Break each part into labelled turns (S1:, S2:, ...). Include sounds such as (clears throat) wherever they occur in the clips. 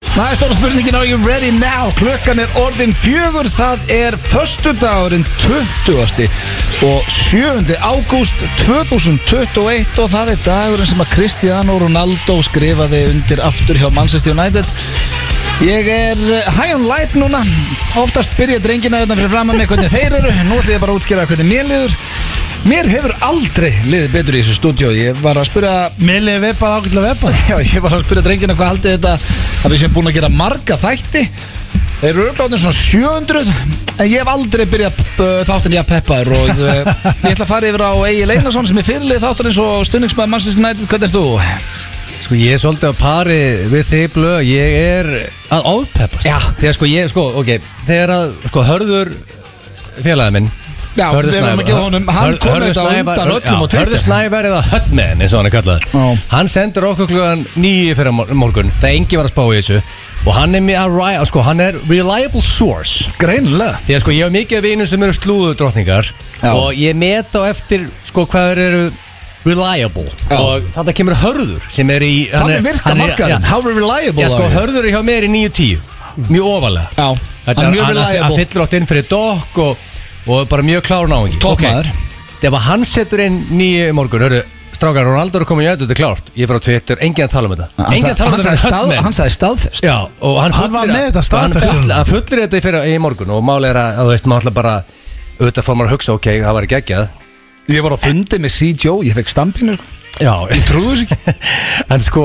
S1: Það er stóra spurningin Are you ready now? Klukkan er orðin fjögur Það er föstudagurinn 20. og 7. ágúst 2021 og það er dagurinn sem að Cristiano Ronaldo skrifaði undir aftur hjá Manchester United Ég er eh, high on life núna Oftast byrja drengina þetta fyrir fram að mig hvernig þeir eru Nú ætlum ég bara að útskýra hvernig mér liður Mér hefur aldrei liðið betur í þessu stúdíó Ég var að spyrja
S2: Mér lefið bara ágætlega veppað
S1: (laughs) Já, ég var að spyrja drengina hvað haldið þetta að við séum búin að gera marga þætti Þeir eru örgláðin svona 700 en ég hef aldrei byrjað uh, þáttin ég að peppaður og uh, ég ætla að fara yfir á Egil Einarsson sem er fyrirlið þáttarins og stundningsmæður Manchester United, hvernig er þú?
S3: Sko ég er svolítið á pari við þig blöð, ég er að ofpeppast
S1: Já.
S3: Þegar sko ég, sko, ok, þegar að, sko, hörður félagið minn
S1: Já,
S3: Hörður
S1: við verðum
S3: Snævar-
S1: að gefa honum- hann
S3: Hör-
S1: kom
S3: Hörður
S1: þetta á
S3: Snævar-
S1: undan öllum
S3: já,
S1: á Twitter.
S3: Hörður Snævar eða Hotman, eins og hann er kallað
S1: Já.
S3: Hann sendur okkur klugan nýju fyrir morgun, það engi var að spá í þessu Og hann er mér að ræða, sko, hann er reliable source
S1: Greinilega
S3: Því að sko ég hef mikið vinum sem eru slúðu drottningar
S1: Já.
S3: Og ég met á eftir sko hvað þeir eru reliable
S1: Já.
S3: Og þetta kemur hörður sem er í hann
S1: Þannig
S3: er-
S1: virka
S3: hann er-
S1: markaðin,
S3: Já,
S1: how reliable
S3: já sko
S1: are you?
S3: hörður er hjá mér í 9-10 Mjög ofalega
S1: Já, hann er mjög
S3: Hann
S1: reliable
S3: fyllir átt inn fyrir dokk og, og bara mjög klár náðingi
S1: Toppmaður.
S3: Þegar hann setur inn nýju morgun Hörðu, strákar Ronaldo er komin í öll, þetta er klárt Ég fyrir á Twitter, enginn að tala um þetta Enginn að tala um
S1: Hann sagði
S3: þetta en
S1: stað-
S3: Hotman.
S1: hann sagði staðfest
S3: Já, og hann,
S2: Hann var
S3: fullir-
S2: með þetta
S3: hann
S2: staðfest.
S3: fullir- Hann fullir þetta í fyrir í morgun og máli er að, að þú veist, maður ætla bara auðvitað fór maður að hugsa, ok, það var geggjað
S1: Ég var á fundi með CJ, ég fekk stampinu sko.
S3: Já, ég trúðu þess ekki (laughs) En sko,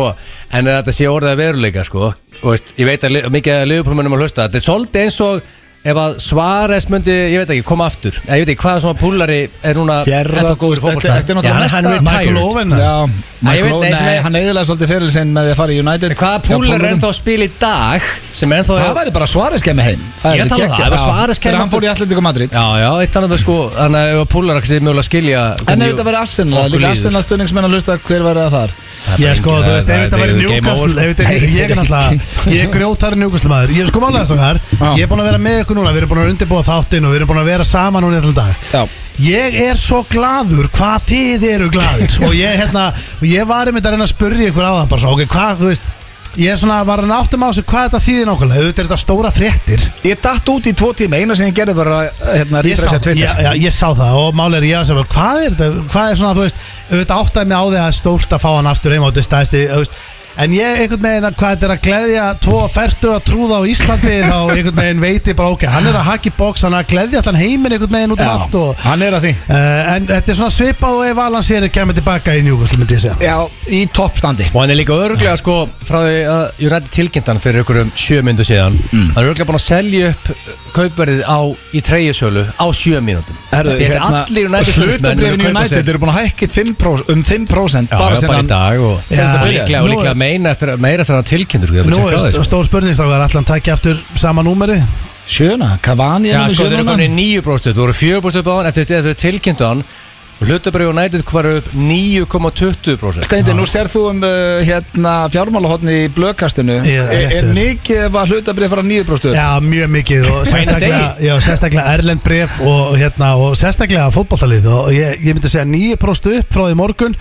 S3: en að þetta sé orðið að veruleika sko, og veist, ég veit að li- mikið að liðuprófunum að hlusta, þetta er svolítið eins og ef að Svares myndi, ég veit ekki, koma aftur ég veit ekki hvaða svona púlari er núna
S1: Gerrard,
S3: ennþá góður
S1: þetta- þetta er
S3: fótbolta
S1: náttúrulega
S3: Já, hann- hann er
S1: mesta-
S2: Michael
S3: retired
S2: Owen
S1: Já,
S3: ég veit,
S1: Michael,
S3: nei, sem
S1: nei,
S3: er-
S1: hann eðilaði svolítið fyrir sinn með því að fara í United
S3: Hvaða
S1: Hjá
S3: púlar er
S1: púlunum.
S3: ennþá að spila í dag sem ennþá
S1: Það væri bara Suárez kemur heim
S3: Ég
S1: er
S3: tala um
S1: geggjað.
S3: það, ef að
S1: Já,
S3: Suárez kæmi
S1: Þegar hann
S3: aftur-
S1: fór í Atletico Madrid
S3: Já, já, eitt annað með sko, þannig að ef að púlar ekki sé mögulega að skilja
S1: En ef þetta verið Arsenal, það er
S3: okkur
S1: líka
S3: líður.
S1: Arsenal stöðningsmenn að hlusta hver verið það þar
S2: Já sko, þú veist, ef þetta væri
S3: Newcastle-
S2: njúkastl Ég er náttúrulega, ég er grjótari njúkastl maður Ég er sko málega strákar, ég er búin að vera með ykkur núna Við erum búin að undirbúa þáttinn og við erum búin að vera saman núna í allan dag
S1: Já.
S2: Ég er svo gladur hvað þið eru gladur Og ég, hérna, og ég var einmitt að reyna að spurja ykkur á það bara svo, ok, hvað, þú veist Ég er svona, var að náttum á þessu hvað þetta þýðir nákvæmlega Auðvitað er þetta stóra fréttir
S1: Ég datt út í tvo tíma, eina sem ég gerði var að hérna,
S2: Ég sá,
S1: rifresa
S2: já,
S1: Twitter
S2: já, ég sá það og máli er ég að segja bara, hvað er þetta, hvað er svona þú veist auðvitað áttaði mig á því að það er stórt að fá hann aftur heim á þetta stæðsti, þú veist en ég einhvern veginn að hvað þetta er að gleðja tvo færtu að trúða á Íslandi þá einhvern veginn veit ég bara ok, hann er að haki bóks hann er að gleðja allan heiminn einhvern veginn út um allt og,
S1: hann er að því
S2: uh, en þetta er svona svipað og ef Alan sér kemur tilbaka í njúkvæslu myndi ég segja
S1: Já, í toppstandi
S3: Og hann er líka örglega sko frá því að United tilkynntan fyrir einhverjum sjö myndu síðan
S1: Mm.
S3: Hann er örglega búin að selja upp uh, kaupverðið á, í treyjusölu á sjö mínútum
S1: Herðu,
S3: Þetta er allir United stuðningsmenn
S1: Hlutabrifin
S3: eru að kaupa sér-
S1: United eru búin að hækki 5%, um 5%
S3: Já, bara,
S1: bara sem
S3: bara í
S1: hann
S3: dag og,
S2: sem þetta
S3: og
S2: byrjaði.
S3: líklega, og
S2: Nú er-
S3: líklega meina eftir, að- meira eftir að hann tilkynntur sko, ég er
S2: Nú
S3: bara að
S2: er
S3: checka á því,
S2: st-
S3: sko.
S2: stór spurningstrákar allan takja aftur sama númeri
S1: Sjöna, Cavani
S3: Já,
S1: er með
S3: sko, þeir eru
S1: sjöna
S3: komin í nýju bróstuð Þú voru fjögur bróstuð á hann eftir eftir að þeir tilkynntu hann Hlutabrið og United hvar upp 9,20 bróstuð
S1: Steindi, nú sér þú um uh, hérna, fjármálahotni í blökastinu
S2: Ég er
S1: Er,
S2: rétt
S1: er
S2: fyrir.
S1: mikið að hlutabrif fara nýður bróstuð?
S2: Já, mjög mikið og sérstaklega, já, sérstaklega Erlend bref og, hérna, og sérstaklega fótballtalið og ég, ég myndi segja 9% upp frá því morgun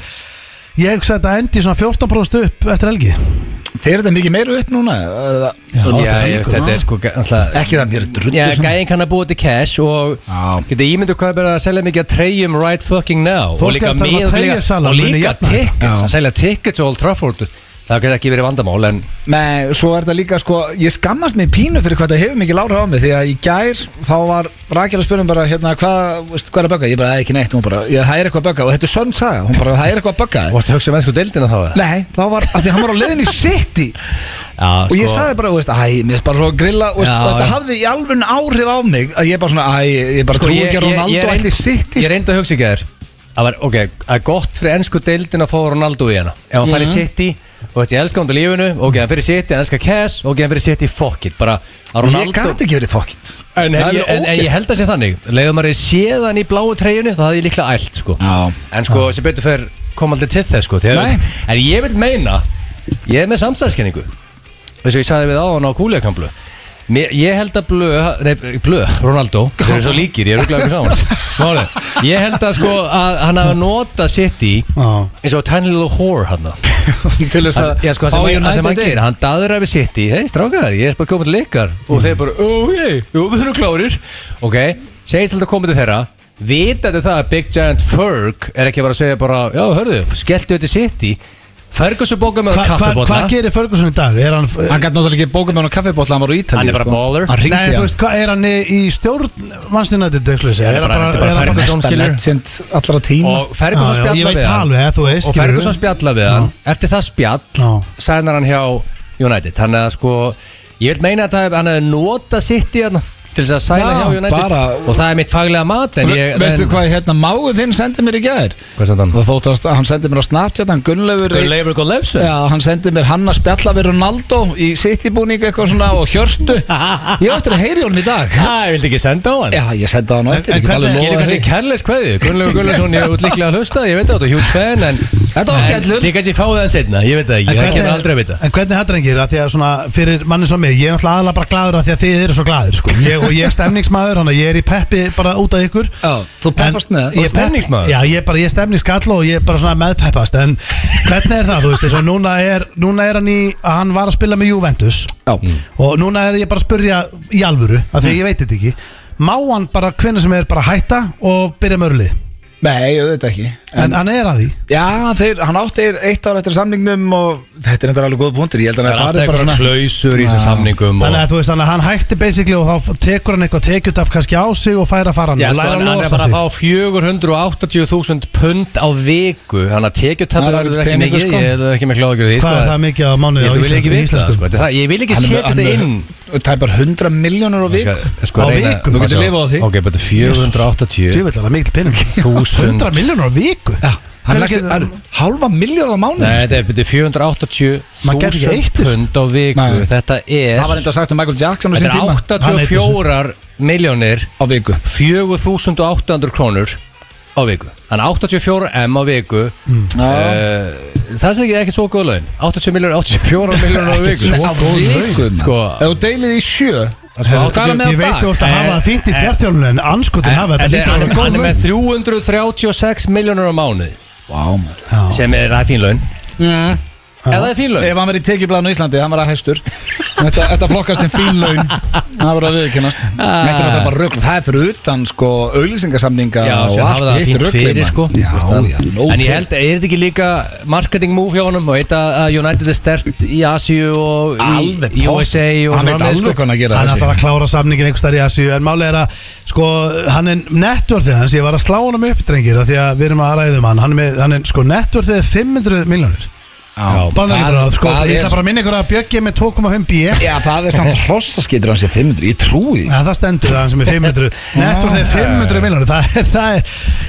S2: Ég hugsa að þetta endi svona 14% upp eftir helgi
S1: Er þetta mikið meira upp núna? eða-
S2: Já,
S3: Já,
S2: þetta er
S3: ég-
S2: helgur,
S3: þetta
S2: já.
S3: er sko alltaf,
S1: Ekki það mér drullu
S3: Já, gæðin kann að búa til cash og
S1: Já.
S3: geta ímyndu hvað er verið að selja mikið að treyjum right fucking now
S2: Fólk
S3: og líka
S2: er að tala um að
S3: miða-
S2: treyjusalan
S3: og
S2: muni
S3: líka
S2: jafna þetta.
S3: tickets,
S1: Já.
S3: að selja tickets á Old Trafford, það getur ekki verið vandamál en
S1: Nei, svo er þetta líka sko Ég skammast mig pínu fyrir hvað það hefur mikið lára á mig Því að í gær þá var Rakel að spyrja um bara hérna hvað, veist, hvað er að bögga Ég bara, "Það er ekki neitt, hún bara, "Já, það er eitthvað að bögga Og þetta er sönn saga, hún bara, það er eitthvað að bögga
S3: varstu að hugsa um ennsku deildina þá eða?
S1: Nei, þá var, af því hann var á leiðin í City
S3: Já, sko.
S1: Og ég sagði bara, þú veist, æ, mér er bara svo að grilla Og
S3: Já,
S1: og þetta
S3: já.
S1: hafði í alveg áhrif á mig Að ég bara svona, æ, ég bara
S3: Sko,
S1: trúi
S3: ég-
S1: ekki að
S3: ég- ég
S1: Ronaldo
S3: reynd-
S1: ætli City sko.
S3: Ég reyndi að hugsa ekki að þér Það var, ok, það er gott fyrir ennsku deildin að fá Ronaldo í hana Ef hann fær í City, og veist, ég elska hann til lífinu Ok, hann fyrir City, hann elskar Cash Ok, hann fyrir City, fuck it Bara
S1: Ég
S3: að Ronaldo
S1: gæti ekki verið fokkitt
S3: En,
S1: Það
S3: en,
S1: er
S3: ég, en, en
S1: ógeðslegt.
S3: ég held að sé þannig Leðum maður séð hann í bláu treyjunni Þá hafði ég líklega ælt sko.
S1: Já.
S3: En sko sem betur fer kom aldrei til þess sko.
S1: Nei.
S3: Þegar, En ég vil meina Ég er með samstæðskenningu Þess að ég sagði við á hann á kúliakamlu Mér, ég held að Blö, nei, Blö, Ronaldo Þeir eru svo líkir, ég er auðvitað eitthvað saman Máli, Ég held að sko að hann hafa notað sitt í
S2: Já.
S3: eins og tiny little whore hann
S1: (laughs) Til þess að
S3: Já, sko, það
S1: fá
S3: sem, það sem
S1: United
S3: hann gerir,
S1: inn.
S3: hann daður af við sitt í Hei, strákar, ég er bara komið til leikar
S1: Mm.
S3: Og þeir bara, ó, hei, jú, við þurfum klárir Ok, segist alltaf komið til þeirra Vitandi það að Big Giant Ferg er ekki að vera að segja bara Já, hörðu, skelltu þetta sitt í Ferguson bókar með
S2: Hva- hva- Hvað
S3: kaffibóta
S2: gerir Ferguson í dag? Er hann,
S1: Hann gæti náttúrulega ekki bókum með hann á kaffibótla, hann var á Ítalíu
S3: Hann er bara
S1: sko.
S3: baller.
S1: Hann
S2: nei,
S1: ringdi
S2: þú
S1: hann
S2: veist, hvað er hann í í stjórn mannstinættið? Er
S3: bara- þetta er bara Ferguson.
S2: hann bara-
S1: Mesta
S3: skilur.
S1: legend allra tíma
S3: Og Ferguson
S2: Ah, Já, já,
S3: spjalla
S2: ég veit
S3: við
S2: það
S3: hann
S2: alveg, eða þú veist,
S3: Og
S2: skilurðu.
S3: Ferguson spjalla við hann Eftir það spjall
S2: Já.
S3: Sænar hann hjá United Þannig að sko Ég vil meina að það- hann hefði notað sitt í hann Til þess að sæla
S1: Já,
S3: hjá United
S1: bara-
S3: Og það er mitt faglega mat en ég,
S1: Veistu
S3: en,
S1: hvað hérna máið þinn sendi mér í gæðir?
S3: Hvað sendi hann?
S1: Það þótt að hann sendi mér á Snapchat, hann Gunnleifur í-
S3: Leifur Gullefsson
S1: Já, hann sendi mér hann að spjalla við Ronaldo í sittibúning eitthvað svona og hjörstu Ég á eftir að heyri honum í dag
S3: Það vildi ekki senda á hann
S1: Já, ég sendi hann á eftir,
S2: En-
S1: ég
S2: en
S1: get alveg lofað
S2: hvernig-
S3: Skilur kannski
S1: því.
S3: kærleis kveði Gunnlegu Gullefsson Ég út líklega að hlusta Ég veit það, þú er hjúts fan en,
S1: Þetta var
S3: en
S1: skellur.
S3: Ég kannski fáið hann setna Ég veit það
S2: En
S3: ekki Það
S2: hvernig-
S3: kemur aldrei að vita
S2: En hvernig það drengir að því að svona fyrir manni svo mig Ég er náttúrulega aðalega bara gladur að því að þið eru svo gladur sko. ég, Og ég er stemningsmaður, þannig að ég er í peppi bara út af ykkur
S1: Já, þú peppast
S2: En
S1: með það.
S2: ég
S3: Þú ert
S2: pepp-
S3: stemningsmaður?
S2: Já, ég er bara, ég er stemningskall og ég er bara svona meðpeppast En hvernig er það, þú veist, eins og núna er, núna er hann í Hann var að spila með Juventus
S1: Já,
S3: Mm.
S2: Og núna er ég bara að spurja í alvöru Af því að ég veit þetta ekki Má hann bara hvenna sem er bara hætta og byrja með örlið
S1: nei, ég veit ekki
S2: En hann er að því
S1: Já, þeir, hann átti eitt ár eftir samningnum og þetta er þetta alveg góð punktur Ég held að
S3: Það er
S1: hann
S3: alltaf
S1: farið bara
S3: eitthvað
S1: svona
S3: klausur í þessum samningum og-
S2: Þannig að þú veist, þannig að hann hætti basically og þá tekur hann eitthvað tekjutap kannski á sig og færa fara hann
S3: Já,
S2: og
S3: sko,
S2: læra
S3: hann,
S2: að
S3: hann er
S2: losa
S3: bara að
S2: sig.
S3: fá 480.000 pund á viku Þannig að
S1: Það
S3: tekjutapir
S1: er
S3: verður
S1: ekkert
S3: ekki
S1: peningur,
S3: mikið
S1: sko.
S3: Ég er ekki með kláðugjur því
S2: Hvað
S3: sko.
S2: er það mikið á
S3: Ég
S2: mánuði á
S3: þú vil
S2: Íslandi-
S3: ekki
S2: í
S3: vita
S2: íslensku?
S3: sko. Þetta- það- Ég vil ekki
S1: Hann er
S3: setja
S1: með- hann
S3: þetta
S1: er
S3: inn
S1: með tæpar 100 miljónur á viku
S3: Skal- sko,
S2: Á
S3: reyna-
S2: viku?
S1: Þú getur lifað á því.
S3: Ok, betur 480
S2: Djúvill, það er mikil pening
S3: 1000.
S2: 100 miljónur á viku
S1: Já, hann
S2: Hvernig
S1: er
S2: getur-
S1: næstu- hann- hálfa miljóð á mánuð
S3: Nei, þetta er betur
S2: Maður gæti ekki
S3: 480.000
S2: eytt þessu.
S3: pund á viku
S1: Nei.
S3: Þetta er
S1: Það var enda sagt um Michael Jackson á sín
S3: Þetta
S1: tíma
S3: er
S2: Hann eytt
S3: 84 miljónir
S1: á viku
S3: 4.800 krónur á viku Þannig 84 M á viku mm. Það segir ekki svo góð laun 80 miljónur, 84 miljónur á viku
S1: Nei, á viku maður.
S3: Sko-
S1: Ef þú deilið í sjö
S2: Herru,
S1: Hvað er hann með á
S2: Ég veit
S1: dag? Eh,
S2: þú ert að hafa það fínt í fjárþjálun en anskotin hafa þetta
S3: Þetta er-
S2: lítur
S3: Hann
S2: alveg góð
S3: hann er
S2: laun.
S3: með 336 miljónur á mánuði
S1: Vá, maður
S2: Já.
S3: sem er, það er fín laun
S1: Mm.
S3: Eða það er fín laun
S1: Ef hann verið í tekjublaðinu í Íslandi, hann var að hæstur Þetta, þetta flokkast sem fín laun Það var að viðkennast
S3: Ah.
S1: Þetta er náttúrulega bara rögl, það er fyrir utan sko auðlýsingarsamninga
S3: Já,
S1: og
S3: sem
S1: allt
S3: hafa það
S1: hitt
S3: fínt
S1: ruglið,
S3: fyrir
S1: mann.
S3: sko
S1: Já, já, nóg
S3: En ég
S1: til.
S3: held, að- er þetta ekki líka marketing move hjá honum og veit að að United er stert í Asíu og
S1: Alveg
S3: í
S1: post.
S3: USA og
S1: Hann veit alveg
S3: framvegis, sko.
S1: hvað hann að gera
S2: Hann er
S1: þessi
S2: alltaf að klára samningin einhver starf í Asíu En máli er að sko, hann er nettvörðið hans Ég var að slá honum upp drengir af Því að við erum að ræðum hann Hann er, með, hann er sko, nettvörðið er 500 miljónir
S1: Já,
S2: Bandaríkjana,
S1: það-
S2: sko,
S1: það
S2: ég
S1: er-
S2: ætla bara að minna ykkur að Björki er með 2,5 bí
S1: Já, það er samt hrossaskýtur hans í 500 Ég trúi því
S2: Já, það stendur það sem er 500 Nettur þegar 500 miljónir Það er, það er,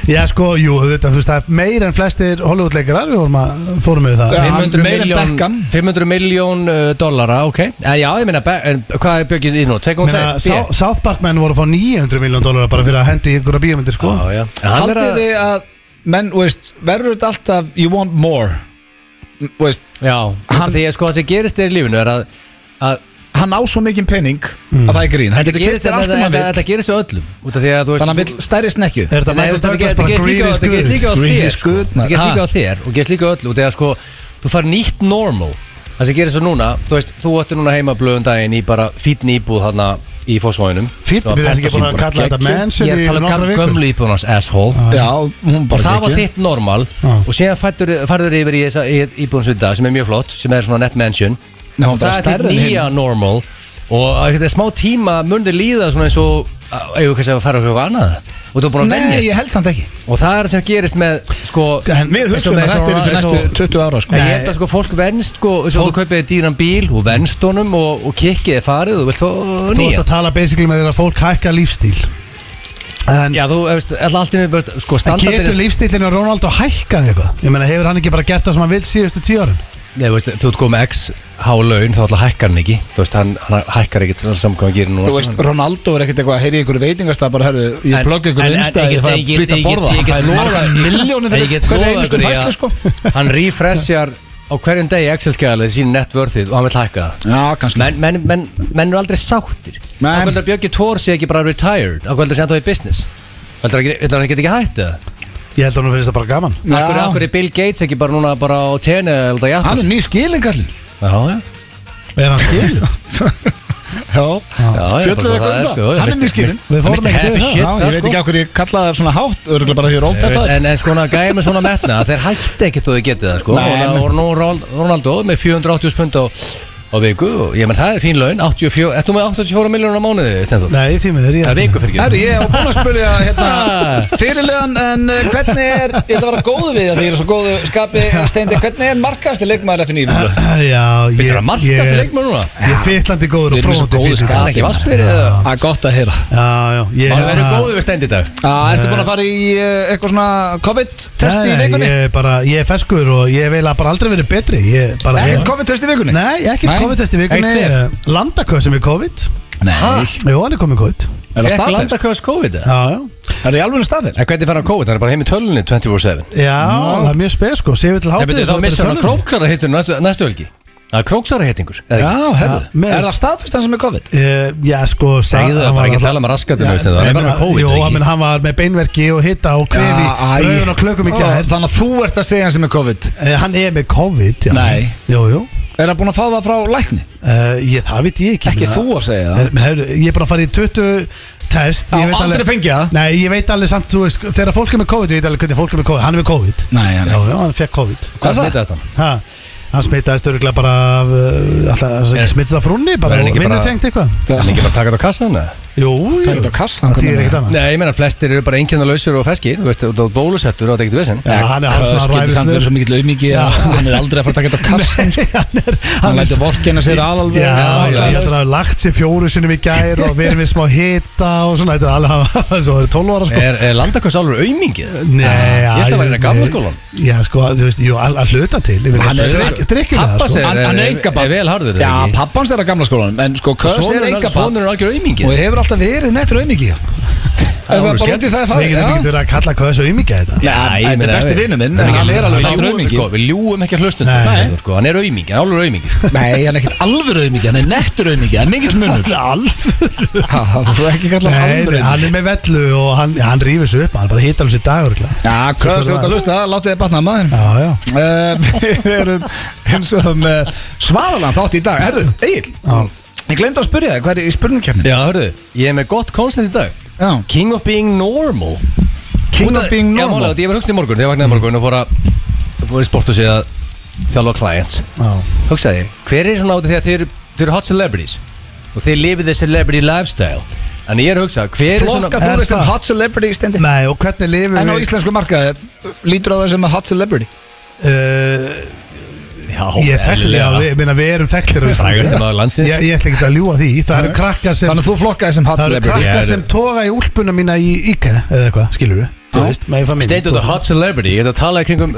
S2: já sko, jú, þetta, þú veist Það er meir en flestir Hollywoodleikarar Við vorum að, fórum með það
S1: Já. hann
S3: 500
S1: meira en
S3: miljón
S1: Beckham.
S3: 500 miljón uh, dollara, ok en Já, ég meina, Be- en hvað er bjöggið í nú? 2,2
S2: Meina, Sá- South Park menn voru að fá 900 miljón dólar Bara fyrir að hendi ykkur að bíómyndir, sko
S3: Já, já En hann er
S1: Haldið
S3: að-
S1: þið að menn, þú veist, verður þetta alltaf you want more Þú veist,
S3: Já,
S1: Hann-
S3: því að sko það sem gerist þér í lífinu er að að
S1: hann á svo mikinn penning að það er grín, hann
S3: Þetta
S1: getur
S3: gerist
S1: kiptir
S3: þetta-
S1: allt sem hann
S3: þetta-
S1: vill
S3: þetta gerist þér öllum Út af því að þú
S1: þannig að hann vill stærri snekju
S2: Er
S3: Nei,
S2: þetta Michael
S3: þetta
S2: Douglas
S3: gerist
S2: bara
S3: líka-
S2: greedy
S3: þetta gerist líka á
S2: skud
S1: Greedy
S3: þér sko.
S1: scoot,
S3: Þetta
S1: maður.
S3: gerist líka
S1: Ha.
S3: á þér og gerist líka á öllu og þegar sko þú far nýtt normal það sem gerist svo núna þú veist þú ætti núna heima blöðum daginn í bara fítn íbúð þarna í fósvóinum
S2: Fýtt, við erum ekki búin að kalla þetta
S3: ég
S2: mansion
S3: er
S2: í
S3: að tala
S2: nokkra
S3: um
S2: vikur Ah,
S3: gömlu íbúðunars asshole
S1: já, hún
S3: og
S1: bara
S3: það var
S1: geggjuð.
S3: þitt normal
S2: Já.
S3: og síðan fættur, færður yfir í þessa íbúðum sem dag sem er mjög flott, sem er svona net mansion
S1: Nei, hún
S3: og
S1: bara
S3: það er
S1: stærri
S3: þitt
S1: en
S3: nýja normal og að þetta er smá tíma mundi líða svona eins og eigum kannski að fara okkur annað og þú er búin að
S1: Nei,
S3: venjast
S1: ég held samt ekki
S3: og það er sem gerist með sko,
S2: En
S1: Við hugsaum að þetta er til næstu 20 ára sko.
S3: Nei, ég held að sko fólk venst sko, eins og þú kaupið þér dýran bíl og venst honum og, og kikkið er farið og vilt fá uh,
S2: Þú ert
S3: nýja
S2: að tala basically með þér að fólk hækka lífstíl En
S1: um-
S3: Já, þú veist, alltaf allt inni bara, sko,
S2: en
S3: standardin
S2: getur lífstílinu Rónald að hækka eitthvað? Ég meina, hefur hann ekki bara gert það sem hann vil síðustu tíu árin?
S3: Nei, þú veist, þú ert komið x há laun þá alltaf hækkar hann ekki þú veist, hann, hann hækkar ekki til þess að hann gerir núna
S1: Þú veist, Ronaldo er ekkert eitthvað að heyri ykkur veitingast bara, herðu,
S3: En-
S1: ég plugga ykkur
S3: en- en
S1: vinsta
S3: ég
S1: ég
S3: get-
S1: fæ
S3: ég
S1: að
S3: get-
S1: flytta að
S3: ég get-
S1: borða
S3: ég get
S1: Það er
S3: lofað-
S1: margar miljónir
S3: Ég get
S1: hverja
S3: lofað
S1: einustu
S3: ykkur því
S1: fæslu sko
S3: að hann refreshjar á hverjum degi Excel-skjæðalið sín netvörðið og hann vil hækka það
S1: Já, kannski
S3: menn, menn, menn, menn eru aldrei sáttir
S1: Nei.
S3: Á hvernig að Björki Tór sé ekki bara retired Á hvernig að sé hann þá í business Heldur hann ekki- heldur hann ekki hætti það?
S2: Ég held að hún finnst það bara gaman
S1: Já.
S3: Akkur, akkur er Bill Gates ekki bara núna bara á tenni eða út að
S1: Hann
S3: jafnast?
S1: er ný skilingallin
S3: Já, já
S2: Er hann skil?
S3: (laughs)
S1: Já,
S3: Já, já,
S1: fjöllum við eitthvað
S3: bara það er,
S1: um
S3: sko,
S1: það Hann er
S3: veist-
S1: ný skilin
S2: Við fórum
S3: Mr.
S2: ekki
S3: Happy
S2: yfir
S1: Já,
S2: það.
S3: Shit,
S1: ég veit
S3: sko.
S1: ekki af hverju ég kalla það svona hátt Örgulega bara því rót
S3: Ég veit,
S1: þetta
S3: En, en svona gæði með svona metna Þeir hætti ekkert og þau getið það sko
S1: Nei, nei.
S3: Og nú Ronald- Ronaldo með 480 pund á, á viku og Ég menn það er fín laun 84, Ertu með 84 miljónur á mánuði Steindór?
S2: Nei, því miður ég
S3: Það er viku fyrir
S1: Herri, ég var búin að spyrja hérna, fyrirlegan en eh, hvernig er, ég ætla að vera góðu við að því ég er svo góðu skapi steindi, hvernig er markaðasti leikmaður að finna í það?
S2: Já, ég
S3: Við erum að marskast í
S2: ég-
S3: leikmenn núna
S2: Ég er fytlandi góður
S1: Við
S2: og
S1: erum svo góðu
S2: fróðandi fýtandi.
S3: Það er
S1: skapi
S3: ekki vatnsberið eða?
S1: Það er gott að heyra
S2: Já, já ég-
S3: Það verður
S2: hérna-
S3: góðu við stend í dag
S1: Ah, Ertu búin að fara í eh, eitthvað svona COVID-test í
S2: Nei,
S1: vikunni?
S2: Ég er bara, ég er feskur og ég hef eiginlega bara aldrei verið betri Ég bara
S1: Ekkert
S2: ég-
S1: COVID-test í vikunni?
S2: Nei,
S1: Nei.
S2: ekkert COVID-test í vikunni
S3: Eitt
S2: eh, Landaköð sem er COVID
S1: Nei.
S2: Ha? Jú, hann er komið COVID
S1: Er það
S3: Fekk
S1: staðfest?
S3: landakvæðs COVID eða?
S2: Já, já
S1: Er það í alveg staðfest?
S3: En hvernig fær hann COVID? Hann er bara heim í tölunni 24-7
S2: Já, það er mjög spes sko, séu við til
S3: Það
S2: hátíð
S3: betur þá missa hann króksara hittur næstu, næstu helgi Það er króksara hittingur
S2: Já, herðu
S1: Er
S2: með-
S1: það staðfest hann sem er COVID?
S2: Eh, Já, sko
S3: Segðu það, bara ekki tala með raskatum, veistu það, það er bara með COVID,
S2: Jó,
S3: eða ekki?
S2: menn, hann var með beinverki og hitta og kvefi
S1: Já, æ.
S2: Rauðun og klökum í
S1: Ó,
S2: gær
S1: Þannig að þú ert að segja hann sem er COVID
S2: Eh, Hann er með COVID já.
S1: Nei.
S2: Jú, jú
S1: Er það búin að fá það frá lækni?
S2: Uh, ég, það veit ég ekki
S1: Ekki
S2: Ég meina-
S1: þú að segja það.
S2: Eh, menn, heyrðu, Ég er bara að fara í 20 test
S1: Já,
S2: ég veit
S1: aldrei
S2: alveg-
S1: fengið það.
S2: Nei, ég veit alveg samt, þú veist, þegar fólk er með COVID Ég veit alveg hvernig fólk er með COVID, hann er með COVID
S1: Nei, hann er-
S2: Já, já, hann fekk COVID
S1: Hvað
S3: Hvað
S1: er það?
S3: smitaðist hann?
S2: ha, Hann smitaðist örgulega bara af, uh, Alltaf,
S3: Er-
S2: ekki smitið af frunni
S3: Er
S2: Bara
S3: hann
S2: og
S3: ekki bara-
S2: vinnutengt eitthvað
S3: Það er ekki bara að taka þetta á kassan eða?
S2: Jú, jú,
S1: Taka þetta á kassann,
S2: það
S1: hvernig
S2: þýðir ekkert
S1: er
S2: annað
S3: Nei, ég meina flestir eru bara einkennalausir og feskir Þú veist, þú ert bólusettur og það er ekkert vesen
S2: Já, hann er hálf svona
S1: Köst getur samt verið
S2: ræfilslur.
S1: svo mikill auðmiki að hann er aldrei að fara að taka þetta á kassin sko.
S2: (laughs) (laughs) Hann er
S1: Hann
S2: er-
S1: lætur vorkenna sér alveg
S2: Já,
S3: Já,
S2: já,
S3: já,
S2: ég
S3: já.
S2: ætla að hafa lagt sér fjóru sinum í gær og verið við smá hita og svona, þetta er alveg, (laughs) hann er svo verið 12 ára sko
S3: Er, er landakvæðs álur aumingið?
S2: Nei, já,
S3: Ah, Ég ætla að vera í gamla
S2: nei.
S3: skólan.
S2: Já, sko, þú veist, jú, að að hluta til Ég meina,
S1: Hann er-
S2: drykk- drykkjulega,
S3: Pappa
S2: sko
S3: segir-
S1: Hann hann er
S3: er-
S1: enga
S3: er vel harður, er það
S1: Já,
S3: ekki?
S1: pappans er að gamla skólanum En sko, Köst er enga
S3: Svonur er algjör aumingið
S1: Og hefur alltaf verið nettur auðmiki Það
S3: alveg
S1: var bara út í
S3: skemmt.
S1: það að
S2: Við getum ekki
S1: fara
S2: verið að kalla hvað þessu ymingja þetta
S1: Já,
S3: ég
S1: þetta er
S3: meina,
S1: besti
S3: við-
S1: vinur minn,
S3: Við-
S1: hann er alveg
S3: við
S1: langt
S3: ljúgum,
S1: aumingi.
S3: sko, Við ljúum ekki að hlustundum
S2: Nei.
S3: Nei, sko, Hann er aumingi, hann er alveg aumingi
S1: Nei, hann er ekkert alveg auðmiki Hann er nettur auðmiki, hann er mikill munur
S2: Alfur
S1: Ha, Það er ekki kallað
S2: Nei,
S1: alveg
S2: nei,
S1: auðmiki
S2: hann er með vellu og hann, hann rýfur sig upp Hann er bara hita alveg sér dagur Já,
S1: Já, Köst, þú ert að lusta, láttu þið batnað maður
S2: já,
S1: Eh, Við erum eins og það með svaðalann þátt í dag Herðu, Egil Ég glemd að spyrja þig, hvað er í spurningkefni?
S3: Já, hörðu, ég er með gott koncept í dag
S1: Já.
S3: King of being normal
S1: King
S3: Út
S1: of
S3: af-
S1: being
S3: Já,
S1: normal.
S3: málega, þetta- ég var hugst í morgun, þegar ég vaknaði í morgun og fór að fór í sportu sig að þjálfa clients
S2: já
S3: Hugsaði, ég, hver er svona átið þegar þeir, þeir eru hot celebrities og þeir lifið the celebrity lifestyle En ég er að hugsa, hver er svona
S1: Flokka þú
S2: Er
S1: þessum
S2: það?
S1: hot celebrity stendi?
S2: Nei, og hvernig lifum
S1: En á
S2: við
S1: íslensku markaði, eh, lítur á þessum hot celebrity?
S2: uh,
S3: Já,
S2: Ég þekkti því að við, minna, við erum þekktir á
S3: Frægast
S2: Íslandi.
S3: maður landsins
S2: Ég ég ætla ekki að ljúa því Það eru krakkar sem
S1: Þannig að þú flokkaði þessum hot
S2: Það eru
S1: celebrity?
S3: Ég
S2: krakkar
S3: er-
S2: sem toga í úlpuna mína í IKEA eða eitthvað, skilur við? Þú
S1: Já.
S2: veist, með í famíli.
S3: State of the hot celebrity, ég ætla að tala í kringum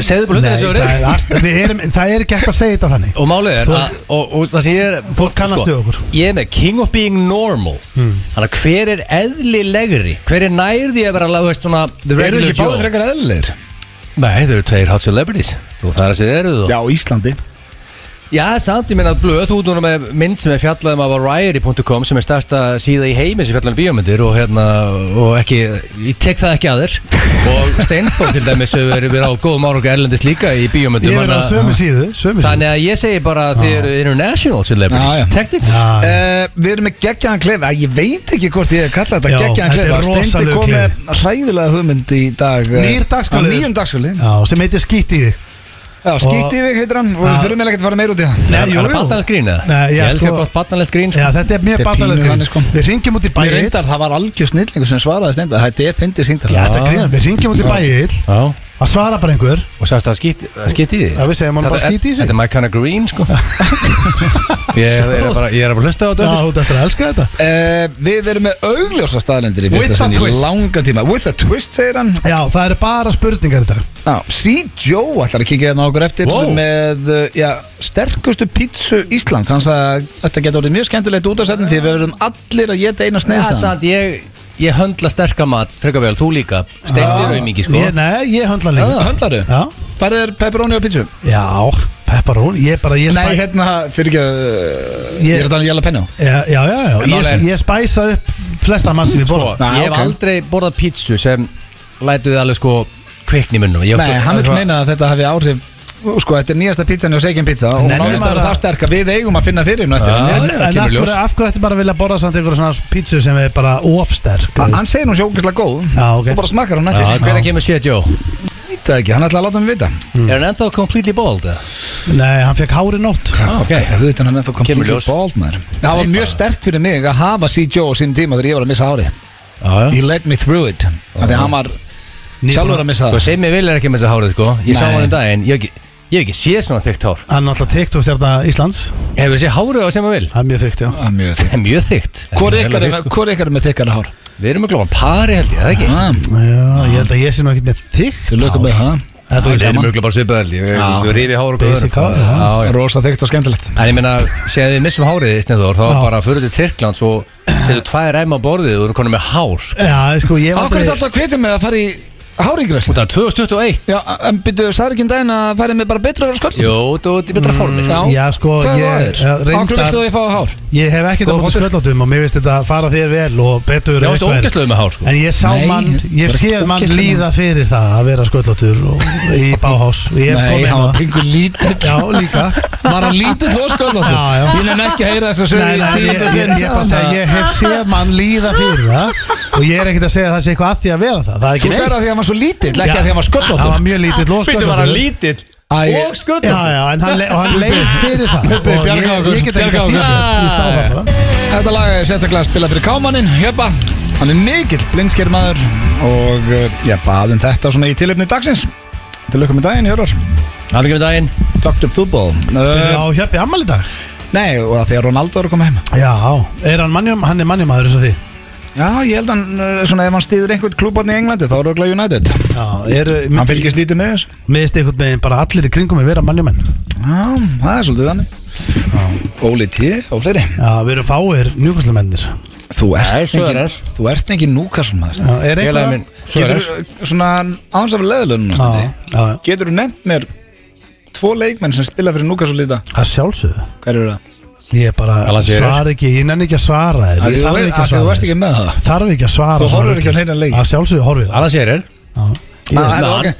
S3: Segðu bara hluta
S2: Nei,
S3: þessu
S2: það er, ast- við erum, það er ekki hægt að segja þetta þannig
S3: Og málið er að, og, og það sem ég er sko,
S2: Fólk kannast við okkur.
S3: Ég er með king of being normal Þannig að hver er eðlilegri Hver er nærði að vera alveg veist, svona The
S1: Eru
S3: regular
S1: ekki báðir
S3: Joe
S1: frekar eðlilegir?
S3: Nei, þeir eru tveir hot celebrities Þú það er að segja eru þú
S1: Já, á Íslandi
S3: Já, samt ég minna að blöð Þú ert núna með mynd sem er fjallað um að variety.com sem er stærsta síða í heimi sem fjallar um bíómyndir og hérna, og ekki ég tek það ekki að þér og Steinfóð til dæmis hefur verið verið á góðum árangu erlendis líka í bíómyndum
S2: Ég er á
S3: Þannig að-
S2: sömu síðu, sömu síðu
S3: Þannig að ég segi bara að þið eru
S1: Já,
S3: international
S1: já.
S3: celebrities Technically
S2: Já, Ah, já.
S1: Uh, við erum með geggjaðan klefa Ég veit ekki hvort ég hef kallað þetta
S2: Já,
S1: geggjaðan
S2: þetta er
S1: klefa Steindi
S2: rosalegur
S1: kom með hræðilega hugmynd í dag eh,
S2: Nýr dagskrárliður.
S1: á Nýjum dagskáli
S2: Já, sem heitir skýtt í þig
S1: Já, skýtti við heitir hann og Ah. við
S2: Já.
S1: þurfum eiginlega ekki að fara meir út í það
S2: Nei,
S3: Er
S2: jú,
S3: það
S2: jú.
S3: batnalegt grín eða?
S2: Nei, já,
S3: Ég elska
S2: sko-
S3: gott batnalegt grín sko.
S2: Já, þetta er mjög
S1: Þetta er pínu þannig, sko.
S2: batalegt Við ringjum út í
S1: Mér
S2: bæið Já,
S1: reyndar, það var algjör snillingu sem svaraði steinda Þetta er fyndið síntal
S2: þetta er grínan, við ringjum út í bæið
S3: Já
S2: Að svara bara einhver
S3: Og sagðist það skýt, skýt í því
S2: Já, við segjum honum bara
S3: Þetta-
S2: skít í sig.
S3: Þetta er my kind of green sko (laughs) ég, ég er bara, ég er að fara að hlusta á
S2: Já,
S3: þetta sko.
S2: þú ættir að elska þetta
S1: Uh, við erum með augljósa staðlendir í
S2: With
S1: fyrsta
S2: a
S1: sinn í
S2: twist.
S1: langa tíma With a twist, segir hann
S2: Já, það eru bara spurningar í dag
S1: Já, C. Joe ætlar að kíkja hérna á okkur eftir
S3: Wow.
S1: með uh, já, sterkustu pítsu Íslands hann sagði að þetta getur orðið mjög skemmtilegt út af setni því við verðum allir að geta eina
S3: Já,
S1: sneið saman
S3: samt ég ég höndla sterka mat frekar vel, þú líka Steindir
S2: Já.
S3: auðvitað mikið sko
S2: Ég- Nei, ég höndla lengur
S1: Höndlaru?
S2: Já.
S1: Færið þér pepperoni og pizza?
S2: Já, pepperoni, ég bara ég
S1: Nei,
S2: spæ-
S1: hérna, fyrir ekki að Ég
S2: Ég-
S1: er þetta að um jæla penna
S2: Já, já, já, já.
S3: En
S2: Ég,
S3: Óli-
S2: ég spæsa upp flesta mann sem ég
S3: sko,
S2: borða
S1: Nei,
S3: Ég hef
S1: ok.
S3: aldrei borðað pítsu sem lætuði alveg sko kvikn í munnum Ég hef
S1: Nei,
S3: oft-
S1: hann vil
S3: eitthvað-
S1: meina að þetta hafi áhrif Sko, þetta er nýjasta pizzan hjá Seikin Pizza Og hún
S2: Nei,
S1: ánist að
S2: nei,
S1: vera
S2: bara-
S1: það sterk að við eigum að finna fyrir hennu eftir
S3: Já,
S1: henni.
S2: En,
S3: já,
S1: En-
S3: það
S2: en
S3: kemur
S2: af
S3: í ljós.
S2: hverju, af hverju ætti bara að vilja borða samt einhverja svona pítsu sem er bara ofsterk þú
S1: Hann
S2: veist?
S1: hann segir hún sjókislega góð
S2: Já, ok.
S1: Og bara smakkar hún
S3: Já,
S1: eftir
S3: Hvernig kemur sér Joe?
S1: Það er ekki, hann ætlaði að láta mig vita
S2: Hmm.
S3: Er hann ennþá completely bald? eða?
S2: Nei, hann fekk hári nótt
S3: Ah, ok.
S1: Þú veit hann er ennþá
S3: Kemur
S1: kompletið
S3: ljós.
S1: bald maður Það var
S3: Nei,
S1: mjög
S3: bara-
S1: stert fyrir mig að hafa C. Joe á sín tíma þegar ég var að missa hári
S3: Já,
S1: He led me through it Þegar hann var sjálfur að missa
S3: Sko,
S1: það
S3: Semi Vil er ekki með þessu hárið sko Ég sá
S1: Nei.
S3: hann um daginn, ég hef ekki, ég hef ekki séð svona þykkt hár
S2: Hann er alltaf TikTok stjarnar Íslands
S3: Hefur séð hárið á Semi Vil?
S2: Það er mjög þykkt, já
S1: Það er Ah, mjög
S3: Það
S1: þykkt.
S3: er mjög
S1: Hvor ykkar
S3: þykkt Það er mjög
S1: er
S3: þykkt,
S1: hvor ykkar er með þykkara hár?
S3: sko. Við erum að glóma pari held ég, það ekki?
S1: Ah,
S2: Já, ég held að ég sé nú ekkert með þykkt
S1: Þú lökum með
S2: hár.
S1: það
S2: Þetta er
S3: Við
S2: gaman.
S3: erum Ah, að glóma svipaðaldi
S1: Já.
S3: Við rifi hár og
S2: Basic hár, já.
S3: Já, já.
S1: Rosa þygt og skemmtilegt
S3: En ég (laughs) meina, séð þið missum hárið í Snedór, þá
S2: Já.
S3: bara fyrir til Tyrklands og setur tvær æma á borðið og þú eru konum með hár.
S2: Já, sko, ég var
S1: Ákveður þetta alltaf að hvetja mig að fara í hárigræslu
S3: Það er 2021.
S1: Já, en byrju, sagði ekki um daginn að færi mig bara betra að vera sköllum
S3: Jó, þú ert í betra formi.
S1: Já,
S2: já, sko,
S1: hvað
S2: ég-
S1: er
S2: já,
S1: það er?
S2: reyndar-
S1: Ákveður veistu að ég fá hár?
S2: Ég hef ekkert að
S3: Góða
S2: bóta
S3: punktur.
S2: sköllótum og mér finnst þetta að fara þér vel og betur
S3: Já, þú
S2: eitthvað er.
S3: ógæsluðu með hár, sko.
S2: En ég sá
S1: Nei,
S2: mann, ég
S1: bara
S2: séð mann
S1: ógeðslega
S2: líða fyrir það að vera sköllóttur og- í báhás Ég hef
S1: Nei,
S2: komið
S1: hann
S2: inn á
S1: var pingur lítill
S2: Já, líka
S1: Var hann lítill og sköllum
S2: Já, já.
S1: Ég nefn ekki að heyra þess að sögja
S2: Nei, nei, ég, ég, ég, bara segi, ég hef séð mann líða fyrir það og ég er ekkert að segja að það sé eitthvað að því að vera það Það
S1: Þú
S2: er ekki
S1: sagði
S2: neitt
S1: að því að hann var svo lítill, ekki
S2: Já,
S1: að því að hann var
S2: Hann var
S1: sköllum
S2: mjög lítill og
S3: Býttu var hann
S2: sköllóttur
S3: lítill
S1: Æ,
S3: og sköllóttur.
S2: Já, já, en hann, le og hann leið fyrir það
S1: Bubbi,
S2: Og ég,
S1: bjargaðu okkur,
S2: ég get ekki
S1: bjargaðu
S2: að
S1: okkur.
S2: fyrst Ég sá það bara
S1: Þetta lag er sérstaklega að spila fyrir Kámaninn Hjöpa, hann er mikill blindsker maður Og eh, ég baðum þetta svona í tilefni dagsins Til lukkum í daginn, Hjörvar
S3: Afgjum með daginn.
S1: Dr. Football
S2: Já, hjöppi ammal í dag
S1: Nei, og að því að Ronaldo er að koma heim
S2: Já, er hann mannjum, hann er mannjumadur eins og því
S1: Já, ég held hann, eh, svona ef hann stýður einhvern klúbarn í Englandi Þá er það United
S2: Já, er,
S1: Hann fylgist lítið með þess
S2: miðst einhvern veginn bara allir í kringum að vera mannjumenn
S1: Já, það er svolítið þannig Óli T og fleiri
S2: Já, við erum fáir njúkvæslumennir
S1: Þú ert
S3: Nei, svo er
S1: engin-
S3: þess.
S1: þú ert engin núkarsson maður
S2: Er
S3: Félagi
S2: einhver
S3: minn,
S1: Getur,
S3: Suárez.
S1: svona, aðeins af leðlunum
S2: Já, já, já.
S1: Getur þú nefnt mér Tvo leikmenn sem spila fyrir núkarsson líta
S2: að sjálfsögðu
S1: Hver eru það?
S2: Ég bara
S3: Alan Shearer.
S2: svar ekki, ég nenni ekki að svara þér
S1: Af
S2: Ég
S1: því
S2: þarf
S1: þú- af
S2: ekki
S1: því
S2: að
S1: þú
S2: svara
S1: ert
S2: þér
S1: ekki með það
S2: Þarf ekki að svara
S1: Þú
S2: svara
S1: horfir ekki á hreinan leik.
S2: Að sjálfsögðu horfið það
S3: Alla sér er.
S2: Já,
S1: Ah,
S2: ég-
S1: hérna,
S3: Ná,
S1: ok. Ég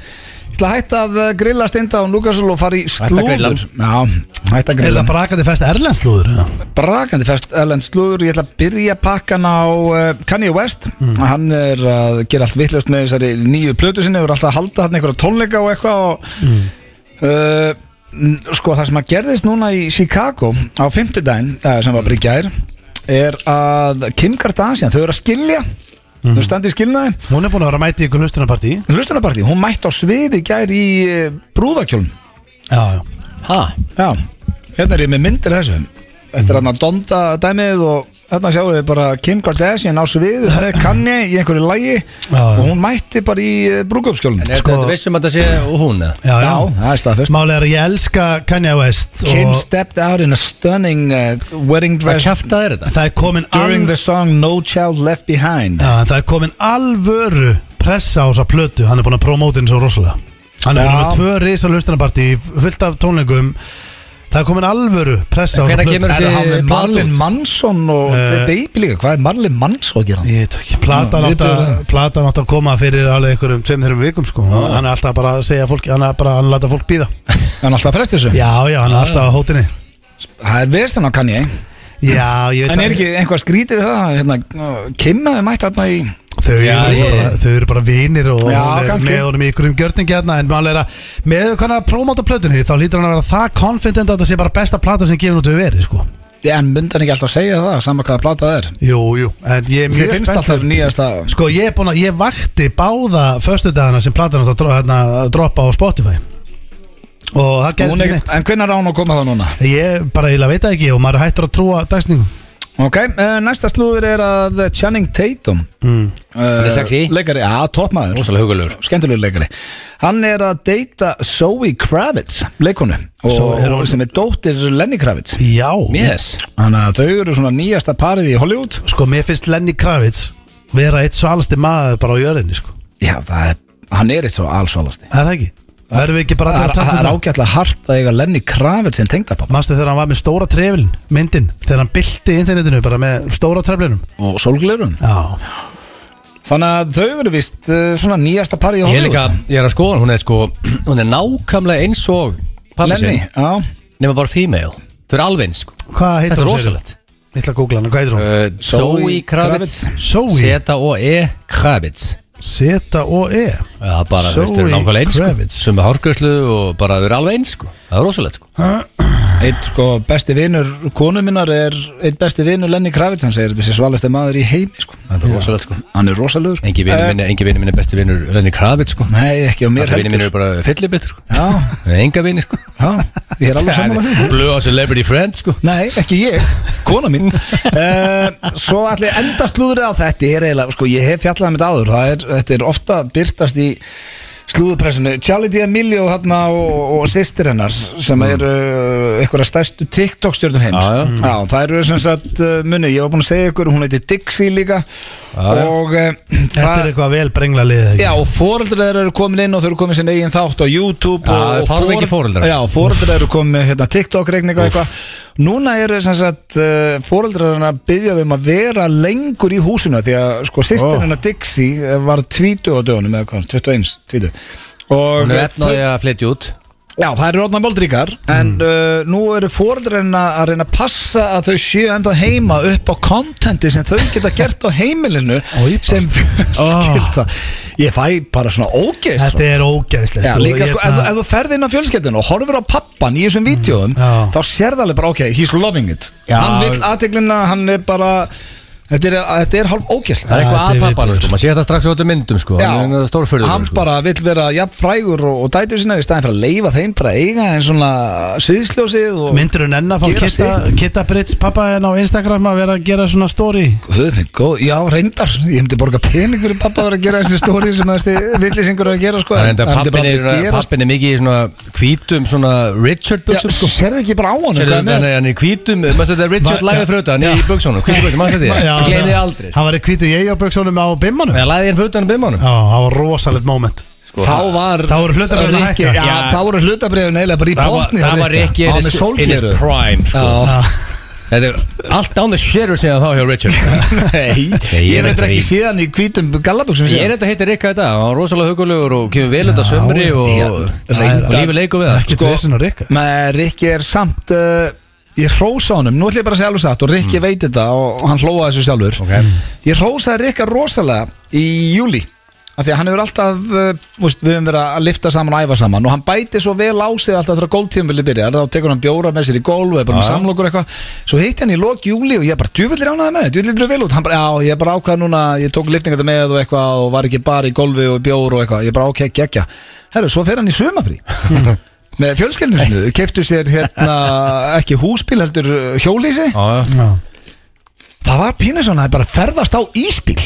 S1: ætla að hætta að eh, grilla steinda á Núkarsson og fara í
S3: að grilla.
S1: slúður Já, hætta að
S2: Er
S1: grilla
S2: það brakandi fest erlenslúður? eða?
S1: brakandi fest Erlend Slúður, ég ætla að byrja pakkan á uh, Kanye West hann er að gera allt vittlust með þessari nýju plötu sinni, er alltaf að halda þarna einhverja tónleika og eitthvað og, uh, n- sko það sem að gerðist núna í Chicago á 50 daginn uh, sem var bara í gær er að Kim Kardashian þau eru að skilja, þau standi í skilnaði
S2: Hún er búin að vera að mæti í ykkur hlustunarpartí
S1: hlustunarparti, hún mætti á sviði í gær í uh, brúðakjólum
S2: Já, já
S3: Ha?
S1: Já, hérna er ég með myndir af þessu
S2: Mhm.
S1: Þetta er hann að donda dæmið og þarna sjáum við bara Kim Kardashian á
S2: (laughs)
S1: sviðu með kanni í einhverju lægi
S2: Já, já.
S1: og hún mætti bara í brúkupskjólun
S3: En er þetta vissum að það sé hún eða?
S2: Já, já,
S1: Já, það er staðfest.
S2: Málið er að ég elska Kanye West
S1: Kim
S2: og
S1: stepped out in a stunning uh, wedding
S3: Hvað
S1: dress
S3: kæftað er þetta?
S2: það er komin
S1: during
S2: alv-
S1: the song No Child Left Behind
S2: Já, það er komin alvöru pressa á þessa plötu, hann er búin að promóta henni svo rosalega Hann er
S1: Já.
S2: búin með tvö risa hlustunarpartí fullt af tónleikum Það er komin alvöru pressa á
S3: En
S2: þessa
S3: hvenær
S2: plötu
S3: kemur
S1: Er
S3: þessi-
S1: hann með Marlin Manson og
S2: Eh.
S1: The Baby líka? Hvað er Marlin Manson að gera?
S2: Ég veit ekki, platan
S1: Já,
S2: átt að,
S1: viðbrögðin.
S2: platan átt að koma fyrir alveg einhverjum tveim, þreim vikum sko Hann er alltaf bara að segja fólki, hann er bara hann láta fólk býða
S1: Er hann alltaf að presta þessu?
S2: Já, já, hann er alltaf á hótinni
S1: Það er vestan á Kanye
S2: Já, ég veit
S1: En
S2: það-
S1: er ekki einhver skrítið við það? að, Hérna, uh, Kim hefði mætt þarna í
S2: Þau eru,
S3: Já, ég-
S2: bara, þau eru bara vinir og
S1: Já,
S2: hún er
S1: kannski.
S2: með honum í ykkurum gjörningi hérna en mál er að með hann að prómáta plötunni þá lítur hann að vera það confident að það sé bara besta plata sem gefin út hefur verið sko
S1: En myndi hann ekki alltaf segja það, sama hvaða plata það er
S2: Jú, jú, en ég er
S1: Þið
S2: mjög
S1: finnst
S2: spennt
S1: alltaf
S2: fyrir-
S1: nýjasta
S2: Sko ég er búin að, ég vakti báða föstudagana sem platan átt að dro- hérna, að droppa á Spotify og það gerðist
S1: Hún
S2: ekki
S1: er-
S2: neitt
S1: En hvernig er án að koma það núna?
S2: Ég bara eiginlega veit það ekki og maður er hættur að trúa dagsningum
S1: Ok, eh, næsta slúður er að Channing Tatum
S2: mm.
S1: Hann
S3: er sexy.
S1: Leikari, já, toppmaður
S3: Rósalega hugulegur.
S1: Skemmtilegur leikari Hann er að deyta Zoe Kravitz, leikonu og,
S2: Svo er hún-
S1: sem er dóttir Lenny Kravitz
S2: Já
S3: Yes.
S1: Þannig að þau eru svona nýjasta parið í Hollywood
S2: Sko mér finnst Lenny Kravitz vera eitt svalasti maður bara á jörðinni sko.
S1: Já, það er, hann er eitt svo allsvalasti
S2: Er það ekki? Verðum við ekki bara
S1: Það
S2: allir
S1: er-
S2: að taka
S1: það er
S2: þetta?
S1: ágætlega hart að eiga Lenny Kravitz sem tengdapappa
S2: Manstu þegar hann var með stóra trefilin, myndin Þegar hann bylti internetinu bara með stóra treflinum
S1: og sólglirun
S2: Já,
S1: Þannig að þau eru vist uh, svona nýjasta parið í
S3: Ég er
S1: Hollywood
S3: líka, ég er að skoða, hún er sko (clears throat) Hún er nákvæmlega eins og pappi
S1: Lenny,
S3: sinn
S1: já
S3: Nefna bara female Þau eru alveg eins sko
S2: hvað heitir
S3: Þetta er
S2: hún?
S3: rosalegt
S2: Ég ætla að googla hann, hvað heitir
S1: Eh.
S2: hún?
S3: Uh, Zoe Kravitz
S2: Zoe.
S3: Z-O-E Kravitz
S2: Seta og E
S3: Já, bara, þú veist, þau eru
S2: Zoe
S3: nákvæmlega eins sko.
S2: Kravitz.
S3: Sumi hárgjörslu og bara þau eru alveg eins sko Það er rosalegt sko
S1: Eitt sko besti vinur konu minnar er eitt besti vinur Lenny Kravitz hann segir þetta sé svalesti maður í heimi sko
S3: Það er rosalegt sko
S1: Hann er rosalögur sko
S3: Engi vinur minn, engi vinur minn er besti vinur Lenny Kravitz sko
S1: Nei, ekki á mér
S3: Allir vinur minn
S1: heldur
S3: eru bara fyllibittur sko
S1: Já,
S3: Enga vinur sko
S1: já, ég
S3: (laughs)
S1: er alveg sammála því
S3: Blue á celebrity friend sko
S1: Nei, ekki ég, kona mín uh, Svo allir endast slúðrið á þetta er eiginlega, sko, ég hef fjallað mitt áður það er, þetta er ofta byrtast í slúðupressinu, Charlie D'Amelio þarna, og, og sýstir hennar sem eru uh, einhverja stærstu TikTok stjórnum heims
S3: Mm. Já, já.
S1: það eru sem sagt uh, munni, ég var búin að segja ykkur hún heiti Dixie líka
S3: já.
S1: og (clears throat) uh,
S2: Þetta er eitthvað vel brengla liðið ekki?
S1: Já, og fóreldrar þeirra eru komin inn og þau eru komin sinni eigin þátt á YouTube
S3: Já,
S1: og, og
S3: fárveikir foreldrar.
S1: Já, foreldrar eru komin með hérna, TikTok-reikning og eitthvað Núna eru sem sagt uh, fóreldrarinn að byggja um að vera lengur í húsinu því að sko
S3: Ó.
S1: sýstir hennar Dixie var 20 á dögunum eða hvað, 21, 20 Og
S3: Hún
S1: þau-
S3: er efnaði að flytja út
S1: Já, það eru rótna moldríkar En
S2: Mm.
S1: uh, nú eru fóreldrarinn að reyna að passa að þau séu enda heima upp á kontenti sem þau geta gert á heimilinu
S2: Oj,
S1: sem (laughs) fjölskylda Ég fæ bara svona ógeist
S2: Þetta er hérna- ógeðslegt
S1: Já,
S2: og
S1: líka
S2: ég-
S1: sko, ef, þú- ef þú ferð inn á fjölskeldinu og horfir á pappan í þessum vídjóum
S2: Mm, Já.
S1: þá sérð alveg bara, ok, he's loving it
S3: Já.
S1: hann vil aðteglina, hann er bara þetta er, þetta er hálf ógæslega
S3: Það er
S2: Já,
S3: eitthvað að
S2: þetta er
S3: pappanum
S2: viðbjóður.
S3: sko Maður sé þetta strax á þetta myndum sko Hann er stórfurður
S1: hann
S3: sko.
S1: bara vill vera jafn frægur og, og dætur sinna í staðin fyrir að leifa þeim bara að eiga en svona sviðsljósið og
S2: Myndir hún enn að fá
S1: Gera
S2: Kitta,
S1: sitt.
S2: Kitta Brits pappa en á Instagram að vera að gera svona story
S1: Guð minn góð, já reyndar ég myndi borga pening fyrir pappa að vera að gera þessi stóri sem þessi villisingur er að gera sko,
S3: Það er enda
S1: myndi bara
S3: pappin er,
S1: aldrei gerast.
S3: pappin er mikið í svona hvítum svona Richard
S1: Já,
S3: buksum sko
S1: sérðu ekki bara á honum hvað hann
S3: Hann
S1: er?
S3: er- hann er í hvítum, maður þetta er Richard
S2: Ma-
S3: lagði fröta, hann er í buksunum, hvítum buksunum, maður þetta
S2: Já,
S3: ég gleymi þið
S2: það-
S3: aldrei sko.
S2: Hann var í kvítu ég og buksunum á bimmanum Já,
S3: Þegar lagði hann frötan um bimmanum
S2: það var rosalegt moment
S3: sko.
S1: þá var
S2: Þá voru hlutabréfin að
S1: Rikki-
S2: hækka.
S1: já,
S3: Já.
S1: þá voru hlutabriðun eiginlega bara í
S3: Það var-
S1: botni
S3: það var ekki
S1: á með
S3: in his
S1: sólgeru
S3: prime sko.
S1: Já.
S3: Þetta er allt down the shitter síðan þá hjá Richard
S1: (laughs) Nei,
S3: Nei,
S1: ég
S3: ég
S1: veit
S3: veit
S1: ekki
S3: það í-
S1: síðan í hvítum gallabuxum
S3: Ég er þetta heitir Rikka þetta, hann var rosalega hugulegur og kemur vel þetta sömri og
S1: já,
S3: og
S1: reyndar.
S3: lífið leikur við það
S2: Ekki
S1: Sko-
S2: dvesin og rikka
S1: Með Rikki er samt uh, Ég hrósa honum, nú ætlum ég bara að segja alveg satt Og Rikki veit þetta og og hann hlóa þessu sjálfur
S3: Mm. Ok.
S1: Ég hrósaði Rikka rosalega Í júli Af því að hann hefur alltaf, uh, veist, við höfum verið að lifta saman og æfa saman og hann bæti svo vel á sig alltaf þegar góltíðumvili byrja þá tekur hann bjóra með sér í gólf og er bara með
S3: Já.
S1: samlokur eitthvað svo heitti hann í lok júli og ég bara djúvillir ánaði með þetta, djúvillir vel út hann bara, já, ég bara ákvað núna, ég tók liftingar með og eitthvað og var ekki bara í gólfi og bjór og eitthvað ég bara ok, geggja, herru, svo fer hann í sumafrí
S3: (laughs)
S1: með fjölskeldinu sinu, keftu sér (laughs) hérna ekki húsbíl heldur uh, hjólísi
S3: Já, já.
S2: Já.
S1: það var pínu svona að bara ferðast á ísbíl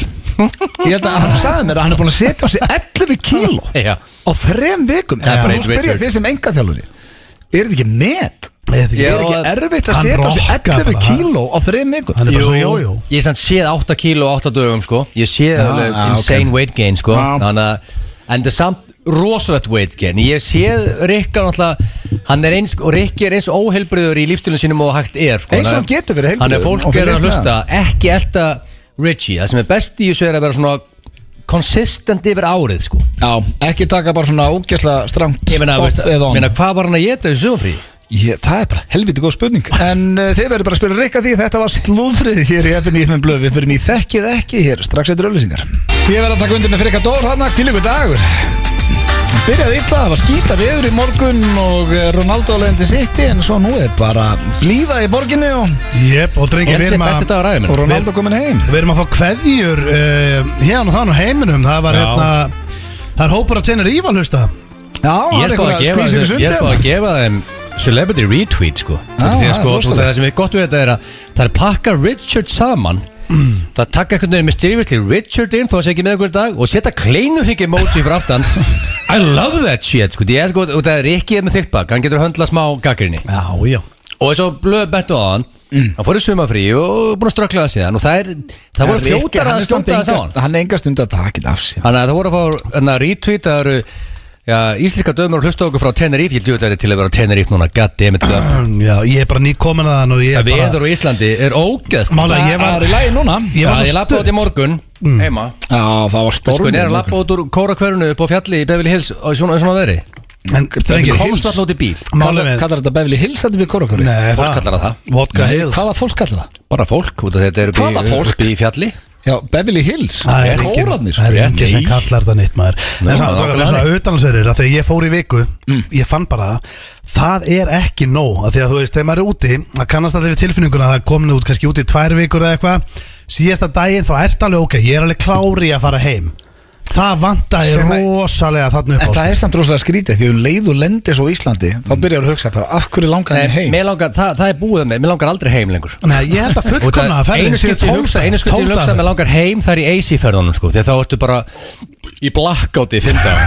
S1: ég held að hann sagði mér að hann er búin að setja á sig 11 kíló
S3: Já.
S1: á þrem vikum
S3: Það er
S1: ég
S3: bara
S1: bara
S3: eins
S1: að spyrja
S3: Richard.
S1: þig sem enga þjálfur er þetta ekki met?
S2: Ég veit ekki.
S1: er
S3: Já,
S1: ekki erfitt að
S2: hann
S1: setja á sig
S2: rockar
S1: 11
S2: bara.
S1: kíló á þrem vikum?
S2: Hann er bara svo
S3: Jú,
S2: jójó
S3: Ég er sann séð 8 kíló á 8 dögum sko Ég séð
S1: Já,
S3: alveg
S1: já,
S3: insane
S1: ok.
S3: weight gain sko
S1: Já.
S3: Þannig að En það er samt rosalegt weight gain Ég séð Rikka náttúrulega Hann er eins Og Rikki er eins óheilbriður í lífstilinu sínum og hægt er sko
S1: Eins og
S3: Þannig
S1: hann
S3: að-
S1: getur verið heilbrigður
S3: Þannig að
S1: og
S3: fólk
S1: fylgjast
S3: er að
S1: með
S3: hlusta Ekki elta Richie Það sem er best í þessu er að vera svona Consistent yfir árið sko
S1: Já, ekki taka bara svona ógæsla strangt
S3: Ég meina,
S1: off
S3: veist,
S1: eða on.
S3: meina hvað var hann að geta í sögumfrí?
S1: Ég, það er bara helviti góð spurning En uh, þið verður bara að spila rikka því Þetta var slúðrið hér í FNFM Blöð Við fyrir mig þekkið ekki hér strax eftir öllusingar Ég verður að taka undir með Frikka Dór hana Hvílíku dagur Byrjaði illa, það var skýta veður í morgun Og eh, Ronaldo leðandi sitti En svo nú er bara blíða í borginni Og,
S2: Jep, og drengi,
S3: Ég
S2: við
S3: sé
S2: erum
S3: besti
S2: að
S3: dagur aðeins
S1: og Ronaldo komin heim
S2: Við erum að fá kveðjur uh, hérna og þann og heiminum Það var
S3: Já.
S2: hérna Það er hópur að tjena rífa hlusta
S1: Já, hann
S3: Ég er spáð að gefa
S1: squeeze-in í
S3: þeim-
S1: sundi,
S3: ég er spáð
S1: eða?
S3: að gefa þeim celebrity retweet sko ah, því
S1: það
S3: að
S1: er
S3: sko, þú-
S1: rosalegt.
S3: það sem er gott við þetta er að það er pakka Richard saman það taka einhvern veginn mysteriously Richard inn þó að sé ekki með einhver dag og setja kleinurhygg emoji fyrir
S1: (laughs)
S3: aftan hérna I love that shit sko, Því ég er sko, og það er ekki með þykkt bak hann getur höndla smá gaggrinni
S2: Já, já
S3: og eins og blöð bent og hann
S1: Mm.
S3: hann fór í sumafrí og búin að strökla það síðan og það, er, það voru
S1: Rikki,
S3: fjótar
S1: hann
S3: að
S1: er samt
S3: stunda það
S1: engast-
S3: saman
S1: Hann er engast undan takin af sér
S3: Þannig að það voru að fá hérna, retweet Það eru já, íslenska dömur og hlusta okkur frá Tenerife Ég ljóta þetta til að vera á Tenerife núna Goddammit Það
S2: Já, ég er bara nýkomin að hann og ég er bara
S3: veður á Íslandi er ógeðst
S2: Málega, ég
S1: Það
S2: var
S1: er í lagi núna
S2: Ég var
S3: Já,
S2: svo Mm.
S3: Ég lappa út í morgun heima
S1: Já, það var
S3: Sko,
S1: stormur
S3: ég er að lappa út úr kórakverfinu upp á fjalli í Beverly Hills og svona, svona veðri
S2: En drengir,
S1: Hills.
S3: Komst alltaf út í bíl
S2: Málið
S1: Kallar
S2: með-
S1: kallar þetta Beverly Hills þetta við korokori
S2: Nei,
S3: Fólk kallar það það.
S2: Vodka Hills
S1: Hvaða fólk kallar það?
S3: Bara fólk, út af þetta er
S1: Hvaða
S3: upp í,
S1: fólk?
S3: upp í fjalli
S1: Já, Beverly Hills
S2: Það er enginn-
S1: Kórarnir
S2: Það er
S1: sko.
S2: enginn sem
S1: Nei.
S2: kallar þetta neitt maður
S3: Nú,
S2: En
S3: það er Mm.
S2: það
S3: bara
S2: er svona utanlandsverðir að Þegar ég fór í viku Ég fann bara að Það er ekki nóg að Því að þú veist, þegar maður er úti Það kannast að þið við tilfinninguna að Það er komin út kannski úti í tvær vikur eða eitthvað Síðasta daginn þá ert alveg ok Ég er alveg klári að fara heim Það vantaði
S1: Sem að-
S2: rosalega þarna upp á
S1: En það
S2: sko.
S1: er samt rosalega skrítið því um leið og lendir svo í Íslandi þá
S2: Mm.
S1: byrjar að hugsa bara af hverju langar henni heim
S3: Mér langar, það, það er búið með, mér langar aldrei heim lengur
S2: Nei, ég held að
S3: Út
S2: fullkomna að
S3: af-
S2: ferðin
S3: Einu
S2: séu
S3: skipti ég hugsa, einu skipti ég
S2: tólf
S3: hugsa að
S2: dagar.
S3: mér langar heim Það er í AC ferðunum sko Þegar þá ertu bara í blackouti í fimm
S2: (laughs)
S3: dag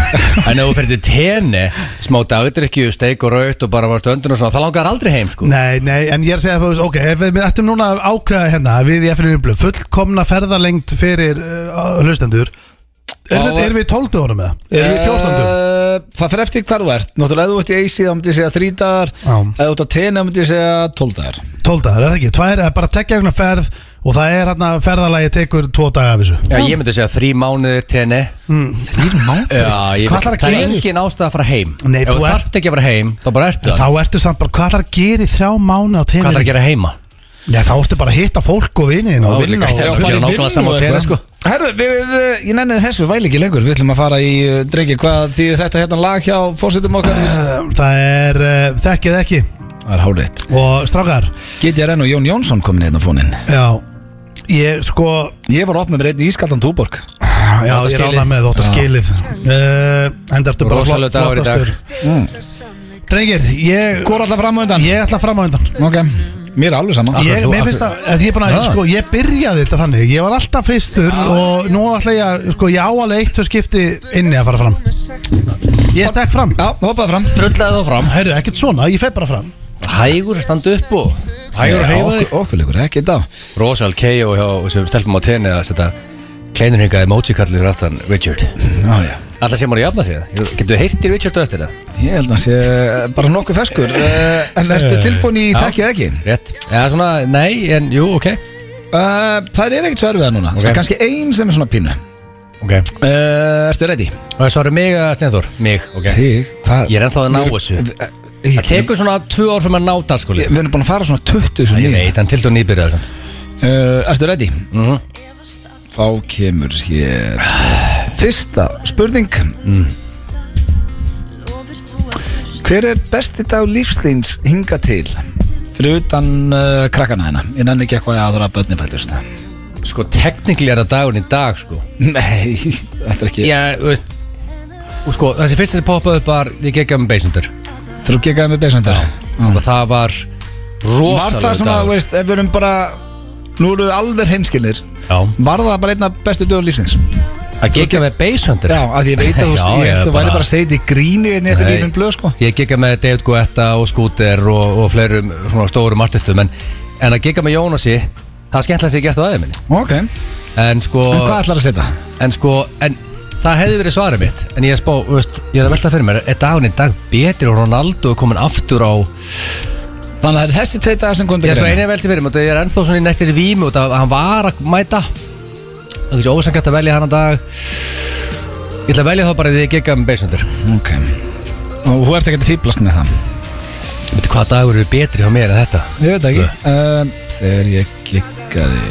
S3: En ef þú ferði tenni Smá dagdrykju, steik og raut og bara varst öndun og svona Það langar aldrei heim sko
S2: Nei, nei, en ég er að segja að þú veist, ok, ef við ættum núna að ákveða hérna að við í FNU Blöð, fullkomna ferðarlengt fyrir uh, hlustendur erum við,
S1: Já.
S2: er við 12 dögunum eða? Erum við 14 dögunum?
S1: Eh, Það fer eftir hvar þú ert Náttúrulega ef þú ert í AC þá myndi ég segja þrý dagar
S2: Já.
S1: Ef þú ert á TN þá myndi ég segja tól dagar
S2: 12 dagar, er það ekki? Tvær, eða bara tekja einhverjum ferð og það er hérna ferðarlægi tekur 2 daga af þessu Hmm.
S3: Já, ég myndi segja þrý mánuðir tenni
S1: Þrýr mánuð?
S3: Já, ég
S2: Hvað ætlarðu að
S3: það er
S2: gera?
S3: engin ástæð að fara heim
S2: Nei,
S3: Ef
S2: þú
S3: þú
S2: ert-
S3: þarft ekki að fara heim, þá bara ertu
S2: En
S3: það
S2: Þá ertu samt bara, hvað ætlar að gera í þrjá mánu á
S3: Hvað
S2: teginu?
S3: þarf að gera heima?
S2: Já, þá ertu bara að hitta fólk og viniðin og
S3: Já,
S2: vinna
S3: líka,
S2: og
S3: já,
S2: Já,
S3: fara í
S2: bara-
S3: nákvæmlega sama
S1: og
S3: á TN,
S1: eitthvað.
S3: sko.
S1: Herðu, við, við, ég nenniði þessu, við væli ekki lengur Við ætlum að fara í, eh, drengi, hvað því þetta hérna lag hjá fórsetum okkar
S2: Uh, Það er uh, þekkið ekki
S1: Það er hálfitt
S2: og strákar,
S1: GTRN og Jón Jónsson komin hérna á fónin
S2: já, ég sko,
S1: Ég var opnað með reyndi ískaldan túborg
S3: Þú
S2: já,
S3: átt að
S2: ég er
S3: skilið.
S2: ánað með þú átt að skilið uh, enda ertu bara
S3: Rosalegur
S2: flott,
S3: dagur í dag. Mm.
S2: flottastur drengir, ég,
S1: Hvor allar fram á undan?
S2: ég ætla fram á undan
S1: Ok, mér er alveg sama
S2: Mm. ég,
S3: þú-
S2: mér finnst að, að ég, er búin að,
S3: Ha.
S2: sko, ég byrjaði þetta þannig ég var alltaf fyrstur og nú ætla ég að sko, ég á alveg eitt og skipti inni að fara fram ég stekk fram
S1: Já, hoppaði fram
S3: Drullaði þá fram
S2: Heyrðu, ekkert svona, ég feg bara fram
S3: Hægur að standa upp og Hægur að reyfa þig
S1: Okkurlegur, ekki í dag
S3: Rosal K.O. hjá sem stelpum á tenni að setja kleinurhinga emoji-kallið fyrir aftan Richard
S1: Já, já
S3: Alltaf sem voru að jafna sig það Getur þú heyrt í Richard og eftir það?
S1: Ég held að sé bara nokkuð
S3: (laughs)
S1: ferskur Eh, En ertu tilbúin í þekkið ekki?
S3: Rétt Eða svona, nei, en jú, ok
S1: Uh, það er ekkert svo erfiða núna
S3: Ok.
S1: Það er kannski ein sem er svona pínu uh,
S3: Ok
S1: Ertu ready?
S3: Og það svarar mig að Steinþór Eh, Mig, ok
S1: Þig? Hvað? Eh,
S3: Ég er ennþá að ná þessu Það
S1: Ég-
S3: tekur svona tvö ár fyrir maður að ná danskóli
S1: Við erum búin að fara svona 20 sem
S3: Ég veit, hann til þú nýbyrðið þessan
S1: uh, Ertu ready? Þá kemur hér Fyrsta spurning Hver er besti dag lífslíns hinga til? Fyrir utan uh, krakkana hérna Ég nenni ekki eitthvað aðra börni fættust
S3: Sko, teknikli er það dagurinn í dag, sko
S1: (laughs) Nei, þetta er ekki
S3: Já, þú veist og Sko, þessi fyrsta sem poppaði upp var Ég gekk með beisundur
S1: Þú gekkaði með besendar
S3: Og það var
S1: Mhm. Var
S3: Rosalega
S1: það svona, þú veist, ef við erum bara Nú erum við alveg hinskilir
S3: Já
S1: Var það bara einn af bestu dögum lífsins?
S3: Að gegja með basshunter
S1: (laughs) Já, að ég veit að þú Ég
S3: Já, ég
S1: held að þú
S3: bara-
S1: væri bara að segja þetta í gríni En ég eftir
S3: Nei.
S1: lífin blöð, sko
S3: Ég gegja með David Guetta og Scooter og, og fleirum svona stórum artistum en, en að gegja með Jónasi það er skemmtilega sem ég gert á aðeins minni
S1: Ok En
S3: en sko,
S1: hvað ætlar að setja?
S3: en sko en, það hefði verið svarið mitt en ég er spá, þú veist, ég er að velta fyrir mér er daginn í dag betri og Ronaldo er komin aftur á
S1: Þannig að það er hérna. þessi tvei dagar sem komið
S3: ég er sko einu velti fyrir mér og ég er ennþá svona í nektir vími og það hann var að mæta það er ekki ósangætt að velja hann að dag ég ætla að velja þá bara því ég gegja með beisundir
S1: Ok Og þú ert ekki að fýblast með það
S3: veitu hvað dagur eru betri hjá mér en þetta
S1: Ég veit ekki um, Þegar ég kikkaði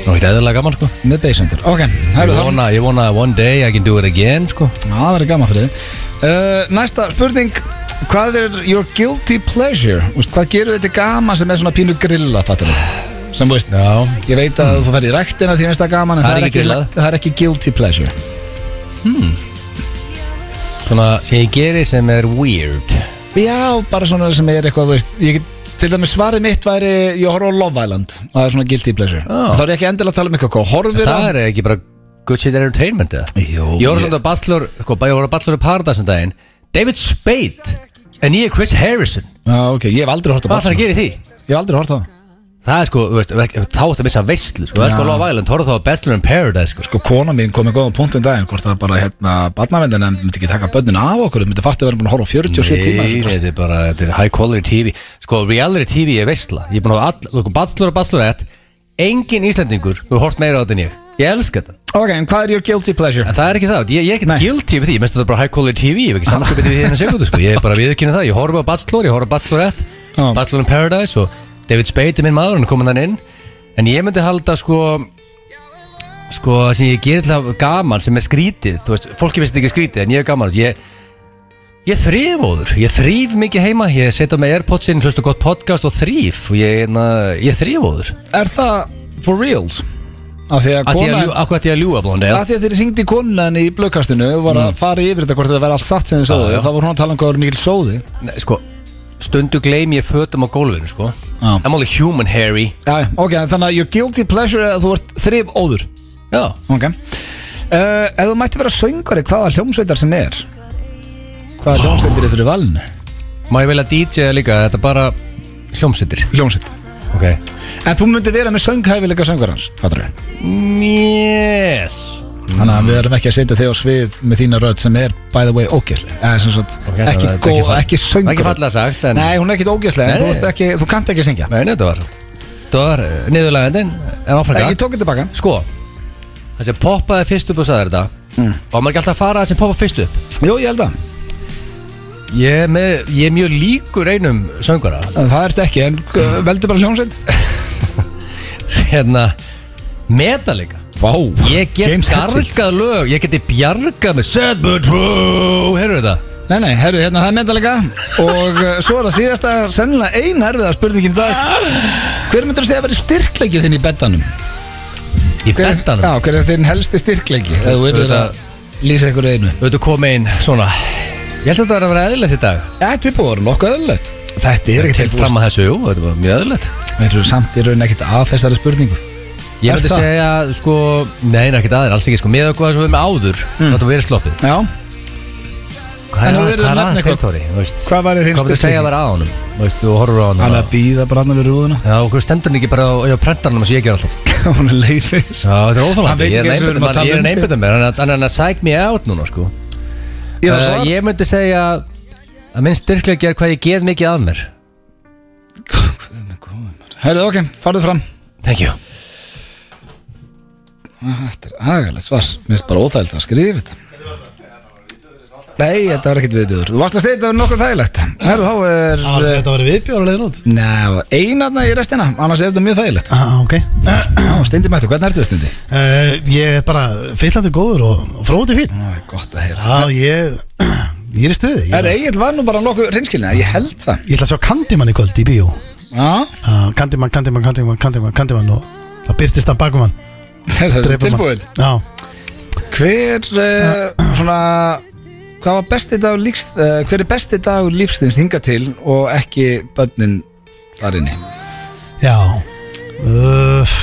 S3: það er ekki eðalega gaman sko
S1: með beisendur Ok,
S3: Ég
S1: hælu það
S3: vona, ég vona one day I can do it again sko.
S1: Já, það verður gaman fyrir þið uh, Næsta spurning Hvað er your guilty pleasure? Úst, hvað gerur þetta gaman sem er svona pínu grilla fattur þú? Sem þú veist
S3: Já
S1: Ég veit að þú ferð í rektina því finnst það gaman En
S3: Það
S1: það,
S3: er ekki
S1: er
S3: grillað.
S1: ekki, það er ekki guilty pleasure
S3: Svona sem ég geri sem er weird
S1: Já, bara svona sem er eitthvað þú veist, ég, get- Til dæmis svarið mitt væri Ég horf á Love Island og það er svona guilty pleasure
S3: Já.
S1: oh. Það er ég ekki endilega að tala um eitthvað Horfir
S3: Það er ekki bara good shit entertainment eða
S1: Jó,
S3: Ég
S1: ég-
S3: voru svona bachelor sko, Ég voru bachelor í Paradise um daginn David Spade En ég er Chris Harrison
S1: Já, ok, ég hef aldrei hort á
S3: Hvað þarf að
S1: Barcelona
S3: gera í því?
S1: Ég hef aldrei hort á það
S3: Það er sko, þú veist, þá ertu að missa veistlu sko. Það er sko
S1: Já.
S3: Love Island, horfðu þá að Bachelor in Paradise sko.
S1: Sko, kona mín kom með góðan punkt um daginn Hvort það bara, hérna, barnavendin En myndi ekki taka börnin af okkur Myndi fatt að vera búin að horfa á 47 tíma
S3: Nei, þetta er bara, þetta er high quality TV Sko, reality TV er veistla Ég er búin að hafa all, sko, Bachelor og Bachelorette Engin Íslandingur, þú hort meira á þetta en ég Ég elska þetta
S1: Ok, en hvað er your guilty pleasure?
S3: En það er ekki það, ég, ég er
S1: Nei.
S3: ekkert guilty yfir því, ég minnst þetta er bara high quality TV, ég hef ekki samskipið til því hérna segundu sko, ég er bara viðurkynna það, ég horfa á Bachelor, ég horfa á Bachelorette,
S1: Já.
S3: Bachelor in Paradise og David Spade er minn maður, hann er komin hann inn, en ég myndi halda sko, sko það sem ég gerir til að gaman sem er skrítið, þú veist, fólki finnst þetta ekki skrítið en ég er gaman, ég, ég þrýf óður, ég þrýf mikið heima, ég setja með Airpods inn, hlusta á gott podcast og þrýf og ég, na, ég þrýf óður,
S1: Er það for reals? Af því að
S3: að ég
S1: kona
S3: að ljú- af hvað ætti ég að ljúa blóndi,
S1: Af því að þeir hringdi konan í blökkastinu og var að fara yfir þetta hvort þetta væri allt satt sem þið
S3: Já,
S1: sögðu
S3: já.
S1: og þá voru hún að tala um hvað voru mikil sóði
S3: Nei, sko, stundu gleym ég fötum á gólfinu, sko
S1: Já.
S3: I'm only human, Harry
S1: Já, ok, en þannig að your guilty pleasure er að þú ert þrif óður
S3: Já,
S1: Ok uh, Ef þú mætti vera söngari, hvaða hljómsveitar sem er? Hvaða hljómsveitir er fyrir valinu?
S3: má ég velja DJ -a líka, þetta er bara hljómsveitir
S1: Hljómsveit
S3: Ok
S1: En þú myndir vera með sönghæfileika söngarans, fattur við
S3: Yes
S1: Þannig að við erum ekki að setja þig á svið með þína rödd sem er, by the way, ógæsli Eða sem sagt,
S3: Ok, það
S1: ekki
S3: er
S1: góð,
S3: ekki fall-
S1: ekki söngur
S3: ekki fallega sagt, en-
S1: Nei, hún er ekkit ógæsli, en
S3: Nei.
S1: þú, ert ekki, þú kannt ekki að syngja
S3: Nei, nei, þetta var Þetta var eh, niðurlægandinn, en áfram
S1: Ég
S3: gott.
S1: tók þetta baka
S3: Sko, það sem poppaði fyrst upp og sagði þetta mm. Var maður ekki alltaf að fara það sem poppaði fyrst upp
S1: Jú, ég held að
S3: Ég er, með, ég er mjög líkur einum söngara
S1: En Það ertu ekki, en uh, veldu bara hljómsveit
S3: (laughs) Hérna, metalika
S1: Vá,
S3: Ég get bjargað lög, ég geti bjargað með Sad but true, heyrðu þetta?
S1: Nei, nei, herru, hérna það er mentalega Og uh, svo er það síðasta, sennilega eina erfiða spurningin í dag Hver myndir að segja að veri styrkleikið þinn í bettanum?
S3: Í bettanum?
S1: Já, hver er þinn helsti styrkleiki? Eða þú verður að lýsa ykkur einu
S3: auðvitað komið inn svona Ég held að þetta var að vera eðlilegt í dag
S1: Ja, tilbúið voru nokkuð öðlulegt Þetta er ekkert
S3: Til
S1: tilbúið
S3: fram að þessu, jú, þetta var mjög eðlilegt
S1: Við erum samt í raun ekkert að þessari spurningu
S3: Ég
S1: Er
S3: myndi
S1: það?
S3: segja, sko, neina ekkert aðeins, alls ekki, sko Með okkur sem við erum með áður, þetta var verið sloppið
S1: Já Hmm. En
S3: Hvað
S1: þú
S3: er
S1: verður að
S3: það
S1: nefna
S3: að
S1: eitthvað.
S3: steinþóri, þú veist
S1: Hvað var þinn
S3: Hvað myndir segja að vera að honum, þú veist, þú horfur á
S1: Hann er
S3: honum
S1: að býða bara hann við rúðuna (laughs)
S3: Já, okkur stendur hann ekki bara á, á prentarnum eins og ég ger alltaf
S1: Hún er leiðist
S3: Já, þetta er
S1: Hann veit
S3: óþálandi, ég
S1: ekki eins og við erum að tala
S3: er
S1: um sig.
S3: einbjöndan mér Hann hann er að sæk me out núna, sko
S1: Eh, Ég þarf að
S3: Uh,
S1: svara.
S3: Ég myndi segja að minn styrkleik er hvað ég gef mikið af mér
S1: Herru, ok, farðu fram
S3: Thank you
S1: Þetta er agalegt svar Mér finnst bara óþægilegt að skrifa þetta Nei, þetta var ekkert viðbjöður Þú varst að segja þetta var nokkuð þægilegt Herru, þá er eh,
S2: Það var að segja að þetta var viðbjóður að leiðin út
S1: Nei, það var einarna í restina Annars er þetta mjög þægilegt
S2: ah, Ok
S1: Já, Steindi Mættu, hvernig ertu steindi?
S2: uh, Ég er bara fyllandi góður og og fróði fín
S1: Ó, gott að heyra
S2: Já, ég Ég er í stuði Ég,
S1: Herru, Egil var nú bara nokkuð reynskilina Ég held það
S2: ég ætla að sjá Candyman í kvöld í bíó
S1: Já,
S2: uh, Candyman, Candyman, Candyman, Candyman, Candyman og það byrtist hann bakum hann
S1: það er
S2: drepur mann.
S1: tilbúin
S2: Já
S1: Hver, uh, svona Hvað var besti dag lífst uh, Hver er besti dag lífstins hinga til Og ekki börnin þar inni
S2: Já uh,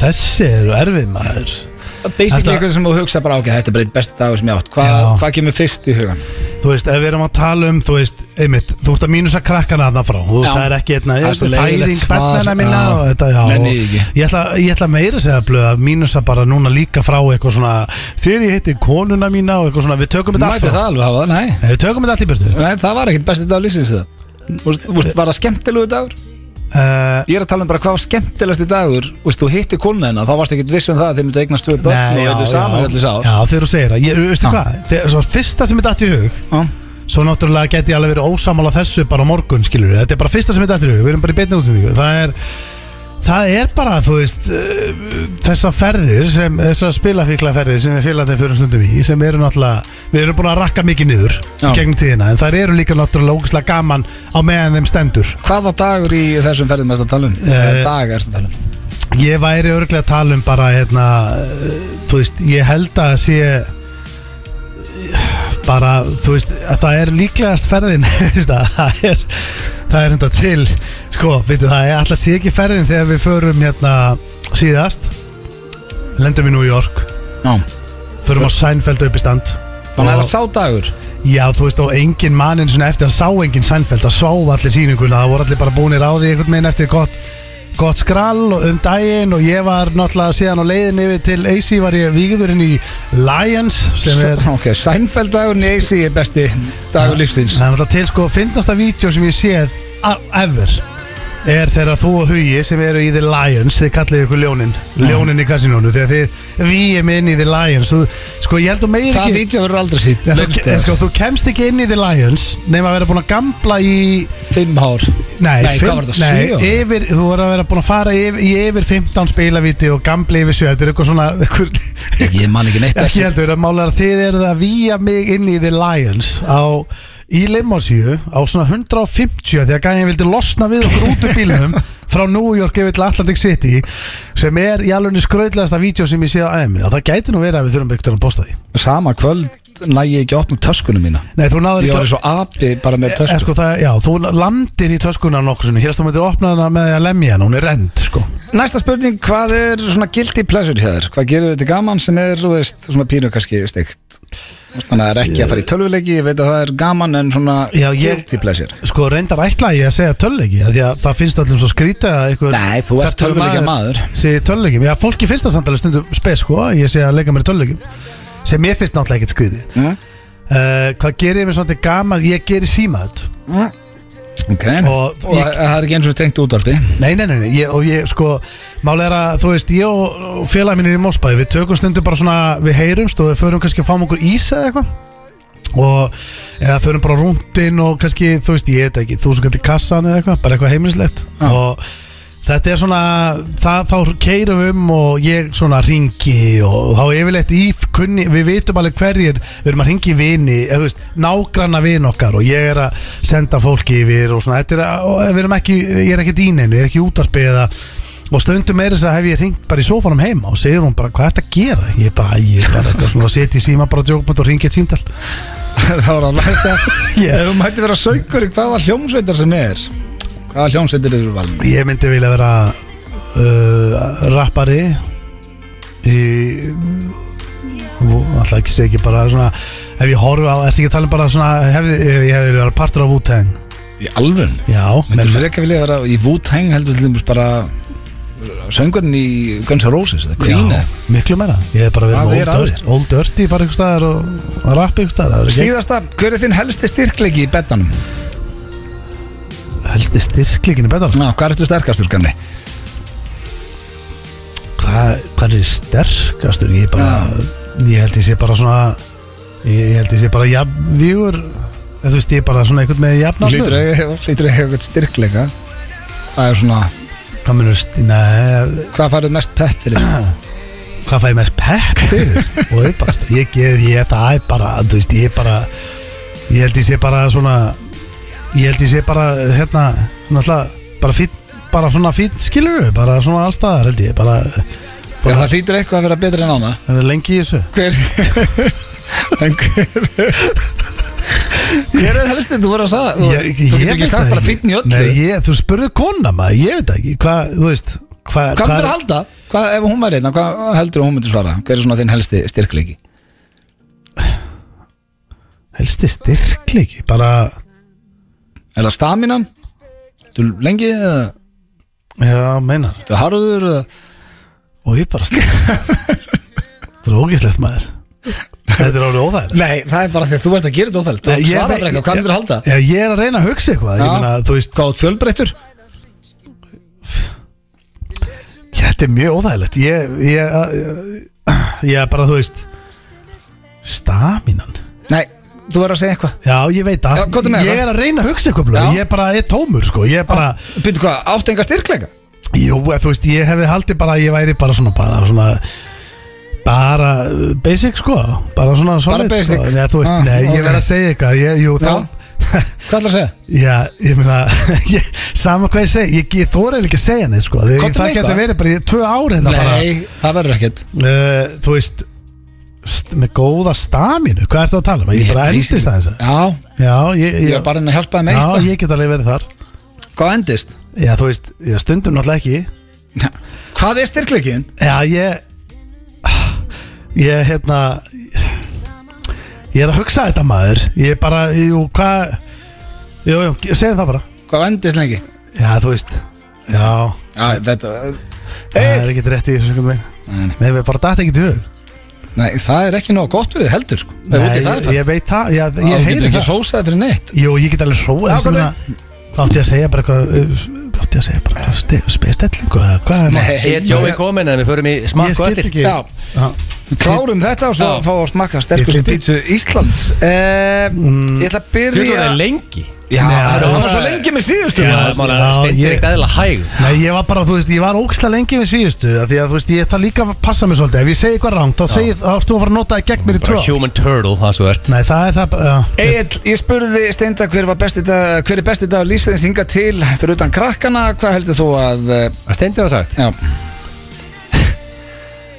S2: Þessi eru erfið maður
S1: Basically
S2: Þetta-
S1: eitthvað sem þú hugsa bara ok, þetta er bara einn besti dagur sem ég átt Hva,
S2: Já.
S1: Hvað kemur fyrst í hugan?
S2: Þú veist, ef við erum að tala um, þú veist, einmitt, þú ert að mínusa krakkana þarna frá, þú veist,
S1: Já.
S2: það er ekki einna,
S1: Það er svo leiðilegt
S2: fæðing
S1: svar,
S2: bennana minna
S1: já.
S2: og þetta, já,
S1: Nenni
S2: og
S1: ég ekki.
S2: ég ætla, ég ætla meira að segja blöð að mínusa bara núna líka frá eitthvað svona, þegar ég hitti konuna mína og eitthvað svona, við tökum þetta allt
S1: Mætti
S2: frá,
S1: það alveg hafa, nei
S2: Nei, við tökum þetta allt í burtu,
S1: Nei, það var ekkert besti dagur lífsins það Þú veist, þú veist, Var það skemmtilegu dagur?
S2: uh,
S1: Ég er að tala um bara hvað var skemmtilegasti dagur Þú veist, Þú hitti konuna hennar, þá varst ekkert viss um það að Þeir myndu eignast stöðu börn og öllu saman öllu sá
S2: já, þegar þú segir það, ég, veistu
S1: Já.
S2: hvað, þegar, svo fyrsta sem ég dætti í hug, Svo náttúrulega get ég alveg verið ósamála þessu bara á morgun, skilur Þetta er bara fyrsta sem þetta eftir við erum bara í beinni útsendingu Það er, það er bara, þú veist, eh, þessar ferðir, sem, þessar spilafíkla ferðir sem við félagðið fyrir stundum í sem eru náttúrulega, við erum búin að rakka mikið niður
S1: Já.
S2: í gegnum tíðina En þær eru líka náttúrulega ógustlega gaman á meðan þeim stendur
S1: Hvaða dagur í þessum ferðum erst að tala um?
S2: Eh,
S1: Uh, dag erst að tala um
S2: Ég væri örglega að tala um bara, hérna, eh, þú veist, ég held að sé eh, bara, þú veist, að það er líklegast ferðin, (laughs) þú veist að það er, það er hérna til, sko, veitu, það er alltaf sé ekki ferðin þegar við förum hérna síðast, lendum í New York,
S1: Já.
S2: förum á Seinfeld upp í stand
S1: Þannig að það er sá dagur
S2: Já, þú veist, og engin mannin svona eftir að sá engin Sænfeld að sá allir sýninguna það voru allir bara búinir á því einhvern veginn eftir gott, gott skrall og um daginn og ég var náttúrulega síðan á leiðin yfir til AC var ég vígðurinn í Lions sem er
S1: (laughs) Ok, Seinfeld dagur neysi er besti dagur lífsins
S2: Það er náttúrulega til sko Fyndnasta vídeo sem ég séð a- Ever Er þegar þú og Hugi sem eru í The Lions Þið kallið ykkur ljónin Ljónin í kasinónu Þegar þið víum inn í The Lions þú, Sko ég held að meir
S1: Það
S2: ekki
S1: vítjum verður aldrei sítt
S2: Já, þú, en sko, þú kemst ekki inn í The Lions Nefn að vera búin að gambla í
S1: Fimm hár
S2: Nei,
S1: Nei,
S2: fimm-
S1: hvað var þetta,
S2: nei,
S1: sjö?
S2: yfir, Þú voru að vera búin að fara yfir, í yfir 15 spilavíti og gambla yfir 7 Þetta er eitthvað svona eitthvað,
S1: Ég man ekki neitt
S2: (laughs) ekki heldur að málega þið eruð að víja mig inn í The Lions á, í Limosíu á svona 150 þegar gæðin vildi losna við okkur út úr bílnum
S1: (laughs)
S2: frá New York yfir til Atlantic City sem er í alveg skraudlegasta vídeo sem ég sé á æminu og það gæti nú verið að við þurfum byggt að posta því
S1: Sama kvöld næ ég ekki að opna töskunum mína
S2: Nei, þú náður
S1: Ég var
S2: ekki
S1: eins og api bara með
S2: Eh,
S1: tösku
S2: Sko, það, já, þú landir í töskuna nokkur sinni, hérst þú myndir opna hana með því að lemja hana, hún er rend sko.
S1: Næsta spurning, hvað er svona guilty pleasure hjá þér? Hvað gerir þetta gaman sem er, þú veist, svona pínu kannski steikt? Þannig að það er ekki að fara í tölvuleiki, ég veit að það er gaman en svona
S2: Já, ég-
S1: guilty pleasure
S2: sko reyndar ætla ég að segja tölleiki því að það finnst öllum svo skrýta að einhver
S1: Nei, þú ert
S2: fertugur
S1: tölvuleikja maður
S2: sé töllegjum, já fólki finnst það samtalið stundum spes sko, ég sé að leika mér í töllegjum sem ég finnst náttúrulega ekkert skriði
S1: Mm.
S2: uh, hvað gerir ég mér svona til gaman ég gerir símaðut
S1: Ok,
S2: Og-
S1: Mm. og
S2: ég-
S1: það er ekki eins og tengt útvarpi (laughs)
S2: nei, nei, nei, nei ég, og ég sko málega er að þú veist, ég og og félagi minni í Mósbæði, við tökum stundum bara svona við heyrumst og við förum kannski að fáum okkur ís eða eitthvað og eða förum bara rúndin og kannski þú veist, ég veit ekki, þú sem kallir kassan eða eitthvað bara eitthvað heimilislegt
S1: Já.
S2: og þetta er svona, það, þá keirum við um og ég svona ringi og þá yfirleitt í kunni, við vitum alveg hverjir, við erum að ringi vini eða þú veist, nágranna vin okkar og ég er að senda fólki yfir og svona, þetta er að, og við erum ekki, ég er ekki dýneinu, ég er ekki í útarpi eða og stundum meira þess að hef ég ringt bara í sófanum heima og segir hún bara, hvað ert að gera? Ég bara, "Æ, ég er bara eitthvað svona, og seti í síma bara djókmönd og ringi eitt símtal
S1: Það var að læsta (laughs)
S2: Ég-
S1: Ef þú mætti vera sögur í hvaða hljómsveitar sem er Hvaða hljómsveitar eru valin?
S2: Ég myndi vilja vera uh, rappari í Vú, alltaf ekki segi ekki bara svona ef ég horfi á, ertu ekki að tala um bara svona hefði, ef ég hefði verið partur á Wu-Tang
S1: Í alvörun?
S2: Já,
S1: Myndur fyrir ekki vilja vera í Wu-Tang heldur til dæmis bara uh, söngurinn í Guns N' Roses eða Queen
S2: já,
S1: eða?
S2: miklu meira Ég hef bara verið
S1: Hvað
S2: með
S1: er
S2: Old
S1: að
S2: Dirty- Old Dirty bara einhvers staðar og að rappa einhvers staðar Það er ekki-
S1: Síðasta, hver er þinn helsti styrkleiki í betanum?
S2: Helsti styrkleikinu betal
S1: Ná, hvað ertu sterkastur, Gamli?
S2: Hvað hva er sterkastur? Ég, bara, ég held ég sé bara svona Ég, ég held ég sé bara jafnvígur Þú veist, ég er bara svona einhvern með jafnaldur
S1: Lítur að eiga eitthvað styrkleika Hvað er svona,
S2: Hvað munur, nei,
S1: hvað færðu mest pett fyrir?
S2: hvað fæ ég mest pepp
S1: (laughs)
S2: fyrir? og það er bara, ég geð, ég, það er bara, þú veist, ég er bara, ég held ég sé bara svona, ég held ég sé bara, hérna, náttúrulega, bara fýtt, bara svona fýtt skilur, bara svona allstaðar held ég, bara,
S1: Já, það hlýtur eitthvað að vera betri en annað
S2: það er lengi í þessu.
S1: hver en hver hver er helsti, þú voru að sagða þú,
S2: Ég-
S1: þú
S2: ég
S1: getur ekki
S2: veit
S1: sagt
S2: það
S1: bara fýtn í öllu
S2: Nei, ég, þú spurði kona maður, ég veit það ekki, hvað, þú veist, hvað,
S1: hvað myndir að halda, hvað, ef hún væri einna hvað heldur hún myndir svara, hver er svona þinn helsti styrkleiki
S2: helsti styrkleiki, bara,
S1: er það staminan þú lengi, eða
S2: já, meinar,
S1: þú harður eða-
S2: og ég bara styrkleiki, það er ógislegt maður, þetta er alveg óþægilegt.
S1: nei, það er bara því að þú ert að gera þetta óþælt þú
S2: Nei, ég
S1: svarar
S2: veit-
S1: bara eitthvað, hvað myndir að halda
S2: Já, ég er að reyna að hugsa eitthvað Ég
S1: Já.
S2: meina, þú veist,
S1: hvað át fjölbreyttur
S2: þetta er mjög óþægilegt Ég, ég, ég- ég er bara, þú veist Staminan
S1: nei, þú verður að segja eitthvað
S2: Já, ég veit
S1: Já,
S2: að
S1: komdu með
S2: Ég
S1: það.
S2: er að reyna að hugsa eitthvað blöð.
S1: Já.
S2: Ég er bara, ég er tómur, sko Ég er bara,
S1: byrju hvað, átt enga styrkleika
S2: jú, eh, þú veist Ég hefði haldið bara, að ég væri bara svona Bara svona Bara eh, basic, sko Bara svona solid,
S1: basic.
S2: sko. Nei, þú veist,
S1: Ah,
S2: nei, ég
S1: ok.
S2: verð að segja eitthvað ég, Jú,
S1: Já.
S2: þá
S1: hvað ætlar að segja,
S2: Já, ég meina (laughs) ég, Sama hvað ég segi, ég, ég þóra ekki að segja neitt sko Þegar
S1: Komdu
S2: það
S1: með
S2: getur
S1: eitthvað.
S2: verið bara í tvö ári hérna bara
S1: nei, það verður ekkert
S2: uh, Þú veist st, Með góða staminu, hvað ertu að tala um? Ég bara
S1: lýsi-
S2: endist aðeins að-
S1: já,
S2: Já, ég,
S1: ég
S2: ég,
S1: var bara að reyna að hjálpa það með
S2: já,
S1: eitthvað
S2: ég get alveg verið þar
S1: Hvað
S2: (laughs)
S1: endist?
S2: Já, þú veist, já, stundum náttúrulega ekki
S1: Hvað er
S2: (sighs)
S1: styrkleikin?
S2: Já, ég Ég, hérna Ég er að hugsa þetta maður Ég er bara, jú, hvað Jú, jú, segjum það bara
S1: Hvað vendist lengi?
S2: Já, þú veist Já,
S1: Já, þetta
S2: það er ekkert rétt í þessu einhvern veginn
S1: Nei,
S2: Nei, við bara datt ekkert í hug
S1: Nei, það er ekki nóg gott fyrir þið heldur sko Nei,
S2: Nei, ég, ég veit það,
S1: Ég
S2: já, ég
S1: getur
S2: heyri
S1: ekki
S2: það
S1: hrósaði fyrir neitt
S2: Jú, ég get alveg
S1: Já,
S2: hróið þessu
S1: hvað
S2: meina- Hvað átti ég að segja bara eitthvað Hvað átti ég að segja bara eitthvað Spesstellingu eða hvað er maður?
S3: Ég er Jói komin en við förum í
S2: Ég
S3: smakk og
S2: skil
S3: eftir
S2: ekki
S1: Já.
S2: Já.
S1: Klárum þetta og svo
S3: Já.
S1: fá að smakka sterkustu
S2: Ég-
S1: pítsu Íslands eh, Ég ætla að
S3: Þú veist
S1: byrja
S3: það er lengi
S1: Já,
S2: Nei,
S1: það
S2: það
S1: var
S3: var-
S1: svo lengi með síðustu
S3: Já, maður
S2: já,
S3: steindir
S2: ég-
S3: ekkert eðla hæg
S2: Nei, ég var bara, þú veist, ég var ógislega lengi við síðustu af Því að, þú veist, ég það líka að passa mig svolítið Ef ég segi eitthvað rangt, þá segi þá ertu að fara að nota það gegn mér í
S3: Bara
S2: tröð
S3: human turtle, það svo ert
S2: Nei, það er það bara, já
S1: Egil, ég spurði Steinda hver, var besti dag, hver er besti dag lífsveðins hinga til fyrir utan krakkana, hvað heldur þú að eh,
S3: Það steindir það sagt
S1: já,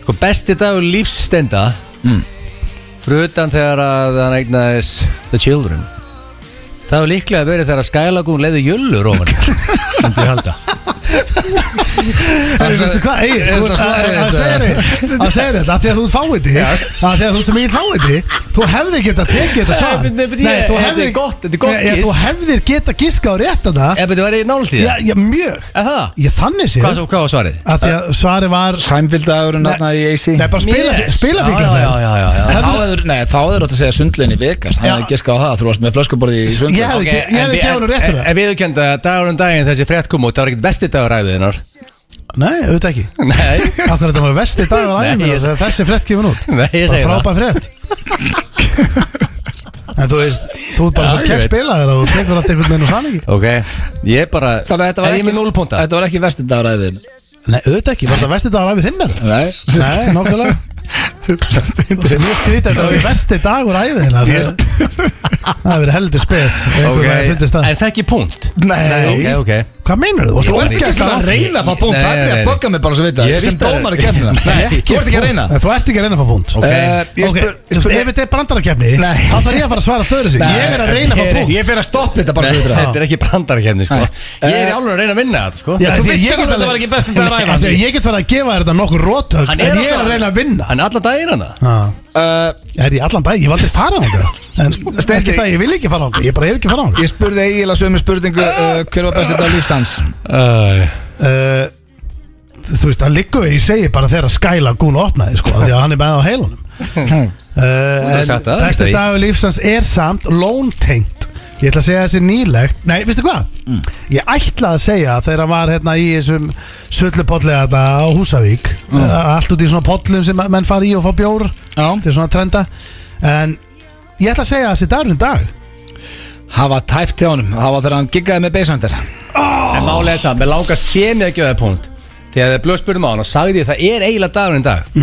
S3: Sko besti dagur lífs steinda
S1: Mm.
S3: Fyrir utan þegar að hann eignaðis The Children Það var líklega verið þegar að Skylagún leiði jöllur ofan í. (laughs) Myndi ég halda.
S2: Þú veistu hvað, Egil,
S1: Er
S2: þú
S1: þetta
S2: ert að
S1: svarið
S2: að
S1: þetta?
S2: segja þetta Að segja þetta, af því að þú ert fáiði Af því að þú ert sem ég fáiði Þú hefði geta tekið þetta
S3: Nei,
S2: svar
S3: men- nei, men ég-
S2: þú
S3: þetta
S2: hefðir-
S3: er gott, þetta er gott
S2: Nei,
S3: giss.
S2: Þú hefðir geta giska á réttana
S3: Ef þetta Eh, var í náltíð
S2: Já, já, mjög
S3: Er það?
S2: Ég þannig sér
S3: Hvað, svo- hvað var svarið?
S2: Af því að svari var
S1: sæmfildagurinn
S2: Nei.
S1: þarna í AC
S2: Nei, bara spila,
S3: Mér-
S2: spila
S3: Já, já, já, já, já.
S1: Þá hefur, nei, þá hefur átt að segja sundlegin í Vegas
S2: Já.
S1: Hann hefði giska á það, þú varst með flöskuborði í
S2: Ég
S1: sundlegin
S2: hefði
S3: Ok,
S2: ge- ég
S3: en
S2: hefði
S3: við-
S2: gefið honum rétt
S3: en-
S2: fyrir það.
S3: En við kenda að dagur um daginn þessi frétt kom út Það var ekkert vesti dagur æfiðinnar
S2: Nei, auðvitað ekki
S3: Nei,
S2: Akkur þetta var vesti dagur
S3: Nei,
S2: æfum
S3: ég-
S2: Þessi frett gefur út
S3: nei, ég
S2: Bara
S3: segi það
S2: frábæð frett En þú veist, þú ert bara
S3: Já,
S2: svo
S3: ég
S2: kekk
S3: veit.
S2: spilaður og þú tekur allt einhvern veginn og sann ekki
S3: Ok, ég bara
S1: Þannig að þetta var
S3: Er ég með
S1: ekki,
S3: 0 púnta?
S1: þetta var ekki vesti dagur að þinn
S2: Nei, auðvitað ekki, var þetta vesti dagur æfið þinn er það?
S1: Nei,
S2: Nei, nákvæmlega
S1: (laughs)
S2: Þú sem ég skrýta þetta var vesti dagur æfið þinn Það það hefur heldur spes
S3: Ok,
S2: Einhvern veginn fundist það
S3: en það ekki púnt Ok,
S2: Nei,
S3: ok
S2: hvað meinar þú?
S1: Þú ert ekki að reyna að fá punkt,
S3: Nei,
S1: það er ekki
S3: nei,
S1: að
S3: nei.
S1: bogga mig bara svo vita
S3: Ég
S1: Ég sem
S3: veit það.
S1: dómar að kemna (laughs)
S3: Nei,
S1: Þú ert ekki að reyna
S2: Þú ert ekki að reyna að fá punkt
S3: Ok.
S1: Eh, ég
S2: Ok,
S1: spur- ég
S2: þú veist,
S1: spur-
S2: ef þetta er brandarakefni
S1: Nei.
S2: þá þarf ég að fara að svara þöru sig
S1: Nei,
S2: Ég er að reyna að fá
S3: þetta er-
S2: punkt
S1: Ég fer að stoppa þetta bara svo vita
S3: Þetta er ekki brandarkefni sko.
S1: Nei.
S3: Ég er í álun að reyna að vinna þetta sko.
S2: Já,
S1: Þú
S2: því
S1: vissir alveg að
S2: ég get
S1: þetta var
S2: alveg-
S1: ekki besti dagur
S2: Nei,
S1: ævi hans.
S2: því Ég get verið að gefa þér þetta nokkur rótög En ég er að reyna að vinna
S3: Hann er alltaf daginn hann
S2: Ah,
S1: (laughs) Eh,
S2: Er ég allan dag, ég hef aldrei farað á En ekki það, ég vil ekki fara á Ég bara hef ekki farað á
S1: Ég spurði eiginlega sömu spurningu uh, Hver var besti dag lífsans?
S2: Eh, Þú veist, það liggur við, ég segi bara þegar að Skyla Gún opnaði, sko, af því að hann er með á heilunum uh,
S3: hefur
S2: En
S3: sagt það,
S2: texti
S3: ekki?
S2: dagur lífsans er samt lóntengt Ég ætla að segja þessi nýlegt Nei, veistu hvað? Ég ætla að segja þegar hann var hérna í þessum sullupollega þetta á Húsavík mm. Allt út í svona pollum sem menn fara í og fá bjór
S1: Já
S2: Þetta er svona trenda En ég ætla að segja að þessi dagur en dag
S1: Það var tæft hjá honum Það var þegar hann giggaði með beisandir
S3: En málega þess að Mér langar sé mig að gefa það púnt Þegar þið blöð spurðum um á hann og sagði ég það er eiginlega dagurinn í dag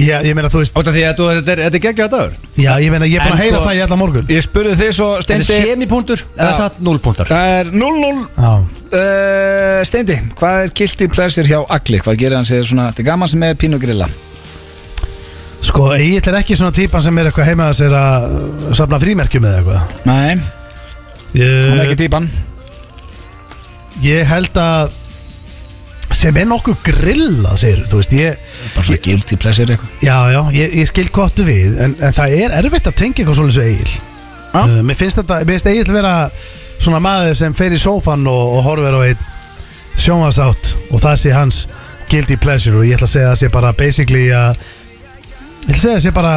S2: Ég, ég meina, þú veist,
S3: Ótaf því að þú- þetta er, þetta er geggjaða dagur
S2: já, ég meina, ég er búin
S3: En
S2: að heyra
S3: sko-
S2: það í alla morgun
S1: Ég spurði þið svo
S3: Þetta
S1: Steindi
S3: er semipúntur eða
S1: Já.
S3: satt 0 púntar
S1: Það er 0-0
S2: Já
S1: Uh, Steindi, hvað er kilti plesir hjá Agli? Hvað gerir hann sér svona Þetta er gaman sem er pínu grilla
S2: Sko, Egil er ekki svona típan sem er eitthvað heima að sér að uh, safna frímerkjum eða eitthvað
S1: Nei, Eh. hann er
S2: ég,
S1: ekki típan
S2: ég held að sem er nokkuð grilla segir, þú veist, ég,
S1: Bara svona kilti plesir eitthvað
S2: já, já, ég, ég skil gott við, en, en það er erfitt að tengja eitthvað svolítið svo Egil
S1: Já.
S2: uh, Mér finnst þetta, mér finnst Egil vera svona maður sem fer í sófan og, og horfir á einn sjónvarsátt og það sé hans guilty pleasure og ég ætla að segja að það sé bara basically að ég ætla að segja að það sé bara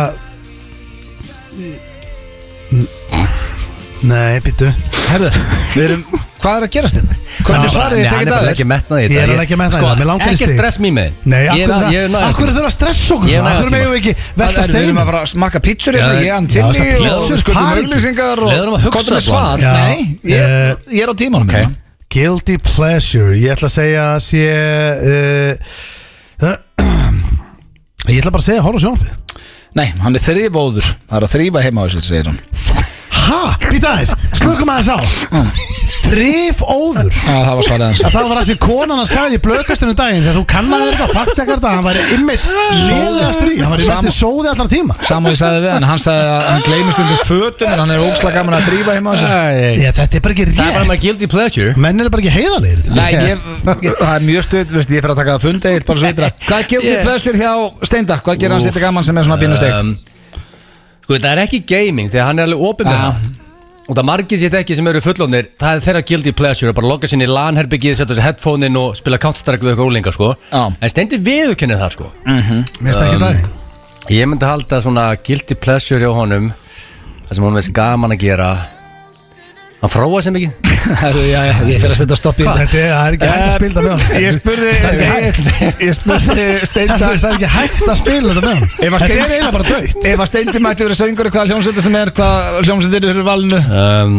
S2: Nei, býttu
S1: Herðu, við erum, hvað er að gerast þérna? Hvernig svarið þið tekið
S3: Ég er
S1: dagur?
S3: ekki metnað í þetta
S2: Ég er alveg ekki að metna í
S3: Sko,
S2: þetta, mig langar í
S3: Ekki
S2: stig.
S3: stress mér með
S2: Nei, akkur, það, akkur þurfa að stressa okkur
S3: Ég
S2: svona
S3: næ
S2: Akkur
S3: tíma.
S2: meðum við ekki
S1: Það er,
S2: velta
S1: við erum að
S2: steinu
S1: fara að smakka pítsur
S3: Já,
S1: hérna, ég hann til
S2: já,
S1: í
S2: það-
S1: og
S2: leðum-
S1: við skuldum
S2: fara ekki.
S1: auðlýsingar og
S3: Leðum að hugsa
S1: komdu með
S3: bara.
S1: svar.
S2: Já.
S1: Nei,
S2: Eh,
S1: ég, ég er á tímanum
S3: Ok.
S1: hérna.
S2: Guilty pleasure Ég ætla að segja að sé uh, (clears throat) Ég ætla bara að segja horf á sjónarfið
S1: Nei, hann er þrýfóður Það er að þrýfa heima á þessu, segir hann
S2: Ha? Býta aðeins, slökum aðeins á Þrif óður
S1: Já, það var svarið hans
S2: að það var það sem konan að sagði í blökastunum daginn þegar þú kannaði þetta faktsekar þetta að hann væri ymmit lélegastur í, hann væri mest í sóði allar tíma
S1: Sam og ég sagði við hann, hann sagði að hann gleymist undir fötum en hann er ógslag gaman að þrýfa heima á þessu
S3: Það
S2: Ég, þetta er bara ekki
S3: er bara
S2: rétt,
S3: með guilty pleasure
S2: menn eru bara ekki heiðalegir í þetta.
S1: Nei, ég, það er mjög stuð, veist, ég fyrir að taka það fundi eitt bara svo ytra (laughs) Hvað gerir
S3: Ég-
S1: þið plöðstur hjá Steinda? Hvað gerir hann
S3: Úff,
S1: sér gaman sem er svona bínu steikt?
S3: um, Sko þetta er ekki gaming Þegar hann er alveg opið með
S1: Já.
S3: það Og það margir sér ekki sem eru fullónir Það er þeirra guilty pleasure að Bara logga sinni í lanherbyggið Setja þessi headphone inn og spila Counter-Strike Við eitthvað úlinga sko
S1: Já.
S3: En stendi viðurkennir það sko
S2: Mér stakki um, dag
S3: Ég myndi halda svona guilty pleasure hjá honum Það sem honum veist gaman að gera Hann fróa sem ekki
S1: (laughs) Herru, já, já, ég fyrir að setja stopp í þetta
S2: Þetta er- það er ekki hægt að spila með hann
S1: Um, Ég spurði Ég spurði
S2: Það
S1: Steinda
S2: það er ekki hægt að spila þetta með
S1: Ef
S2: hann
S1: að
S2: Þetta
S1: Steindi-
S2: er eiginlega bara dögt
S1: Ef að Steindi mætti verið söngur Hvaða hljómsveitir sem er Hvaða hljómsveitir eru fyrir valinu
S3: um,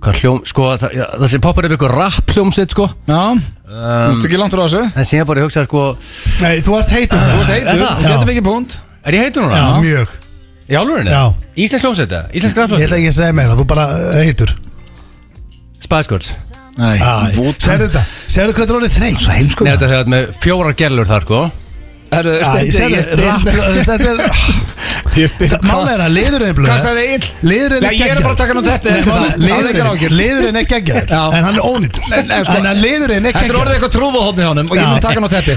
S3: Hvað hljóm Sko það, já, það sem poppar upp eitthvað rap hljómsveit sko
S1: Já Þú ert ekki langt frá þessu
S3: En síðan fór ég að hugsa sko
S2: Nei, þú ert heitum
S1: Þú ert heitur
S3: það?
S1: Þú getur mikið punkt
S3: Er ég heitur
S2: Já,
S3: núna?
S2: mjög
S3: Í álurinu?
S2: Já.
S3: Íslensk hljómsveit eða? Íslensk
S2: Ég ætla
S3: rafljómsveit?
S2: ekki að segja meira, þú bara eh, heitur
S3: Spice Girls
S1: Nei
S2: Serðu þetta, serðu hvað þetta er orðið þreyt Svo heimsko
S3: Nei, þetta er þetta með fjórar gellur þar, sko
S1: Herru, Steindi sko, Ég spurði Ég
S2: Málega
S1: spurði
S2: er að liðurinn er blöð
S1: Hvað sagði Egil?
S2: Liðurinn er
S1: Nei, ég er
S2: geggjaður.
S1: bara að taka hann á teppið,
S2: Nei,
S1: þetta er
S2: það-
S1: málið. Hafðu engar
S2: Liðurinn
S1: áhyggjur.
S2: liðurinn er geggjaður
S1: Já.
S2: En hann er ónýttur
S1: Nei, nei, sko-
S2: En að liðurinn er
S1: Þetta er orðið
S2: geggjaður
S1: eitthvað trúðahóðni hjá honum Og ég
S2: Já.
S1: mun taka Eh, hann á
S2: (laughs)
S1: teppi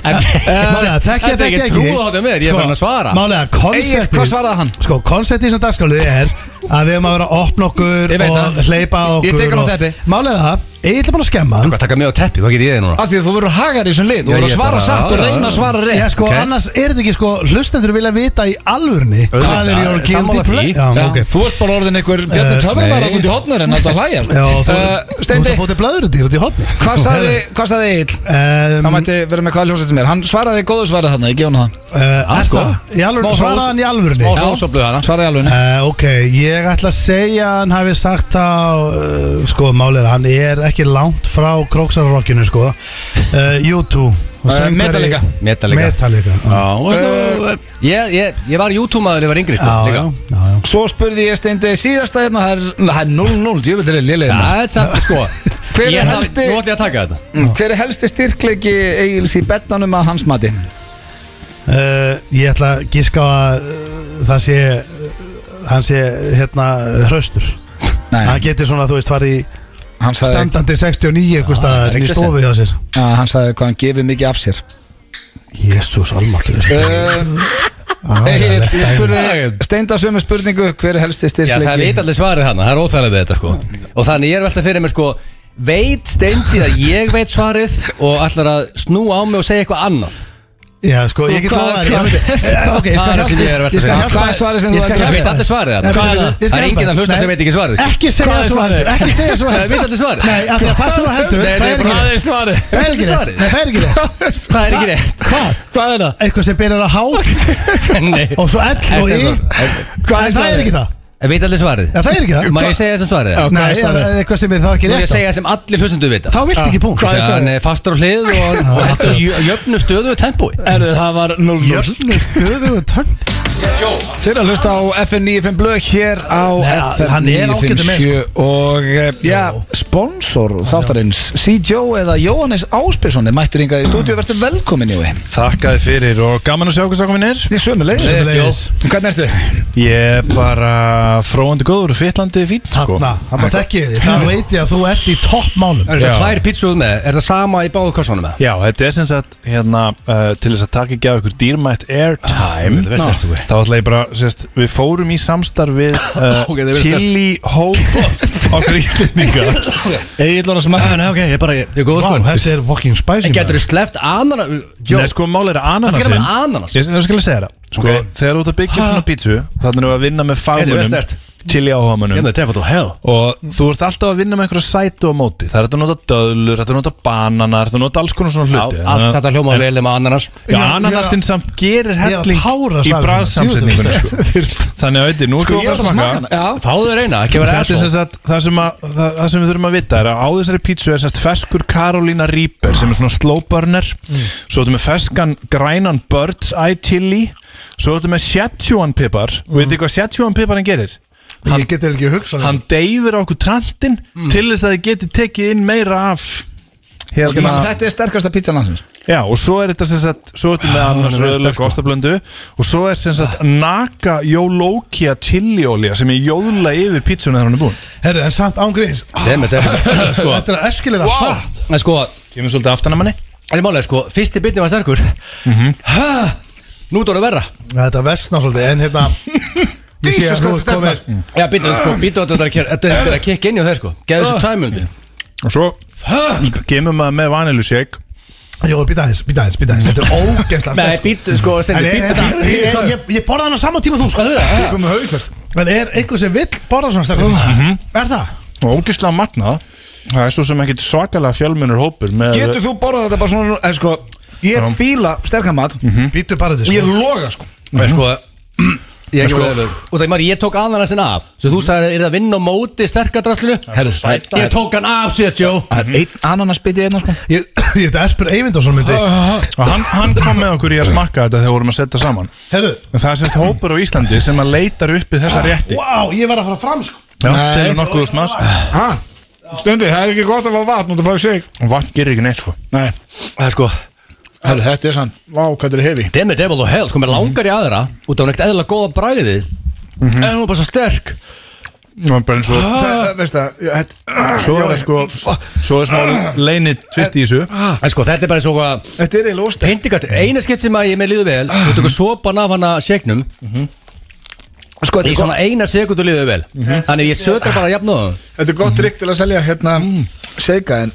S2: Málega,
S3: Þetta
S2: þekki að
S3: er
S2: þekki
S3: ekki
S2: ekki Sko,
S3: trúað á mér, ég er farin að svara.
S2: Málega,
S1: Egil, hvað
S2: konseptið
S1: svaraði hann?
S2: Sko, konseptið sem dagskálið er að við erum að vera að opna okkur
S1: Ég veit
S2: og
S1: það.
S2: hleypa að
S1: Ég-
S2: okkur
S1: ég tek hann á
S2: og-
S1: teppi.
S2: Málega það, Egil er bara að skemma hann
S3: Hvað taka mig á teppi, hvað gerir ég þið núna?
S1: Af því að þú verður hagar í þessum lið Þú
S3: Já,
S1: verður að
S3: ég
S1: svara
S3: bara-
S1: satt og
S3: já, já,
S1: reyna
S3: já.
S1: að svara
S2: Já,
S1: rétt
S2: sko,
S3: ok.
S2: annars er þetta ekki sko Hlustendur vilja vita í alvörni Hvað er your guilty
S3: sammála því.
S2: play Já,
S1: Já,
S2: ok
S1: Þú ert bara orðin einhver Bjarni
S2: Eh,
S1: Töframar
S3: nei.
S1: út í hotnar en alltaf hlæja sko.
S2: Já, þú
S1: Eh,
S2: þú ert
S1: Steindi,
S2: að bóti blöðrudýr út í hotni
S1: hvað sagði, hvað sagði Egil?
S2: Um,
S1: Hann mætti vera með hvaða hljómsveit sem er Hann svaraði góðu svarað þarna, ég gef hann það
S2: uh,
S1: Ah,
S2: er
S3: sko.
S2: það? Í alvöru-
S3: Smá
S2: Svaraði
S3: hrós-
S2: hann í alvörni?
S3: smá- Og hrós og blöð hana.
S1: Svaraði alveg nei.
S2: Uh, ok, ég ætla að segja að hann hafi sagt að uh, sko, málið er að hann er ekki langt frá króksarrokkinu, sko uh, U2 og
S1: Eh,
S2: söngvari-
S1: Metallica.
S3: Metallica.
S2: Metallica, já,
S3: Já, uh, ég, ég, ég var YouTube-maður þegar ég var yngri, sko
S2: Ah, já,
S3: líka.
S2: já, já, já.
S1: Svo spurði ég Steindi síðasta hérna Það er- það er 0-0, djöfull er hérna.
S3: Já,
S1: lélegin
S3: þetta er satt, sko
S1: Hver er
S3: Ég ætla-
S1: helsti-
S3: Nú ætla ég að taka þetta
S1: Mm, Hver er helsti styrkleiki Egil's í betnanum að hans mati?
S2: Uh, ég ætla að gíska á að uh, það sé uh, hann sé hérna hraustur
S1: Nei,
S2: hann geti svona, þú veist, farið í
S1: Eh. hann sagði, Ah,
S2: standandi 69 einhver staðar
S3: ekki
S2: í
S3: að
S2: stofu hjá sér
S1: að, hann sagði hvað hann gefið mikið af sér
S2: Jésús almatur
S1: uh, Egil, ég spurði Steinda sömu spurningu Hver er helsti
S3: Já,
S1: styrkleiki?
S3: það veit allir svarið hana, það er óþægilega við þetta, sko Og þannig ég er alltaf fyrir mér, sko Veit steindið að ég veit svarið Og ætlar að snúa á mig og segja eitthvað annað
S2: Já, sko, ég get
S1: Hvað-
S2: lofa
S1: hvað-
S2: Ok, ég
S3: Hvað er
S2: skal
S3: það sem ég er að velta
S2: hjálpa Ég skal
S3: fyrir?
S2: hjálpa
S1: Hvað er svarið sem þú
S2: ég skal
S1: ætlar að
S2: hjálpa
S1: segja?
S3: Veit allir svarið
S2: Nei,
S3: þarna? Hvað er
S2: ég
S3: það? Það er
S2: skal hjálpa
S3: enginn að hlusta
S2: þér.
S3: sem veit ekki svarið sko.
S2: Ekki segja
S3: Hvað er
S2: svarið Ekki segja
S3: (laughs) Það
S2: svarið
S3: veit allir svarið
S2: Nei, af því að það sem þú heldur
S3: Nei,
S2: Það er ekki rétt
S3: er svarið
S2: Það er ekki rétt Nei, það er ekki rétt
S3: Það er ekki rétt
S2: Hvað?
S1: Hvað
S2: (laughs)
S1: er það?
S2: Eitthvað sem byrjar að há og
S3: Nei
S2: svo ell og
S3: Ekki
S2: í
S1: Hvað
S2: En það er ekki það
S3: En veit allir svarið
S2: Já, það er ekki það
S3: Má ég segja þess að svarið
S1: Já.
S3: það?
S2: Nei,
S1: hvað er
S2: það
S1: svarið?
S2: er eitthvað sem er þá ekki
S3: Má ég
S2: rétt á.
S3: segja sem allir hlustundu vita
S2: Þá vilt ekki punkt
S1: Hvað er svarið?
S3: Hann er fastur á hlið (laughs) og og heldur jö- jöfnu stöðu og tempói
S1: Erðu, það var 0-0
S2: Jörnu stöðu tönd
S1: Þeir að hlusta á FM 95 blöð hér á
S2: Nei,
S1: FM
S2: hann er ágætur með,
S1: 957 og eh, já, sponsor þáttarins C. Joe eða Jóhannes Áspilsson er mættur yngað í stúdíu, verður velkomin Jói
S4: Þakkaði fyrir og gaman að sjá hvað strákum minn er
S1: Þið sömu leiðis
S2: Sömuleiðis.
S1: Hvernig ertu?
S4: Ég er bara fróandi góður og fytlandi fín sko.
S2: Þarna, þarna þekkið þið Það veit ég að þú ert í toppmálum
S3: Það eru
S4: Já.
S3: svo tvær pítsuð með Er það sama í báðu kassanum með?
S4: Já, þetta er sem sagt hérna, uh, til þess að taka ekki á ykkur dýrmætt airtime
S3: Ah, þetta veist þess þú.
S4: Þá ætla ég bara, sérst, við fórum í
S3: (laughs)
S4: samstarf við uh,
S3: Ok, þetta veist þess.
S4: Chili Hope
S3: (laughs)
S4: okkar íslendinga
S3: Egil og smæð Nei, ok, ég bara Ég er góð
S2: Vá, þessi
S3: sko
S2: er fucking spicy
S3: En getur þú
S2: maður.
S3: sleppt anana
S4: Nei, sko, mál er
S3: Hvað
S4: ananasin
S3: gerir maður ananas?
S4: Ég, ég skal ég segja það Sko,
S3: Ok.
S4: þegar þú ert að byggja upp
S3: Ha?
S4: svona pítsu Þannig að vinna með
S3: veist
S4: fagmunum
S3: þess.
S4: Chili áhamunum
S3: Ég með tefa þú hell
S4: Og þú ert alltaf að vinna með einhverja sætu á móti Það er hægt að nota döðlur, hægt að nota bananar Það er að nota alls konar svona
S3: Já,
S4: hluti
S3: allt þetta hljóma vel um ananas
S4: Já,
S2: Ég-
S4: ananasinn samt gerir
S2: er að
S4: helling
S2: tárast
S4: í
S2: af þessu.
S4: bræðsamsetningunni
S2: Djöfull,
S4: sko. Þannig að auðvitað, nú er
S1: Sko,
S4: ekki
S1: ég er
S4: að
S1: að
S4: fara að
S1: smaka
S4: smaka
S1: hana Já,
S3: Fáðu þér eina, ekki vera
S4: Þetta er
S3: asshole.
S4: sem sagt, það sem, að, það, það sem við þurfum að vita er að á þessari pítsu er sérst ferskur Karolina Reaper sem er svona slow burner Svo ertu með ferskan grænan Bird's Eye Chili Svo ertu með Szechuan pipar mm. Veitir hvað Szechuan piparinn gerir?
S2: Ég getur ekki hugsað
S4: hann deyfir á okkur trantinn til þess að þið geti tekið inn meira af
S1: Sko,
S4: Mm. hérna,
S1: Þetta er sterkasta pizza landsins
S4: já, og svo er þetta sem sagt svo ertu með annars
S3: hún er vel
S4: röðlög
S3: sterk,
S4: ostablöndu og svo er sem sagt naka jólókia chiliolja sem ég jóðla yfir pítsuna þegar hann er búin
S2: Herru, en samt ángriðins
S3: Demi, demi.
S2: (laughs) sko. Þetta er að eskilega wow. hratt
S3: En sko,
S4: kemur svolítið aftan að manni
S3: Mhm. en ég málega sko, fyrsti bitni var sterkur mm Nú tóra verra
S2: Þetta versna svolítið
S3: (laughs)
S2: En hérna Ég sé að þú ert komin
S3: Já, býtu sko, býtu að þetta er að ker- þetta er að kikka inn hjá þeir sko Gæðu þessu tæmjöldi
S4: Og svo kemur maður með vanilusjeg
S2: Jó, býta aðeins, býta aðeins, býta aðeins Þetta er ógeðslega
S3: Nei,
S2: sterkt.
S3: býtu sko,
S2: En
S3: stendur,
S2: ég-
S3: býtu
S2: þetta- ég- ég- ég- Ég borða hann á sama tíma og þú sko
S1: Ég kom með hausverk
S2: En er einhver sem vill borða svona sterkur
S3: Mhm.
S2: Er það?
S4: og ógislega magnað það er svo sem ekkit svakalega fjölmunur hópur með
S1: Getur þú borðað þetta bara svona en, sko, Ég fíla sterkan mat
S3: Mhm.
S2: Býtu bara
S1: og ég
S2: þetta sko
S1: loga sko Mhm.
S3: Nei, sko Ég,
S4: Sko-
S3: sko, og það er maður, ég tók aðanarsin af Svo þú sagði, er það vinn á móti sterkadraslu?
S1: Herðu, það er-
S3: Ég tók hann af, sér Jó
S1: Það er einn ananasbiti einna sko
S2: Ég ég veit að Erpur Eyvindarsson myndi
S3: Ah.
S4: og hann, hann kom með okkur í að smakka þetta þegar vorum að setja saman
S2: Herðu
S4: en það er sérst hópur á Íslandi sem að leitar uppi þessa rétti
S2: Vá, ég verð að fara fram sko
S4: Já, telur nokkuð úr smags
S1: Ha? Stundi, það er ekki gott að fá vatn og það fá sig
S4: og vatn gerir ekki neitt sko
S1: Nei,
S3: Það er sko
S1: Herðu, þetta er sann Vá, hvað þetta er hefi
S3: Damn it, devil og hell, sko, mér langar í aðra Út af hann ekkert eðla góða bræði En hún er bara svo sterk
S4: Nú er bara eins
S1: Ah.
S4: og
S1: Veist það, ég- þetta
S4: svo er sko svo er smá leinið tvist í þessu
S3: En sko, þetta er bara svo hvað
S1: þetta er eiginlega óstæð
S3: Pindikatt, eina skitt sem að ég með líðu vel Þú tók að sopa af hana segnum
S1: Sko, þetta
S3: Í
S1: er gott-
S3: svona eina sekundu líðu vel Þannig ég söta bara jafnóðum
S1: þetta er gott trygg til að selja hérna Seika en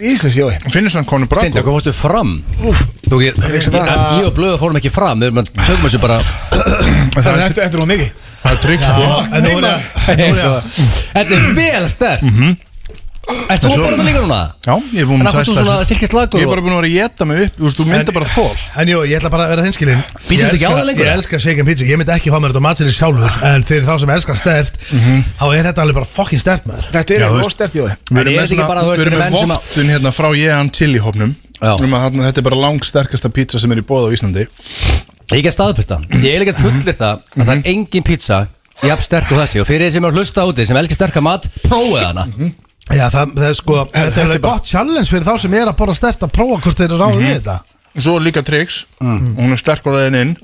S1: Ísins jói
S4: finnir svona konu
S3: Steindi,
S4: brakko
S3: hvað fórstu fram? Þú, ég, ég,
S1: hugsa
S3: ég,
S1: það.
S3: ég og Blöða fórum ekki fram Við erum að tökum þessu bara
S1: Það er þetta eftir hún mikið
S4: það er trygg sko
S2: En nú er ég
S3: Sko, Þetta er vel stert Ert þú að borða það líka núna?
S4: Já, ég er búin
S3: En
S4: að
S3: af hverju þú
S4: tæsta
S3: svona silkist lagur
S4: Mm, Ég er bara búin að vera að geta mig upp Þú veist, þú mynda bara þól
S2: En jú, ég ætla bara að vera hinskilinn
S3: Býttu
S2: Ég
S3: þetta ekki á
S2: elska-
S3: það lengur?
S2: Ég elska shake and pizza Ég myndi ekki fá mér þetta á matsinni sjálfur En fyrir þá sem elskar stert
S3: Mhm.
S2: Þá er þetta alveg bara fucking stert maður
S1: Þetta er eiginlega óstæð jói
S3: En
S4: Við
S3: er
S4: erum með
S3: þetta ekki
S4: svona-
S3: bara, þú veist,
S4: við erum
S3: fyrir
S4: með
S3: menn sem að-
S4: vottun hérna frá Jehan til í hópnum
S3: Já.
S4: um að þarna, Þetta er bara langsterkasta pizza sem er í bóð á Íslandi
S3: Ég get staðfesta Ég er ekkert fullir það að það er engin pizza Jafn sterk og þessi Og fyrir þið sem er að hlusta úti Sem elskar sterka mat Prófið hana
S2: Já, það, það er sko Þetta er alveg gott challenge fyrir þá sem er að borða stert Að prófa hvort þeir eru ráðið
S3: Mhm.
S2: við þetta
S4: Og Svo er líka Trix Hún er sterk á leiðin inn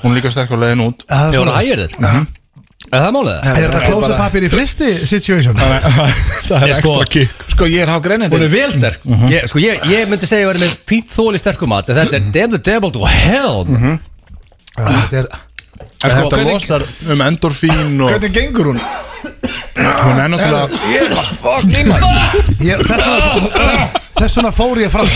S4: Hún er líka sterk á leiðin út
S2: Það
S3: Þegar hún
S2: er svona-
S3: hægir þér Er það málið? það?
S2: Er þetta klósa pappir í fristi situation?
S4: Það
S3: Ég
S4: er
S3: sko-
S4: ekstra kikk
S1: Sko, ég er há
S3: Hún er
S1: greinandi
S3: vel sterk ég, sko, ég, ég myndi segja að vera með fínt þóli sterkum mat En þetta er damn the devil to hell
S2: Já, Þetta er
S3: En sko,
S4: Þetta
S3: hvernig-
S4: losar um endorfín og
S1: Hvernig gengur hún?
S4: hún er náttúrulega
S1: Ég er bara fucking maður
S2: Ég- Þess vegna- þess vegna fór ég fram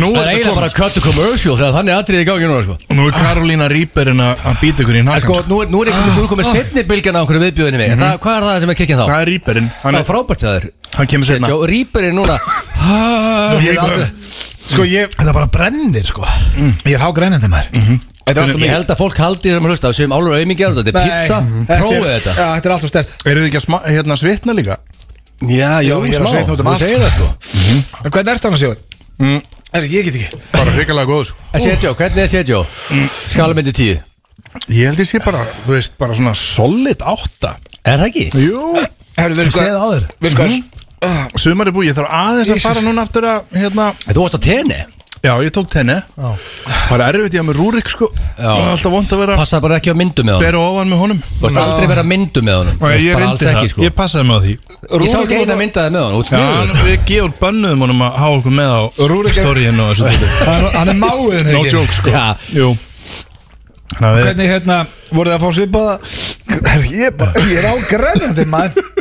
S4: Nú
S3: Það er
S4: er þetta
S3: eiginlega bara
S4: komast
S3: cut to commercial Þegar þannig atriði í gangi núna sko.
S4: Nú er Karolína Rýperin að býta ykkur í
S3: En
S4: nakkan
S3: sko,
S4: sko.
S3: nú er, nú er einhvern veginn komið setni bylgjana á okkur viðbjöðinni mig mm -hmm. Hvað er það sem er kikkin þá?
S4: Það er Rýperin
S3: Það
S4: Hann,
S3: er frábært hjá þér
S4: hann kemur sérna
S3: Jó, Rýper er núna
S1: Ah.
S3: Ég hef aldrei-
S1: Sko, ég
S2: Þetta bara brennir sko
S3: Mm.
S1: ég er há greinandi maður Þetta er alltaf
S3: Ég
S1: mikið
S3: held að fólk haldi sem hlusta sem álur aumingjar þetta er
S1: Nei,
S3: pizza,
S1: þetta er-
S3: prófið þetta
S1: Já, þetta er alltaf stert
S4: Eru þið ekki að sma, hérna svitna líka?
S3: Já,
S1: já, ég er að sveitna út um allt,
S3: segir það sko
S1: En hvernig ert þannig að sjóa? Er ég get ekki
S4: Bara hrikalega góð sko.
S3: En Setjó, hvernig er Setjó? Skalmyndi 10
S4: Ég held ég sé bara, þú veist, bara svona solid átta
S3: Er það ekki?
S4: Jú
S1: Herru, við
S2: Ég séð áður
S1: Við sko
S4: Sumar er búið, ég þarf aðeins að fara núna aftur að hérna,
S3: En Þú varst á tenni
S4: Já, ég tók tenni
S2: Já.
S4: Það er erfitt, ég hafa með Rúrik sko
S3: Já.
S4: Það er alltaf vond að vera
S3: Passaði bara ekki á myndu með honum
S4: bera ofan með honum
S3: Þú varst aldrei verið að myndu með honum Þú
S4: Nei,
S3: varst
S4: Ég
S3: bara
S4: reyndi
S3: alls
S4: það,
S3: ekki sko
S4: ég passaði með á því
S3: Ég sá ekki eina myndaði með honum, út
S4: Já, hann,
S3: snuður
S4: við gefur bönnuðum honum að hafa okkur með á
S1: Rúrik er-
S4: Storíin
S1: (laughs)
S4: og þessu dæti.
S1: Hann hann er máiðin
S4: No joke sko
S3: Já.
S4: Jú Þannig að við
S1: Hvernig hérna Voruð það að fá svipaða Herru, ég er bara Ég er há greinandi maður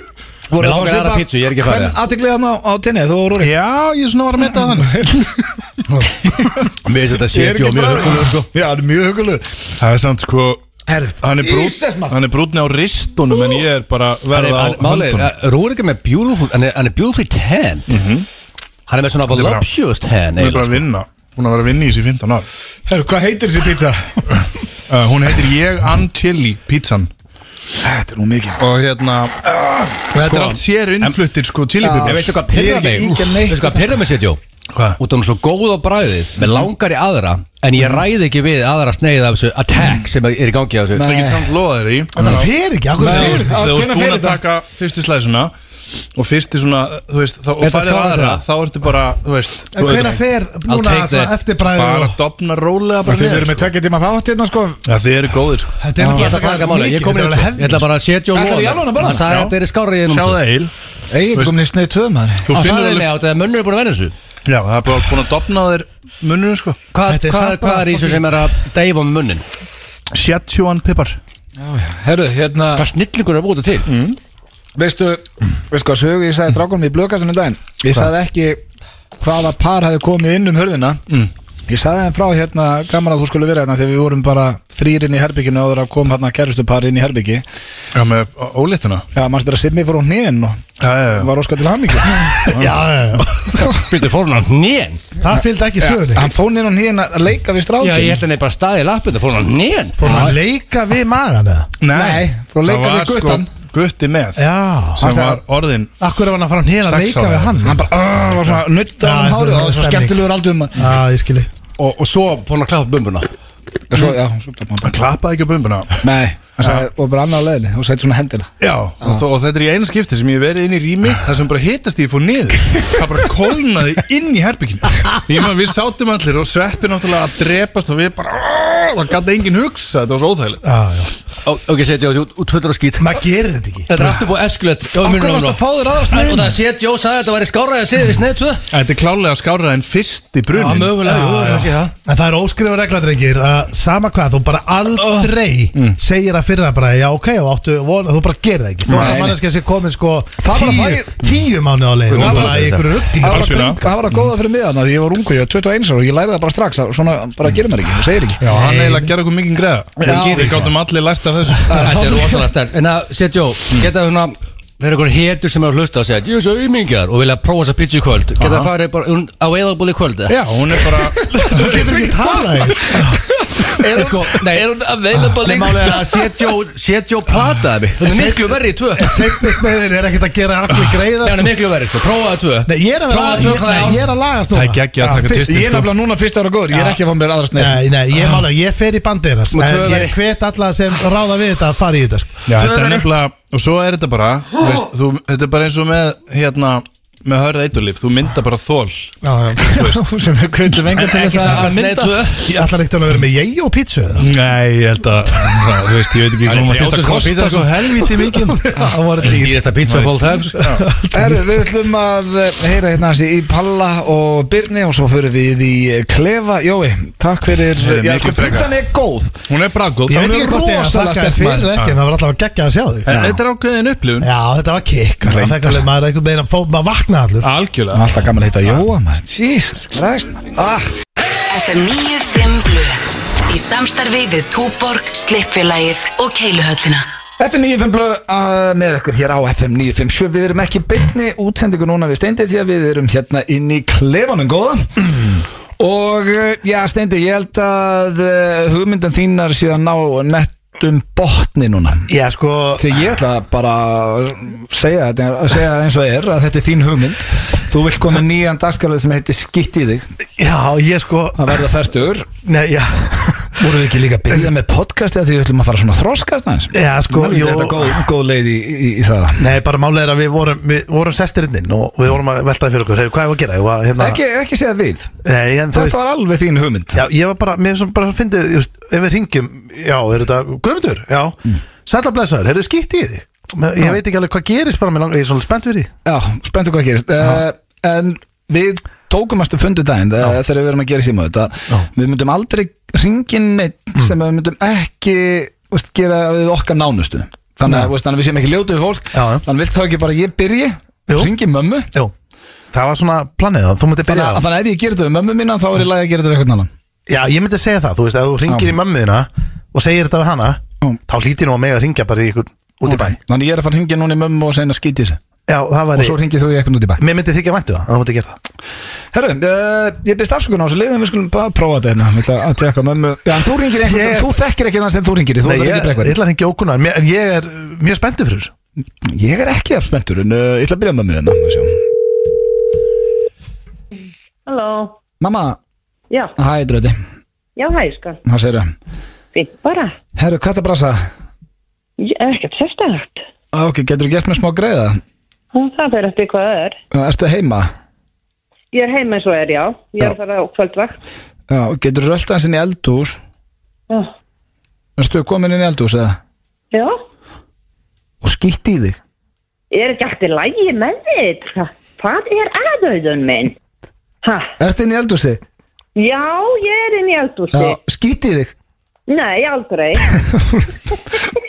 S1: Voruð
S3: langar aðra pizzu, ég er ekki að fara í það.
S1: Hvern aðtiklið hann á, á tenni Þú og Rúrik
S4: Já, ég svona var að mynda þann
S3: Mér finnst þetta Setjó mjög hörkulegur sko
S4: Já, það er mjög hugulegur Það er samt sko
S1: Herru,
S4: Hann er
S1: Íslands,
S4: brún
S1: maður.
S4: Hann er brúnni á ristunum En ég er bara
S3: Hann er-
S4: verða á
S3: hann- Málið,
S4: höndunum
S3: er, Rúrik er með beautiful Hann er, hann er beautifully tanned Hann er með svona
S4: er bara-
S3: voluptuous tan
S4: Hún er
S3: eiginlega,
S4: bara að
S3: sko.
S4: vinna Hún er að vera að vinna í þessi 15 ár
S1: Herru, hvað heitir þessi pizza?
S4: uh, Hún heitir Ég Antilli Pizzan
S1: Þetta er nú mikið
S4: Og hérna Þetta er allt sér innfluttir sko
S3: En
S4: chilipipir
S3: veistu hvað
S1: Ég
S3: pyrra
S1: er ekki
S3: mig?
S1: ýkja neitt.
S3: Veistu hvað pyrra mig setjó?
S4: Hvað?
S3: Út af hún er svo góð á bræðið Með langar í aðra En ég ræði ekki við aðra sneið af þessu attack Sem er í gangi á þessu
S4: Það er ekki samt loða þér í
S2: Það fer ekki, akkur
S1: Nei.
S2: það
S1: Á,
S2: fer ekki
S4: Þegar þú- þegar þú ert
S1: hvenær
S4: búin
S1: fer
S4: að
S1: þetta?
S4: taka fyrstu slæðisuna Og fyrsti svona, þú veist þá, Og
S3: Þetta
S4: farið
S3: skálar
S4: aðra,
S3: það.
S4: þá ertu bara, þú veist
S2: En
S4: þú
S2: hvenær
S4: veit
S2: fer
S3: I'll
S2: núna
S3: take that.
S2: eftirbræðið
S4: Bara
S2: og
S4: dofna rólega bara
S1: Þið verðum
S4: niður,
S1: með
S4: sko.
S1: tveggja tíma þátt hérna sko
S4: Já, Þið eru góðir sko
S2: Þetta
S3: Ég
S2: er bara
S3: ætla að taka máli Ég kom
S2: þetta
S3: inn
S2: er
S3: sko.
S2: alveg
S3: Ég ætla
S2: hefn
S3: bara að setjó
S1: Ætlar í alveg að borða
S3: Hann sagði
S4: Já.
S3: að þetta er skárið í
S4: Sjáðu
S3: núna
S4: það eil
S1: Eginn komin í sneið tvöðum þar
S4: Þú
S3: Hann
S4: finnur
S3: sagði mig
S4: alveg
S3: að þetta- munnur er búin að venja þessu
S4: Já, það er bara búin að dofna á þér munnur sko
S3: Hvað
S2: Þetta er
S3: hvað-
S2: samt
S3: hvað
S2: bara
S3: er í þessu sem er að deyfa með munnin?
S4: Szechuan pipar
S1: Herru, hérna
S3: Hvað snillingur er búið þetta til?
S1: Veistu, veistu hvað sögu ég sagði strákunum í blöðkassanum daginn Ég sagði ekki hvaða par hefði komið inn um hörðina mm. Ég sagði hann frá hérna gaman að þú skulle vera hérna þegar við vorum bara þrýr inn í herbygginu áður að kom hérna kærustupar inn í herbyggi
S4: Já, með ólituna
S1: Já, mannstu þetta að Simmi fór á hnén og
S4: Já, já, já
S1: var óskar til hamingju
S2: Já, já, já.
S3: Býttu fór hún á hnén
S2: það fylgdi ekki sögunni
S1: Hann fór inn á hnén að leika við strákin
S3: Já, ég held að nefnir bara staðið í lappið Það fór hún á hnén
S2: Fór hann að leika við magan eða?
S1: Nei, fór að
S4: það
S1: leika
S4: var
S1: við guttan
S4: sko Gutti með
S2: Já,
S4: Sem
S1: Hann
S4: var orðin
S2: akkur er hann að fara hann hér að
S4: Sex
S2: leika
S4: ára.
S2: við hann
S1: Hann bara, "Ah", var svona nutta
S2: Já,
S1: um hárið og það var svo
S2: stemning.
S1: skemmtilegur aldrei um að
S2: Já, ég skilji
S3: og, og svo fór hún að klappa bumbuna
S1: Svo, já, svo tók hann bara
S4: Hann klappaði ekki á bumbuna
S1: Nei, hann sagði, og bara annað á leiðinni og sætti svona hendina
S4: Já, og, þó, og þetta er í einu skipti sem ég hef verið inn í rými Það sem bara hittast ég fór niður Það bara kólnaði inn í herbyggin Ég maður, við sátum allir og sveppi náttúrulega að drepast Og við bara, "Ah", það gæti enginn hugsa Þetta var svo óþægilegt
S2: Já, já
S3: Ok, setja út, út fullur á skýt
S2: Maður gerir þetta ekki
S3: Þetta er aftur búið eskulett
S1: Akkur varst að fá þér aðra
S3: Og
S1: sniðin
S3: það setja og sagði að þetta væri skáraði að segja við sneið tvö
S4: En Þetta er klálega skárað en fyrst í
S3: Já,
S4: brunin
S3: mögulega, jú, það sé það
S2: En það er óskrifur regladrengir að sama hvað, þú bara aldrei segir að fyrra bara, já ok, og áttu, von, þú bara gerir það ekki. Þú
S1: Nei,
S2: er að
S1: nei.
S2: manneskja sem komin sko
S1: Það var að
S2: tíu,
S1: fæ-
S2: tíu mánu á leið og
S1: var
S2: bara
S1: að-
S2: í einhverju
S1: Það
S2: rugging.
S1: var,
S4: Algjörlega.
S1: að- það var að góða fyrir miðan því ég var ungu, ég var 21 ára og ég læri það bara strax að svona bara gerir maður ekki, það segir ekki
S4: Já, hann eiginlega gerði okkur mikið greða
S1: Já.
S4: Við gáttum allir læst af þessu
S3: Þetta er rosalega Mm. stærn En að setja og geta svona Það er einhver hétur sem er að hlusta og segja Ég er svo umingjar og vilja prófa þess að pizza í kvöld Geta það farið bara hún á eðalbúli í kvöld
S4: Já, hún er bara
S2: Þú getur ekki talað í þessu.
S3: Er hún, sko, nei, er hún available Nei, málega að setja og setja og plata það Það er miklu verri í tvö Já,
S2: Seinnisneiðin er ekkert að gera allir greiða
S3: Það
S2: sko.
S3: er miklu verri, sko, prófa það tvö
S2: Nei, ég er að,
S3: Prófa
S2: vera,
S3: tvö
S2: ég,
S3: klæði á.
S2: nei, ég er að lagast núna.
S4: Það er geggjað að taka
S2: fyrst-
S4: tvist.
S1: Ég er nefnilega núna fyrst ára góður, ég er ekki að fá mér aðra (laughs) sneið
S2: Nei, Ah. nei, ég, mála, ég fer í bandiðinas
S3: Með
S2: En
S3: tvöðari.
S2: ég hvet alla sem ráða við þetta að fara í þetta sko.
S4: Já,
S3: Tvö
S4: þetta er
S3: verri.
S4: nefnilega Og svo er þetta bara þú veist, þú, Þetta er bara eins og með hérna Með hörða eiturlif, þú mynda bara þól
S2: Já, já.
S1: sem við kvöldum enga til þess að
S3: Sneið
S1: mynda
S3: tvö.
S2: Ég ætlar ekkert að vera með ég og pítsu eða?
S4: Nei, ég held að Þú veist, ég veit ekki
S3: Það er
S4: hvað maður þurft
S3: þrjátíu
S4: að
S3: sko
S4: kosta
S3: pizza, sko.
S4: svo helviti mikið
S2: Það voru dýr
S3: Dýrasta pizza of all times
S1: Herru, við ætlum að eh, heyra hérna hans í Palla og Birni og svo fyrir við í eh, Klefa Jói, takk fyrir
S4: Heyrðu,
S1: Já,
S4: miklu
S1: sko,
S4: frekar.
S1: pizza er góð
S4: Hún er braggóð
S2: Ég
S4: þá
S2: veit
S4: mjög
S2: ekki hvort ég að
S1: rosalega
S2: þakka þér
S1: sterk
S2: fyrir
S1: maður.
S2: ekki en Það var alltaf að gegja að sjá þig
S4: En Þetta er ákveðin upplifun
S2: Já, þetta var kikk Það fekk alveg maður einhvern veginn að fó- maður vakna allur
S4: Algjörlega
S1: Alltaf gaman að heita Jóa, maður, Ah, Jesus Christ maður. ah.
S5: FM 95 Blu Í samstarfi við Túborg, Slippfélagið og Keiluhöllina
S1: FM 95 blöð uh, með ykkur hér á FM 957 Við erum ekki byrni útsendingu núna við Steindi því að við erum hérna inn í klefanum góða og uh, já Steindi ég held að uh, hugmyndan þínar sé að ná nettum botni núna
S2: Já, sko
S1: því ég ætla bara að segja þetta að segja það eins og er að þetta er þín hugmynd þú vilt koma með nýjan dagskalið sem heitir skitt í þig
S2: Já, ég sko
S1: að verða færtur
S2: Nei, já (laughs)
S1: voru við ekki líka að byrja með podcastið því við ætlum að fara svona þroskast aðeins
S2: Já, sko
S1: Nú,
S2: jú,
S1: þetta er góð, góð leið í, í, í það
S2: Nei, bara málega er að við vorum Við vorum sestirinn og við vorum að veltaði fyrir okkur Hey, Hvað er að gera? Ég var, hérna,
S1: ekki, ekki segja við
S2: Nei, en þú
S1: Þetta
S2: veist
S1: var alveg þín hugmynd
S2: Já, ég var bara, mér sem bara fyndið just, Ef við ringjum, já, er þetta Guðmundur, já, mm. sætla blessaður Heyrðu skýtt í því Men Ég veit ekki alveg hvað gerist bara, mér langar- ég er svona spennt fyrir því
S1: Já, spenntu hvað gerist uh, En við tókum aðstu fundu daginn uh, þegar við erum að gera síma þetta Við myndum aldrei ringin neitt
S2: Mm.
S1: sem við myndum ekki veist, gera við okkar nánustu Þannig að, veist, þannig að við séum ekki ljótu við fólk
S2: Já, já.
S1: Þannig að vilt þá ekki bara ég byrji
S2: Jú.
S1: Ringi mömmu
S2: Jú, það var svona planið það, þú myndir
S1: Þannig
S2: byrja
S1: að,
S2: það
S1: þannig að ef ég gerir þetta við mömmu mína þá er ég lagi að gera þetta við eitthvað annan
S2: Já, ég myndi segja það, þú veist, ef þú ringir
S1: Já.
S2: í mömmuðina og segir þetta við hana
S1: Já.
S2: þá hlýtir nú að mig að ringja bara í ykkur út í bæ
S1: Þannig að ég er að fara að ringja núna í mömmu og segna skýti þessu
S2: Já, það
S1: Og
S2: var
S1: svo ringið þú í eitthvað út í bæ
S2: Mér myndi þykja væntu það, það myndi gera það
S1: Herru, uh, ég byrst afsökun á þessu liðum við skulum bara prófa þetta hérna Ég ætla að tekka mömmu Já, en þú ringir einhvern
S2: Ég-
S1: þú þekkir ekki þann sem þú ringir í, þú
S2: Nei,
S1: ætlar ekki
S2: ég,
S1: að
S2: ég,
S1: brekka
S2: ætla að ringja ókunar, mér- en ég er uh, mjög spenntur fyrir þessu
S1: þér Ég er ekki af spenntur en uh, ég ætla að byrja mömmu hérna að sjá.
S6: Halló,
S1: Mamma,
S6: já,
S1: hæ dröði
S6: já hæ skan,
S1: Hvað segir það?
S6: fint bara,
S1: Herru, hvað það brasa?
S6: Ég- ekkert sérstæðagt,
S1: Ok, getur þú gert mér smá greiða?
S6: það fyrir eftir hvað það er.
S1: Uh, erstu heima?
S6: Ég er heima eins og er, já, ég er
S1: Já.
S6: að fara á kvöldvakt,
S1: Já, getur þú rölda hans inn í eldhús?
S6: já,
S1: Erstu komin inn í eldhús eða?
S6: já,
S1: Og skýtti í þig
S6: er ekki allt í lægi með þitt, Hva- hvað er aðauðun minn? Ha,
S1: Ertu inn í eldhúsi?
S6: já, ég er inn í eldhúsi,
S1: Sko- Já, skýtti í þig
S6: Nei, aldrei.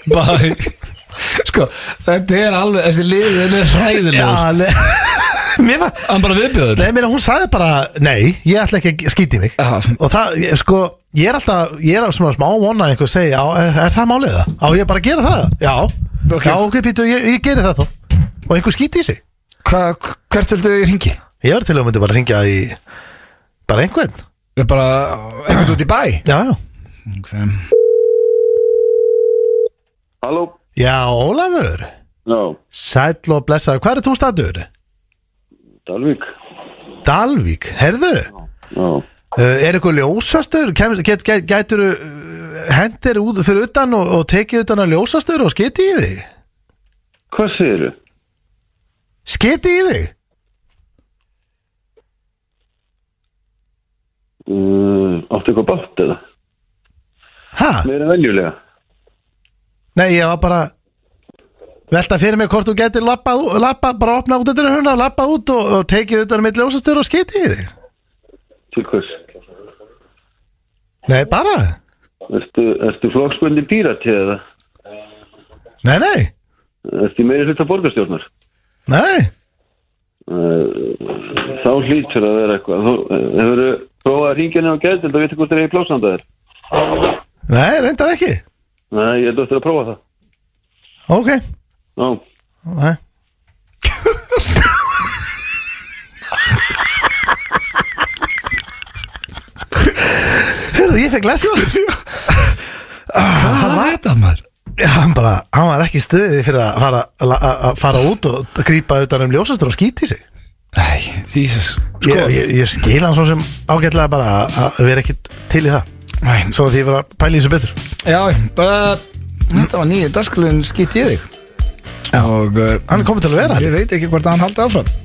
S1: Bæ Sko, þetta er alveg, þessi liðin er hræðilegur
S2: Já, le- (laughs) Mér var
S1: Hann bara viðbjöður
S2: Nei, mér hún sagði bara, nei, ég ætla ekki að skýti mig
S1: Já.
S2: Og það, ég, sko, ég er alltaf, ég er á svona smá vona að einhver segja, já, er, er það málið það? Á ég bara að gera það? Já,
S1: Ok.
S2: já, ok, pítu, ég, ég geri það þá Og einhver skýti í sig
S1: Hva, Hvert vildu ég ringi?
S2: Ég var til að myndi bara ringja í, bara einhvern Já,
S1: Við bara, einhvern út í bæ
S2: já
S1: okay.
S7: Halló?
S2: Já, Ólafur,
S7: Já,
S2: sæll og blessaður, hvað er þú statur?
S7: Dalvík.
S2: Dalvík, herðu, uh,
S7: Já.
S2: er eitthvað ljósastur, Kemur, get, get, gætur hendir út fyrir utan og, og tekið utan að ljósastur og skiti í þig?
S7: Hvað segir þau?
S2: Skiti í þig?
S7: Uh, áttu eitthvað bátt eða?
S2: Hæ?
S7: Meira en venjulega.
S2: Nei, ég var bara Velta fyrir mig hvort þú getur lappað, ú- lappað bara opnað út eftir huna, lappað út og, og tekið utan um eitt ljósastur og skiti í þig
S7: Til hvers?
S2: Nei, bara,
S7: Ertu, ertu flokksbundin pírati eða?
S2: nei, nei,
S7: Ertu í meiri hluta borgarstjórnar?
S2: nei
S7: Uh, þá hlýtur að vera eitthvað. Þú uh, hefur prófað að ringja nefn á gæðdild og vita hvort þeir eru í plásanda þér.
S2: Nei, reyndar ekki
S7: Nei, ég held að þetta að prófa það.
S2: Ok,
S7: Já.
S2: nei Hörðu, ég fekk lestu
S1: Hvað er þetta maður?
S2: Já, hann bara, hann var ekki í stuði fyrir að fara, að, að- að fara út og grípa utan um ljósastur og skíti sig
S1: Nei, Jesus
S2: Sko, ég, ég, ég skil hann svo sem ágætlega bara að- að vera ekkit til í það
S1: Nei,
S2: Svo að því vera að pæla í þessu betur
S1: já, bara Þetta var nýja dagskulun skitt í þig já. Og uh,
S2: Hann er komið til að vera
S1: ég veit ekki hvort hann haldi áfram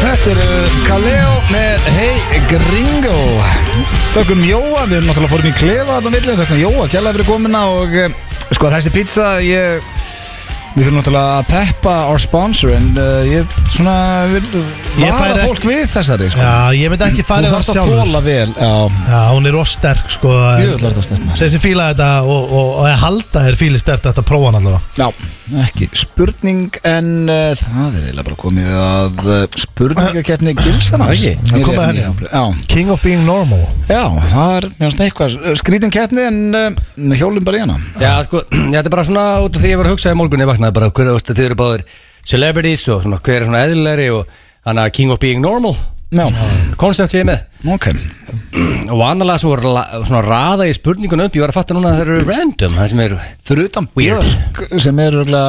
S1: Þetta er eh, Kaleo með Hey Gringo Þökkum Jóa, við erum náttúrulega fórum í klefa þarna á milli, þökkum Jóa, kjærlega fyrir komuna og eh, sko þessi pizza ég, við þurfum náttúrulega að peppa our sponsor en uh, ég svona vil
S2: Ég
S1: vara
S2: færi
S1: fólk við þessari sko.
S2: Já, ég myndi ekki
S1: þú
S2: fara
S1: þarfst að þóla vel já,
S2: Já, hún er rosterk sko en
S1: Jöfull er þetta snett, maður.
S2: Þessi fíla þetta og, og, og að halda er fíli stert Þetta prófa hann allavega
S1: já, ekki spurning en uh, það er eiginlega bara komið að uh, spurningakeppni gilsanans
S3: Ekki?
S2: Það kom að henni.
S1: hérna já
S2: King of being normal
S1: Já, það er mjög eitthvað skrítin keppni en uh, hjólum bara í hana
S3: Já, sko, (clears throat) þetta er bara svona út af því ég var að hugsa í morgun ég vaknaði bara, hver, þú veist, þið eru báður celebrities og svona, hver er svona eðlilegri og þannig að king of being normal
S1: Já,
S3: koncept ég er með
S1: ok
S3: og annarlega svo voru la- svona raða í spurningun upp ég var að fatta núna að það eru random það sem eru
S1: Fyrir utan
S3: Weird.
S1: Björk sem er röglega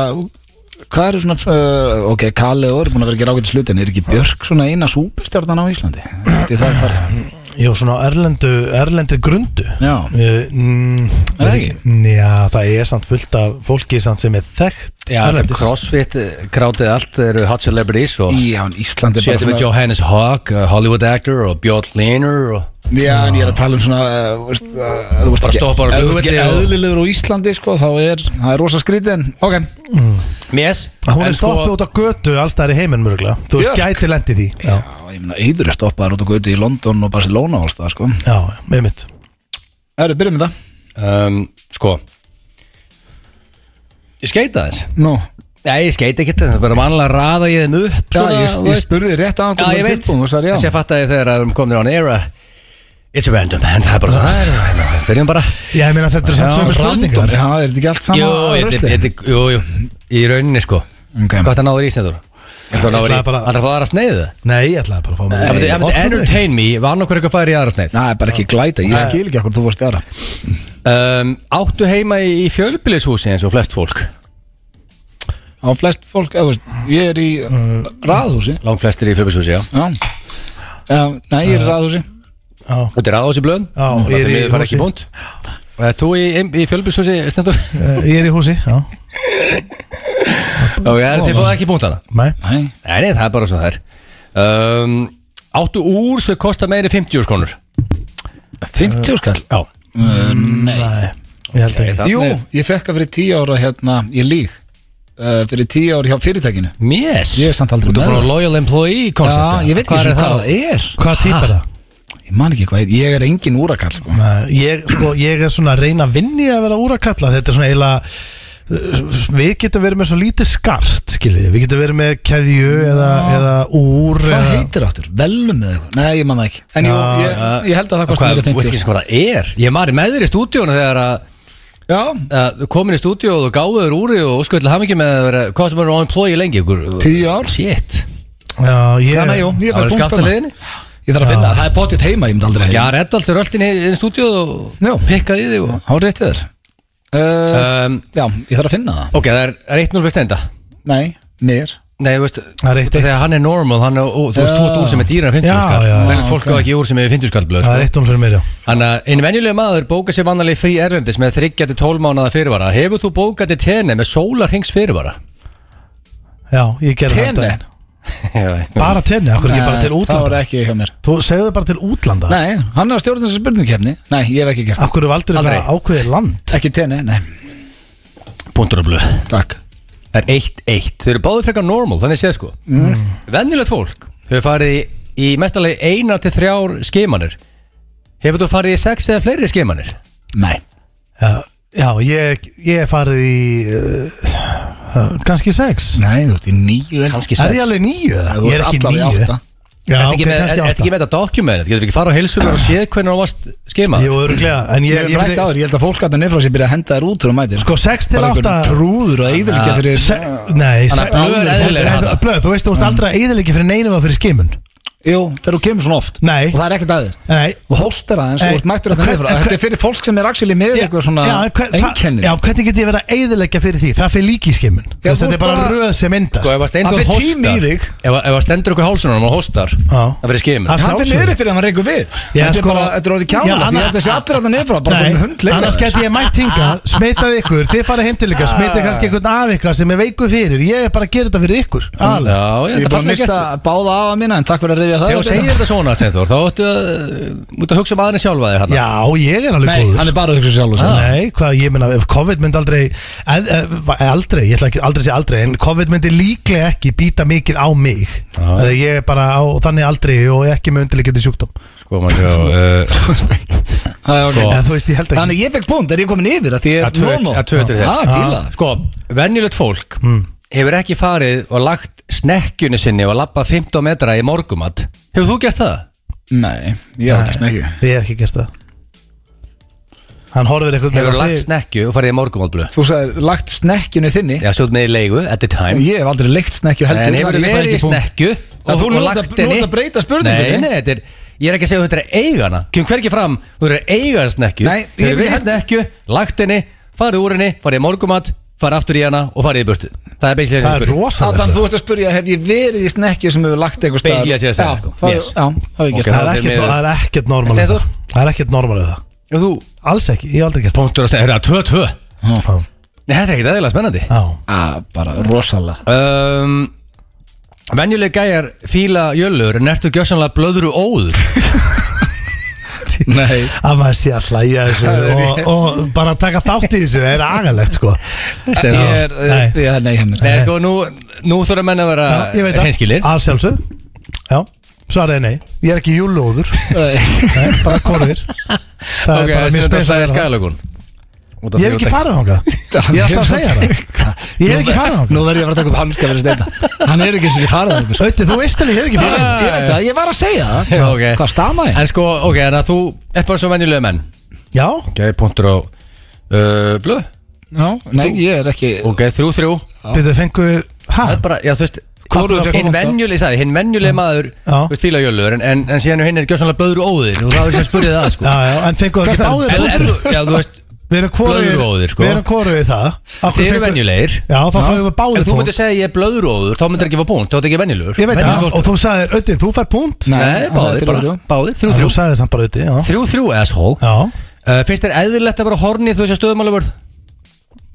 S1: Hvað eru svona, uh, ok, Kali og er búin að vera að gera ágætt sluti en er ekki Björk svona eina súperstjarnan á Íslandi? Þetta er það að fara
S2: Jó, svona á erlendu, erlendri grundu
S1: Já.
S2: Eh, mm,
S1: Er það ekki?
S2: Já, það er samt fullt af fólki samt sem er
S3: Já,
S2: þekkt
S3: þetta er
S2: erlendis.
S3: crossfit, eh, krátið allt eru hot celebrities og
S1: í hann Íslandi
S3: sétum við Johannes Hawk, eh, Hollywood actor og Björn Lehner og
S1: Já, en ég er að tala um svona uh, veist, uh, Þú veist
S3: Bara
S1: ekki,
S3: stoppar á
S1: ef þú ert ekki
S3: flugvelli og-
S1: eðlilegur á Íslandi sko, þá er, það er rosa skrítið en ok,
S3: Mies
S2: Hún
S3: En
S2: er
S3: sko-
S2: stoppið út á götu alls það er í heiminn mörgulega Þú veist
S1: Björk.
S2: gæti lendi því
S1: Já, ég meina, yður er stoppaður út og gauti í London og Barcelona og alls það sko
S2: já með mitt
S1: Það eru, byrjum við það
S3: um, Sko Ég skeita þess
S1: Nú,
S3: Nei, ég skeita ekki þetta, það er bara vanlega að raða ég þeim upp
S1: Já,
S3: svona,
S1: ég,
S3: þú
S1: ég
S3: veist.
S1: spurði rétt á hann
S3: Já, ég veit,
S1: tilbúin, sagði,
S3: þess
S1: já.
S3: ég fatt að þegar að við komum on air að It's random, en það er bara það er (laughs) random Byrjum bara
S2: Já, ég meina þetta er samt sömu
S1: random,
S2: spurningar
S1: já, er þetta ekki allt
S3: Jú,
S1: sama
S3: þetta-
S1: ruslið?
S3: þetta- jú, jú, í rauninni sko
S1: Ok.
S3: Hvað það náður í sneddur? Það náður í,
S2: ætlaði bara-
S3: alltaf að fá aðra sneið það?
S2: Nei, ég ætlaði bara að fá mér
S3: Það myndi-
S2: Nei,
S3: það myndi
S2: opnaðu ekki.
S3: entertain me, var nokkur eitthvað færi í aðra sneið
S1: Það er bara ekki glæta, ég skil ekki okkur þú vorst í aðra
S3: um, Áttu heima í, í fjölbýlishúsi eins og flest fólk
S1: Á flest fólk, eða, veist, ég er í uh, raðhúsi
S3: Langt flestir í fjölbýlishúsi, já
S1: Já, já nei, ég er í raðhúsi
S3: Þú ert í ráðhúsi blöðum
S2: Já, ég er í
S3: Það fara
S2: húsi.
S3: ekki búnt Og ert þú í, í, í fjölbýlishúsi stendur
S2: Eh, Ég er í húsi, já
S3: Og ég, þið fóðu ekki búnt hana
S2: Nei,
S1: Nei,
S3: Nei, nei, það er bara svo það er um, Áttu úr sem kosta meiri 50 skonur
S1: 50 skall
S3: Já
S1: uh, Nei,
S2: nei, ég held ekki
S1: jú, ég fekk að fyrir 10 ára hérna, ég líg uh, Fyrir 10 ára hjá fyrirtækinu
S3: Mjess
S1: Ég er samt aldrei
S3: Þú ert
S1: með
S3: bara
S1: það.
S3: loyal employee
S1: Já,
S3: concept
S1: ég veit ekki
S3: Hvar
S1: sem
S3: er
S1: hvað það
S3: það
S1: er
S2: Hvað típa það?
S1: Ég ég man ekki hvað, er- ég er engin úrakall sko.
S2: Nei, ég, sko, ég er svona að reyna að vinni að vera úrakalla þetta er svona eiginlega uh, við getum verið með svo lítið skart skiljið, við getum verið með keðju eða, eða úr
S1: Hvað
S2: eða,
S1: heitir áttur? Velum eða eitthvað? Nei, ég man það ekki En jú,
S2: Já. uh,
S1: ég, ég held að það kosti
S3: Hvað,
S1: mér
S3: þú veist
S1: 50
S3: ekki hvað það er Ég maður með þér í stúdíónu þegar að
S1: Já,
S3: að þú komin í stúdíó og þú gáðu þér úri og skull hafði ekki með að vera hvað sem er á employee lengi ykkur
S1: tíu ár Shit
S2: já, ég,
S1: Þannig að jú, ég
S3: Það
S1: fæ
S3: var
S1: punkt
S3: skatt að
S1: hana
S3: leiðinni
S1: Ég þarf að finna, það. það er potið heima, ég myndi aldrei
S3: Já, Reddals er öll inn í inn í stúdíó
S1: Já.
S3: og pikkaði í þig og
S1: Há rétt þér uh,
S3: um,
S1: Já, ég þarf að finna það
S3: Ok, það er það er 1-0 fyrir stenda
S1: Nei, mér
S3: Nei, þú veist,
S2: Það er eitt eitt.
S3: þegar hann er normal hann er, og, þú veist, þú ert úr sem er dýran
S2: Já,
S3: 50 skall
S2: já, já,
S3: Venjulegt fólk á ekki úr sem er 50 skall blöð
S2: það
S3: sko.
S2: er eitt hún fyrir mér já.
S3: Þannig að einu venjulegu maður bókar sér vannalegi frí erlendis með 30-12 mánada fyrirvara Hefur þú bókað til tenni með sólarhings fyrirvara?
S2: já, ég gerði það um
S1: Tene?
S3: (laughs)
S2: daginn. bara tenni, okkur ekki bara til
S1: Það var
S2: útlanda
S1: ekki hjá mér
S2: þú segðu bara til útlanda
S1: Nei, hann er að stjórna þessu spurningkefni Nei, ég hef ekki gert
S2: okkur er aldrei
S1: Aldrei.
S2: bara ákveðið land
S1: það Ekki tenni, nei
S3: Puntur og blöð
S1: Takk
S3: Það er 1-1 Þau eru báðið frekar normal, þannig séð sko mm. Venjulegt fólk hefur farið í, í mestalegi einar til þrjár skimanir Hefur þú farið í sex eða fleiri skimanir?
S1: Nei
S2: já, já ég, ég er farið í uh, uh, kannski sex
S1: Nei, þú ert í nýju
S3: Kannski
S2: er ég
S3: sex
S2: alveg nýju? eða?
S1: Þú
S2: ég
S1: ert
S2: er ekki
S1: allavega í
S2: nýju
S1: átta.
S2: já,
S3: Ertu
S2: ok,
S3: ekki með-
S2: kannski
S3: er- ertu
S2: átta
S3: ekki með þetta dokument? Getur ekki fara á heilsunar og séð hvernig þú varst skimað?
S2: Jú, öruglega, en ég,
S1: Ég hef rætt áður, ég held að fólk að það nefnir frá sér byrja að henda þær út þegar þú mætir
S2: Sko, sex til
S1: Bara
S2: átta-
S1: einhver trúður og eðurlíkja fyrir
S2: Se, nei,
S3: Þannig að blöð er eðlilegur þarna.
S2: blöð, þú veist, þú ert aldrei að eðilegja fyrir neinum að fyrir skimun
S1: Jú, þegar þú kemur svona oft
S2: Nei.
S1: Og það er ekkert aður
S2: Nei,
S1: Þú hóstar aðeins og
S2: Nei.
S1: þú ert mættur að það
S2: Hver-
S1: nefnir Þetta er fyrir fólk sem er actually með
S2: Já,
S1: eitthvað svona
S2: já, en hver- það-
S1: einkennir
S2: Já, hvernig get ég verið að eðilegja fyrir því? Það fyrir líki skimun
S1: Já,
S2: Þetta
S1: þú
S2: er
S1: ert
S2: bara
S1: bara-
S2: röð sem myndast
S3: Sko ef að Steindór
S1: Hann fer
S3: hóstar
S1: tími í þig.
S3: Ef að, ef að stendur ykkur hálsunum og hóstar
S2: Já.
S3: Það verður skimur
S2: Hann-
S1: Hann fyrir
S2: sjálfsögðu.
S1: niður eftir að hann reyku við
S2: Já,
S1: Þetta er
S2: sko-
S1: bara, þetta er orðið
S2: Já,
S1: kjánulegt Ég
S2: annars-
S1: held þessi allir að það nefnir frá Bara
S2: Nei,
S1: komið hundleik
S2: annars get ég mætt hingað, smitað ykkur, þið farið heim til ykkar, smitið kannski einhvern af ykkar sem er veiku fyrir, ég er bara að gera þetta fyrir ykkur, alveg.
S3: Já,
S1: Ég
S3: ég
S1: er
S3: þetta
S1: bara að
S3: fannst ekki
S1: missa báða afa mína En takk fyrir að reyja það
S3: Þegar þú
S1: upp hérna.
S3: segir þetta svona Steindór Þá ættu að uh, Mútu að hugsa um aðeins sjálfa þig hann
S2: Já, ég er alveg
S1: Nei,
S2: góður.
S1: hann er bara að hugsa sjálf
S2: Nei, hvað, ég meina, ef COVID myndi aldrei eð, eð, aldrei, ég ætla ekki aldrei að segja aldrei en COVID myndi líklega ekki býta mikið á mig þegar ég er bara á þannig aldrei og ekki með undirleikjandi sjúkdóm
S3: Sko maður sjá
S1: Nei,
S2: eða þú veist, ég held ekki
S1: Þannig ég fekk punkt, er ég komin yfir að því ég
S3: Sko.
S1: er
S3: Að tvö-
S1: nónó
S3: að tvö eftir þér.
S1: Ah, fíla
S3: Sko, venjulegt fólk Hefur ekki farið og lagt snekkjunni sinni Og lappað 15 metra í morgumat Hefur þú gert það?
S1: Nei, ég hef ekki snekju
S2: Ég hef ekki gert það Hann horfir eitthvað
S3: Hefur lagt
S2: þig
S3: snekkju og farið í morgumat blöð
S1: Þú sagði, lagt snekkjunni þinni
S3: Já, svo ert með í leigu at the time
S1: Ég hef aldrei leikt snekkju heldur
S3: En hefur
S1: þannig ég fæ
S3: verið í
S1: ekki punkt.
S3: snekkju
S1: Og þú nú ert að- nú ert að breyta spurningunni.
S3: Nei, nei, þetta er Ég er ekki að segja að þetta er eigana Kjum hverki fram, þú eru eiga snekkju
S1: Nei,
S3: Þú
S1: ég
S3: eru
S1: vil
S3: verið í
S1: held-
S3: snekkju, lagt henni Farið úr henni, farið í morgumat Farið aftur í hana og farið í burtu Það er basically
S2: Það er
S3: spurning.
S1: Að Þannig
S2: rosalega
S1: þú ert að spurja, hef ég verið í snekkju sem hefur lagt eitthvað
S3: Basically að sé að segja, sko.
S1: Já, það
S3: Yes.
S1: já, það hef ég gert
S3: Ok.
S2: Það er ekkert- það er ekkert normal við
S3: Steinþór?
S2: það. Það er ekkert normal við það
S1: það Og þú,
S2: Alls ekki, ég hef aldrei gert
S3: Punktur að snekja, það er 2-2
S2: það
S3: Nei, þetta er ekkit eðlilega spennandi
S2: Já,
S1: að bara rosalega
S3: um, Venjuleg gæjar fíla jölur En ertu gjössanlega blöðru
S1: (laughs)
S3: óður
S1: Nei
S2: að maður sé að hlæja
S3: (laughs)
S2: þessu og, og bara taka þátt í þessu er agalegt sko
S1: Ég er, eh,
S2: Nei.
S1: já, nei, hef mér
S3: Nei, sko, nú, nú þurfa menn að vera
S2: Já, ég veit
S3: hreinskilnir.
S2: það, að sjálfsögð Já, svaraði nei, ég er ekki júlóður Nei, bara konur Það
S3: (laughs) Ok,
S2: er bara
S3: sem
S2: mjög
S3: þetta
S2: spes að
S3: sagði
S2: vera það
S3: Skælökun. Út af því
S2: Ég hef
S3: þú
S2: ekki
S3: ert
S2: farið þangað Ég er alltaf að segja það (laughs) Ég hef ekki farið
S1: Nú
S2: þangað
S1: verð ég að fara að taka upp hanska fyrir steina Hann er ekki eins og ég farið þangað, sko.
S2: Ötti, þú veist henni, ég hef ekki
S1: Ég
S2: farið
S1: veit- Ég veit það, ég var að segja það
S3: Já, ok.
S1: Hvað stama ég?
S3: En sko, ok, en að þú ert bara svo venjulega menn
S2: Já,
S3: Ok, punktur á uh, blöð
S1: Nei, ég er ekki
S3: Ok, þrjú, þrjú
S2: byrjuðu fengu við Hæ?
S3: Það er bara, já þú veist
S1: Hvorugur fékk
S3: Hinn
S1: punkta?
S3: venjulega, ég sagði, hinn venjulega maður
S2: Já.
S3: Þú veist, fíla jölur En, en, en síðan er hinn er gjössanlega blöður óðir Og það er sem spurði það, sko
S2: Já, já, en fengu það ekki báðir
S3: En- en
S2: punktur
S3: þú- Já, þú veist,
S2: Við erum hvorugur
S3: blöðróðir, sko.
S2: Við erum hvorugur það Af hverju
S3: þið eru
S2: fengu-
S3: venjulegir
S2: Já, þá fáum við
S3: Ef
S2: báðir
S3: þú
S2: punkt
S3: myndir segja ég er blöður óður Þá myndir ekki fá punkt, þá er ekki venjulegur
S2: Ég veit það,
S3: Venjulegur fólk.
S2: og þú sagðir Ötti, þú fær punkt
S3: Nei,
S1: hann sagði
S3: báðir,
S1: þrjú,
S3: bara,
S1: þrjú.
S3: báðir, þrjú,
S2: Já, Þú
S3: þrjú
S2: sagðir samt bara Ötti, já
S3: Þrjú, þrjú, asshole
S2: Já,
S3: Uh, Finnst þér eðlilegt að vera horni þú þessi stöðumáluvörð?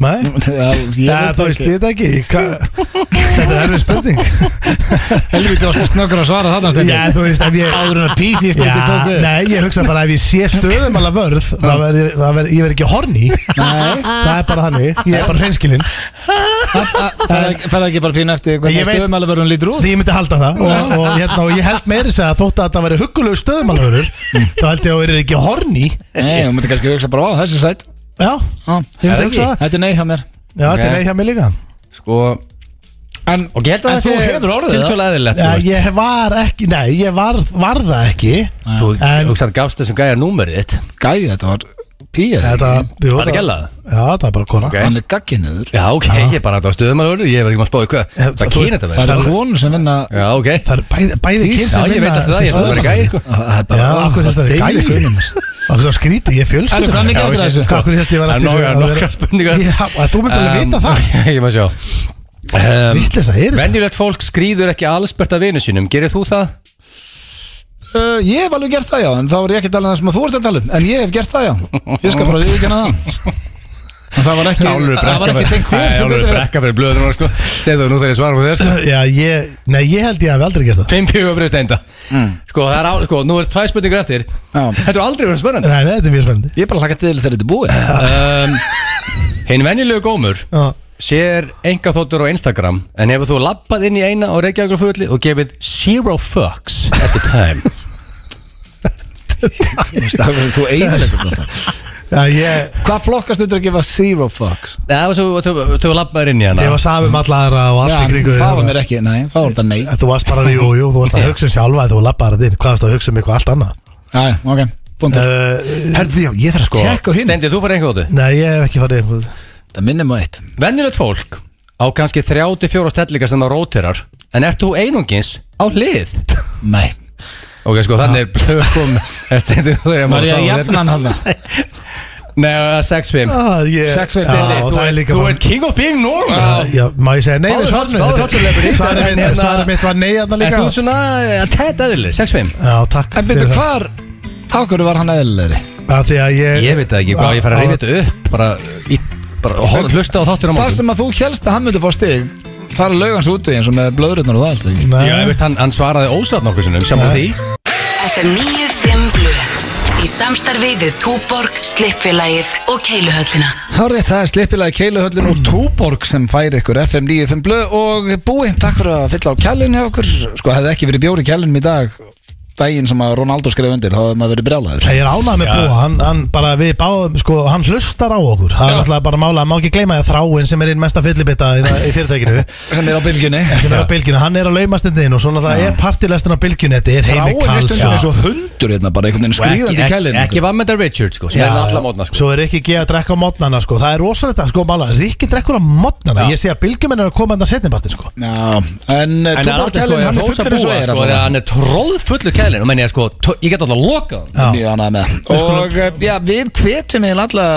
S2: Nei?
S1: Já, ég
S2: Já,
S1: veit
S2: þú
S1: það
S2: veist,
S1: ekki.
S2: ég veit það ekki Hva- Þetta er erfið spurning
S1: Helviti varstu snöggur að svara þarna
S2: Já,
S1: stendur
S2: þú veist, ef ég
S1: Áður en að písi
S2: Já,
S1: stendur tók við
S2: nei, ég hugsa bara ef ég sé stöðum alveg vörð þá verð, það verð, ég verð ekki horni það er bara hannig, ég er bara hreinskilinn
S1: Færða ekki bara pínu eftir
S2: Ég
S1: hvernig
S2: veit-
S1: stöðumælaverðun lítur út
S2: því ég myndi halda
S1: (laughs)
S2: það og, og, hérna, og ég held meiri segja að þótt að það væri huggulegu stöðum alveg vörður
S1: Mm.
S2: þá held ég að það er ekki horni
S1: Nei, þú myndir kannski hugsa bara á þessi sætt
S2: já,
S1: Já,
S2: ég myndi hugsa það
S1: Þetta er nei hjá mér
S2: já, þetta er neitt hjá mér líka
S8: Sko,
S1: En,
S3: Og ég held að
S1: en þú hefur orðið það
S3: Tilkvæmlega eðlilegt
S2: já, Eh, ég var ekki, nei, ég var, var það ekki
S3: Þú
S2: En-
S3: hugsaðan gafst þessum gæja númerið þitt
S1: Gæði, þetta var píja
S2: þetta, jú,
S3: Var það gælaða?
S2: já, það var bara kona
S3: Ok.
S1: Hann er gagginniður
S3: Já, ok, ég er bara að stöðum alveg orðið Ég var ekki maður að spáði hvað
S2: Eh,
S3: Það
S2: þú
S3: kynir
S2: veist,
S3: þetta
S1: Það
S3: verið
S1: eru konur sem vinna
S3: Já, ok
S2: það er bæði, bæði
S1: Því-
S2: kyn
S3: Já,
S2: sem
S3: ég veit
S2: vinna
S3: alltaf það,
S2: sem
S3: ég held
S1: Það
S3: að það væri gæi, sko.
S2: föðurlandið.
S1: er
S2: Já,
S1: bara
S2: okkur þess að það er
S1: deilir
S2: gæði
S1: konum.
S2: Okkur svo skrítið, ég fjölsku
S1: Erðu, hvað mikið eftir af þessu?
S2: Hvað, hvernig hérst ég var
S3: sko? Það er
S2: eftir
S3: nokkra-
S2: að vera-
S3: nokkrar spurningar.
S2: Já, að þú myndir alveg vita það
S3: það (laughs) Ég maður sjá um,
S2: Vitt þess að er þetta
S3: Venjulegt fólk skrýður ekki allsbert að vinu sínum Gerir þú það?
S1: Uh, Ég hef alveg gert það já, en þá var ég ekki að tala um það sem að þú ert að tala um En ég hef gert það já, ég skal bara viðkjanna það En það var ekki, það var ekki tengt þér sem
S3: Álur
S1: betur fer.
S3: brekka fyrir blöðunar sko Segðu þú nú þegar ég svara á þér sko
S2: Já, ég, nei, ég held ég hafi aldrei gert það
S3: Fimm fjögur fyrir steinda Sko, það er á, sko, nú er tvæ spurningar eftir
S1: Já.
S3: Þetta er aldrei verið spennandi
S2: Nei, nei, þetta er mjög spennandi
S1: Ég er bara hlaka til þegar þetta er búið
S3: um, Hinn venjulegu gómur
S2: Já.
S3: Sér enga þóttur á Instagram En hefur þú lappað inn í eina á Reykjavíkur fulli Og gefið zero fucks at the time
S1: Þú veist, það var- Þú eiginlega það
S2: Já, ég,
S1: Hvað flokkast undir að gefa zero fucks?
S3: Nei, Það var svo, þú, þú, þú lappaður inn í hana
S2: ég var samum alla aðra og allt í kringu
S1: það var mér ekki, nei, það var þetta nei
S2: En Þú varst bara, jú, jú, þú varst að hugsa um sjálfa þegar Þú lappaði þinn, hvað varst að hugsa um eitthvað allt annað
S1: Já, já, ok, búin til
S2: Uh,
S1: Herðu, já, ég þarf að tjekka á hinn
S3: Stendi, þú fyrir enga þóttu
S2: Nei, ég hef ekki farið eitthvað
S1: Það minnir maður eitt
S3: Venjulegt fólk á kannski 34 stellingar sem það rótirar En ert þú einungins á hlið?
S1: Nei,
S3: Ok, sko, þannig er blöð (laughs) kom Stendi, þú er
S1: var ég að jafna hann hann
S3: Nei, uh, það er 6-5
S2: Ah, ég- Já,
S3: Stendi, þú,
S2: það er líka
S3: þú
S2: bara-
S3: ert king of being normal
S2: Já, má ég segja nei
S3: Ah. Báðir
S2: við
S3: hots-
S2: svarinu?
S3: báðir hotselebrity.
S2: Svarið
S3: En hérna-
S2: mitt- svarið mitt var nei aðna
S3: En
S2: líka
S3: þú ert svona eh, að tæta eðli 6-5
S2: Já, takk
S1: En
S2: fyrir
S1: byrju,
S2: það.
S1: hvar, ákvörðu var hann eðlilegri?
S2: Af því að ég
S3: Ég veit það ekki hvað, ég fara að reyna þetta upp Bara, í, bara horf, hlusta á þáttur
S1: Það
S3: á morgun
S1: sem að þú helst að hann myndi fá stig Það er laugans úti eins og með blöðrutnar og það allt ekki
S3: Já, ég
S2: Nei,
S3: veist, hann, hann svaraði ósatt nokkuð sinnum Saman því
S5: FM 95 Blu Í samstarfi við Túborg, Slippfélagið og Keiluhöllina
S1: Það er rétt, það er slipilega keiluhöllin og túborg sem færi ykkur FM 95 blöð og búi, takk fyrir að fylla á kjallinu hjá okkur Sko, hefði ekki verið bjóri kjallinum í dag daginn sem að Ronaldo skreif undir þá hefði maður verið brjálæður
S2: ég er ánað með búa hann, hann bara við báðum, sko, hann hlustar á okkur Það er alltaf bara mála, hann má ekki gleyma því að þráin sem er einn mesta fyllibitta í, það- í fyrirtækinu
S3: (laughs)
S1: sem er á bylgjunni
S2: sem er á bylginu, hann er á laumastindin og svona það er partilestin á bylginu þetta er heimi
S1: Ráin er
S2: kals
S1: stundum eins og hundur hérna bara einhvern veginn
S3: Ekki,
S1: skrýðandi í
S3: ekki,
S1: kjallinu
S3: ekki var með þetta Richard, sko Sem er með alla mótna, sko
S2: Svo er ekki geð að drekka á mótnana sko. Það er rosalegt að sko mála Rikki drekkur á mótnana Ég sé að bylgjuminn er að koma þetta setnibartin sko.
S1: Já, en eh,
S3: En
S1: túborg
S3: alveg sko,
S1: kjallin
S3: ég
S1: hann er
S3: hrósa
S1: fullur eins og er allavega.
S3: búa, sko, þegar Hann er tróð fullur kælin Og menn ég sko, tó- ég get alltaf að loka hann
S2: Já.
S1: mjög ánægð með og eh, já, við hvetjum eða alla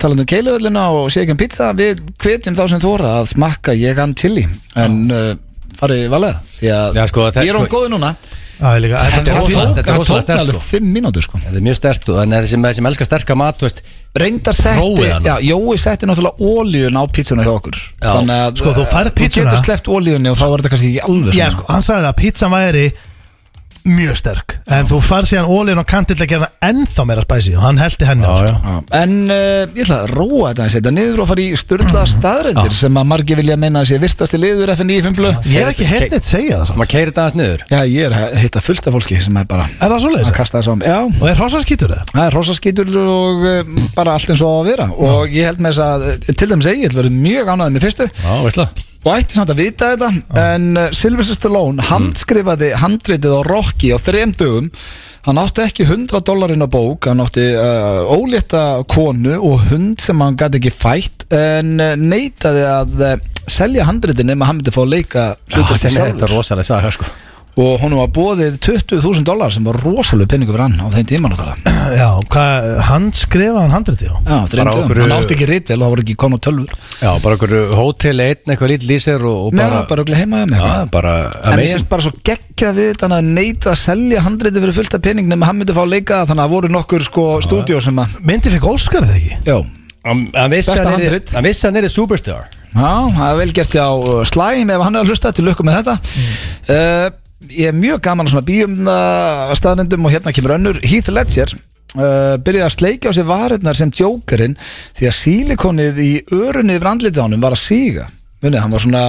S1: talandi um keiluöllina og sékjum pizza við hvetjum þá sem þóra að smakka ég hann til í en uh, farið valega því að
S3: Já, sko, það-
S1: ég er hún góð núna
S2: Það er líka
S3: Þetta er
S1: Hann
S3: rosalegt,
S1: tók-
S3: þetta er
S1: hann
S3: rosalegt
S1: tók
S3: sterkt,
S1: alveg
S3: sko.
S1: fimm mínútur sko
S3: Þetta er mjög stert og þannig að þeir sem, þeir sem elskar sterka mat, þú veist
S1: reyndar setti,
S3: Róið hann.
S1: já, Jói setti náttúrulega ólíun á pizzuna hjá okkur
S3: Já.
S1: þannig að eh,
S2: Sko, þú færð pizzuna.
S1: þú getur sleppt ólíunni og þá var þetta kannski ekki alveg
S2: Já,
S1: svona.
S2: sko, hann sagði það að pizzan væri mjög sterk en þú far síðan ólinn og kantill að gera hana ennþá meira spæsi og hann heldi henni á sko.
S1: En uh, ég ætla að róa þetta að setja niður og fara í styrla staðrendir sem að margi vilja meina að sé virtasti liður FN95 blöð
S2: Ég hef ekki heyrt neitt segja það samt.
S3: Maður keirir þetta aðeins niður
S1: Já, ég er að hitta fullt af fólki sem er bara
S2: Er það svo leiðis?
S1: að kasta þessu á mig Já,
S2: Og er hrossaskítur það?
S1: það er rosaskítur og um, bara allt eins og á að vera og ég held með þess að, eh, til dæmis Egil verið mjög ánæðið með fyrstu
S3: Já, veist það
S1: og ætti samt að vita þetta en uh, Sylvester Stallone
S3: Mm.
S1: handskrifaði handritið á Rocky á þrem dögum hann átti ekki 100 dólarinn á bók hann átti uh, ólétta konu og hund sem hann gæti ekki fætt en uh, neytaði að uh, selja handritin nema hann myndi fá að leika hlutverkið
S3: Þetta er-
S1: sjálfur.
S3: þetta er rosalega saga, sko
S1: og honum var bóðið 20.000 dólar sem var rosalega penningur fyrir hann á þeim tíma náttúrulega
S2: Já, hvað, hann skrifaði hann handriti á
S1: Já, þreim
S3: Bara
S1: dögum.
S3: okkur-
S1: hann átti ekki rítvel og það var ekki konu tölvur
S3: Já, bara okkur hótel einn, eitthvað lítið lýsir og, og
S1: Nei,
S3: bara,
S1: bara okkur heima með
S3: já, bara
S1: En ég finnst bara svo geggja við þetta hann að neita að selja handriti fyrir fullt af pening nema hann myndi fá að leika það þannig að það voru nokkur sko stúdíó sem að
S2: Myndi fikk Óskar það ekki?
S1: Já,
S3: Hann vissi
S1: Besta
S3: hann yrði-
S1: handrit.
S3: hann vissi hann er superstar
S1: Já, það er vel gert hjá uh, Slæm ef hann er að hlusta til lukku með þetta
S3: Mm.
S1: uh, Ég er mjög gaman að svona bíumna staðnendum og hérna kemur önnur Heath Ledger uh, byrjaði að sleika á sér varirnar sem djókarinn því að sílikonið í örunni yfir andlitið á honum var að síga Munið, hann var svona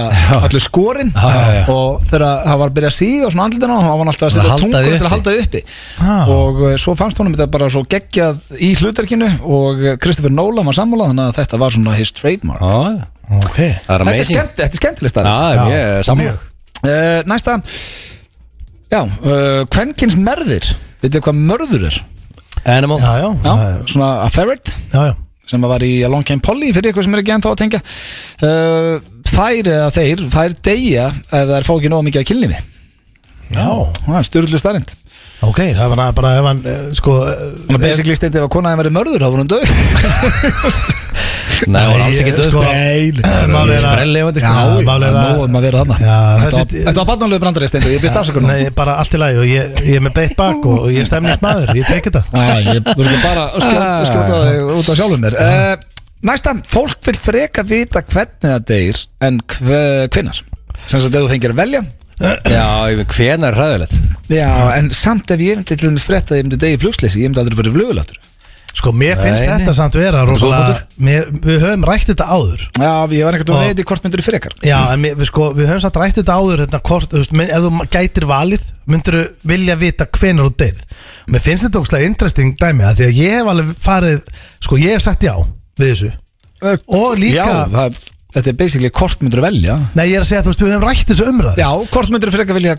S1: allir skorinn
S3: já, já.
S1: og þegar hann var að byrja að síga og svona andlitið á honum, hann var hann alltaf að
S3: Var að
S1: setja
S3: halda
S1: tungur til
S3: því
S1: að
S3: uppi.
S1: halda því uppi og uh, svo fannst honum þetta bara svo geggjað í hlutarkinu og uh, Christopher Nolan var sammálað þannig að þetta var svona his trademark
S3: Já,
S2: Ok
S3: það er
S1: Þetta er,
S3: amazing
S1: skemmt, þetta er skemmtileg
S3: Já,
S1: starf
S3: það er mjög sammjög
S1: uh, Næsta Já, uh, kvenkins merðir Veitir hvað mörður er?
S3: Animal
S2: Já, já,
S1: Já,
S2: það er-
S1: svona að ferret
S2: já, já.
S1: sem að var í A Long Game Polly fyrir ykkur sem er ekki ennþá að tengja uh, Þær eða þeir, þær deyja ef þær fá ekki nóg mikið að kynlífi
S2: já.
S1: Það er styrlu starind
S2: Ok, það var bara ef hann eh, sko
S1: Þannig að basically steindi ef að konaði verið mörður þá var hún döð
S3: Nei, það var alls ekki döð
S2: sko, Málið er að-
S3: Sprellefandi
S2: Já, málið er að-
S1: Nó um að vera þarna
S2: Já,
S1: Þetta
S2: þessi-
S1: var- Þetta var barnalögu brandari steindi, ég byrst afsökunum
S2: Nei, bara allt í lagi og ég, ég er með beitt bak og, og ég er stemnist maður, ég tek þetta
S1: Æ, ég voru ekki bara að skjóta, skjóta þig út af sjálfum mér uh, Næsta, fólk vil freka vita hvernig það deyr en hve, hvinnar sem sagt ef þú fengir að velja
S3: Já, hvenar er hræðilegt
S1: Já, en samt ef ég myndi til dæmis frétta að ég myndi degi í flugsleysi, ég myndi aldrei verið fluguláttur
S2: Sko, mér finnst
S3: Nei, nei.
S2: þetta samt vera rosalega mér, Við höfum rætt þetta áður
S1: Já, ég var einhvern
S2: Og-
S1: veginn veit í hvort myndir frekar
S2: Já, en mér, við, sko, við höfum samt rætt þetta áður þetta kort, þú veist, men- ef þú gætir valið myndir þú vilja vita hvenar þú deyrð Mér finnst þetta ógstlega interesting dæmi að því að ég hef alveg farið sko, ég hef sagt já við þessu Og líka-
S1: Eh, Já, það, þetta er basically hvort myndir velja
S2: Nei, ég er að segja, þú veist, við höfum rætt þessu umræð
S1: Já, hvort myndir frekar vilja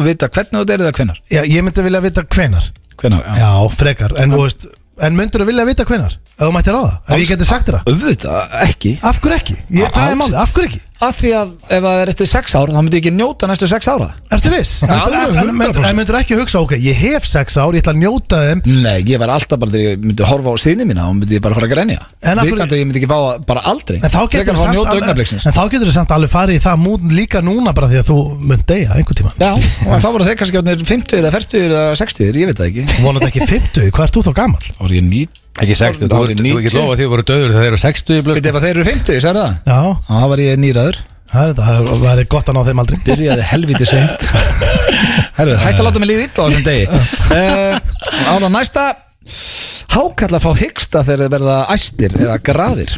S1: vita hvernig þú deyr eða hvinnar
S2: ég myndi vilja vita hvenar
S1: Hvinnar, já
S2: Já, frekar, en þú veist En myndir þú vilja vita hvenar, ef þú mættir ráða Ef ég geti sagt þér það
S1: Auðvitað, ekki
S2: Af hverju ekki? Ég, það er málið, af hverju ekki?
S1: Af því að ef það er eftir 6 ár, þá myndi ég ekki njóta næstu 6 ára
S2: Ertu viss?
S1: Já,
S2: Myndirðu-
S1: alveg
S2: en- en-
S1: 100%.
S2: En myndir ekki hugsa, ok, ég hef sex ár, ég ætla að njóta þeim
S1: Nei, ég var alltaf bara þegar ég myndi horfa á sinni mína og myndi ég bara fara að grenja
S2: En af hverju-
S1: Vikandi að ég myndi ekki fá það bara aldrei
S2: En þá
S1: Frekar að
S2: getur
S1: fá að njóta
S2: alveg,
S1: augnabliksins
S2: en þá getur þú samt alveg farið í það mútin líka núna bara því að þú mynd deyja einhvern tíma
S1: Já, og þá voru þeir kannski orðnir 50 eða 40 eða 60, ég veit það ekki
S2: Vonandi ekki 50, hvað ert þú þá gamall?
S1: Þá voru ég nýtt
S3: Ekki 60, þú ert- þú er ekki lofa því að voru döður þegar þeir eru 60 í blöð.
S1: Veit ef að þeir eru 50, sagði það?
S2: Já,
S1: Já, þá var ég nýraður
S2: það er, þetta, það er- það er gott að ná þeim aldrei
S1: Byrjaði helviti
S3: (laughs)
S1: seint Herru, hætt
S3: Eh.
S1: að láta mig líða illa á þessum degi uh, Ána næsta Hákall að fá hyggsta þegar þeir verða æstir eða graðir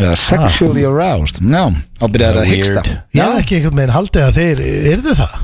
S1: eða sexually aroused Já, þá byrjaði að hyggsta
S3: Weird.
S2: Já, ekki einhvern veginn haldið að þeir, yrðu það?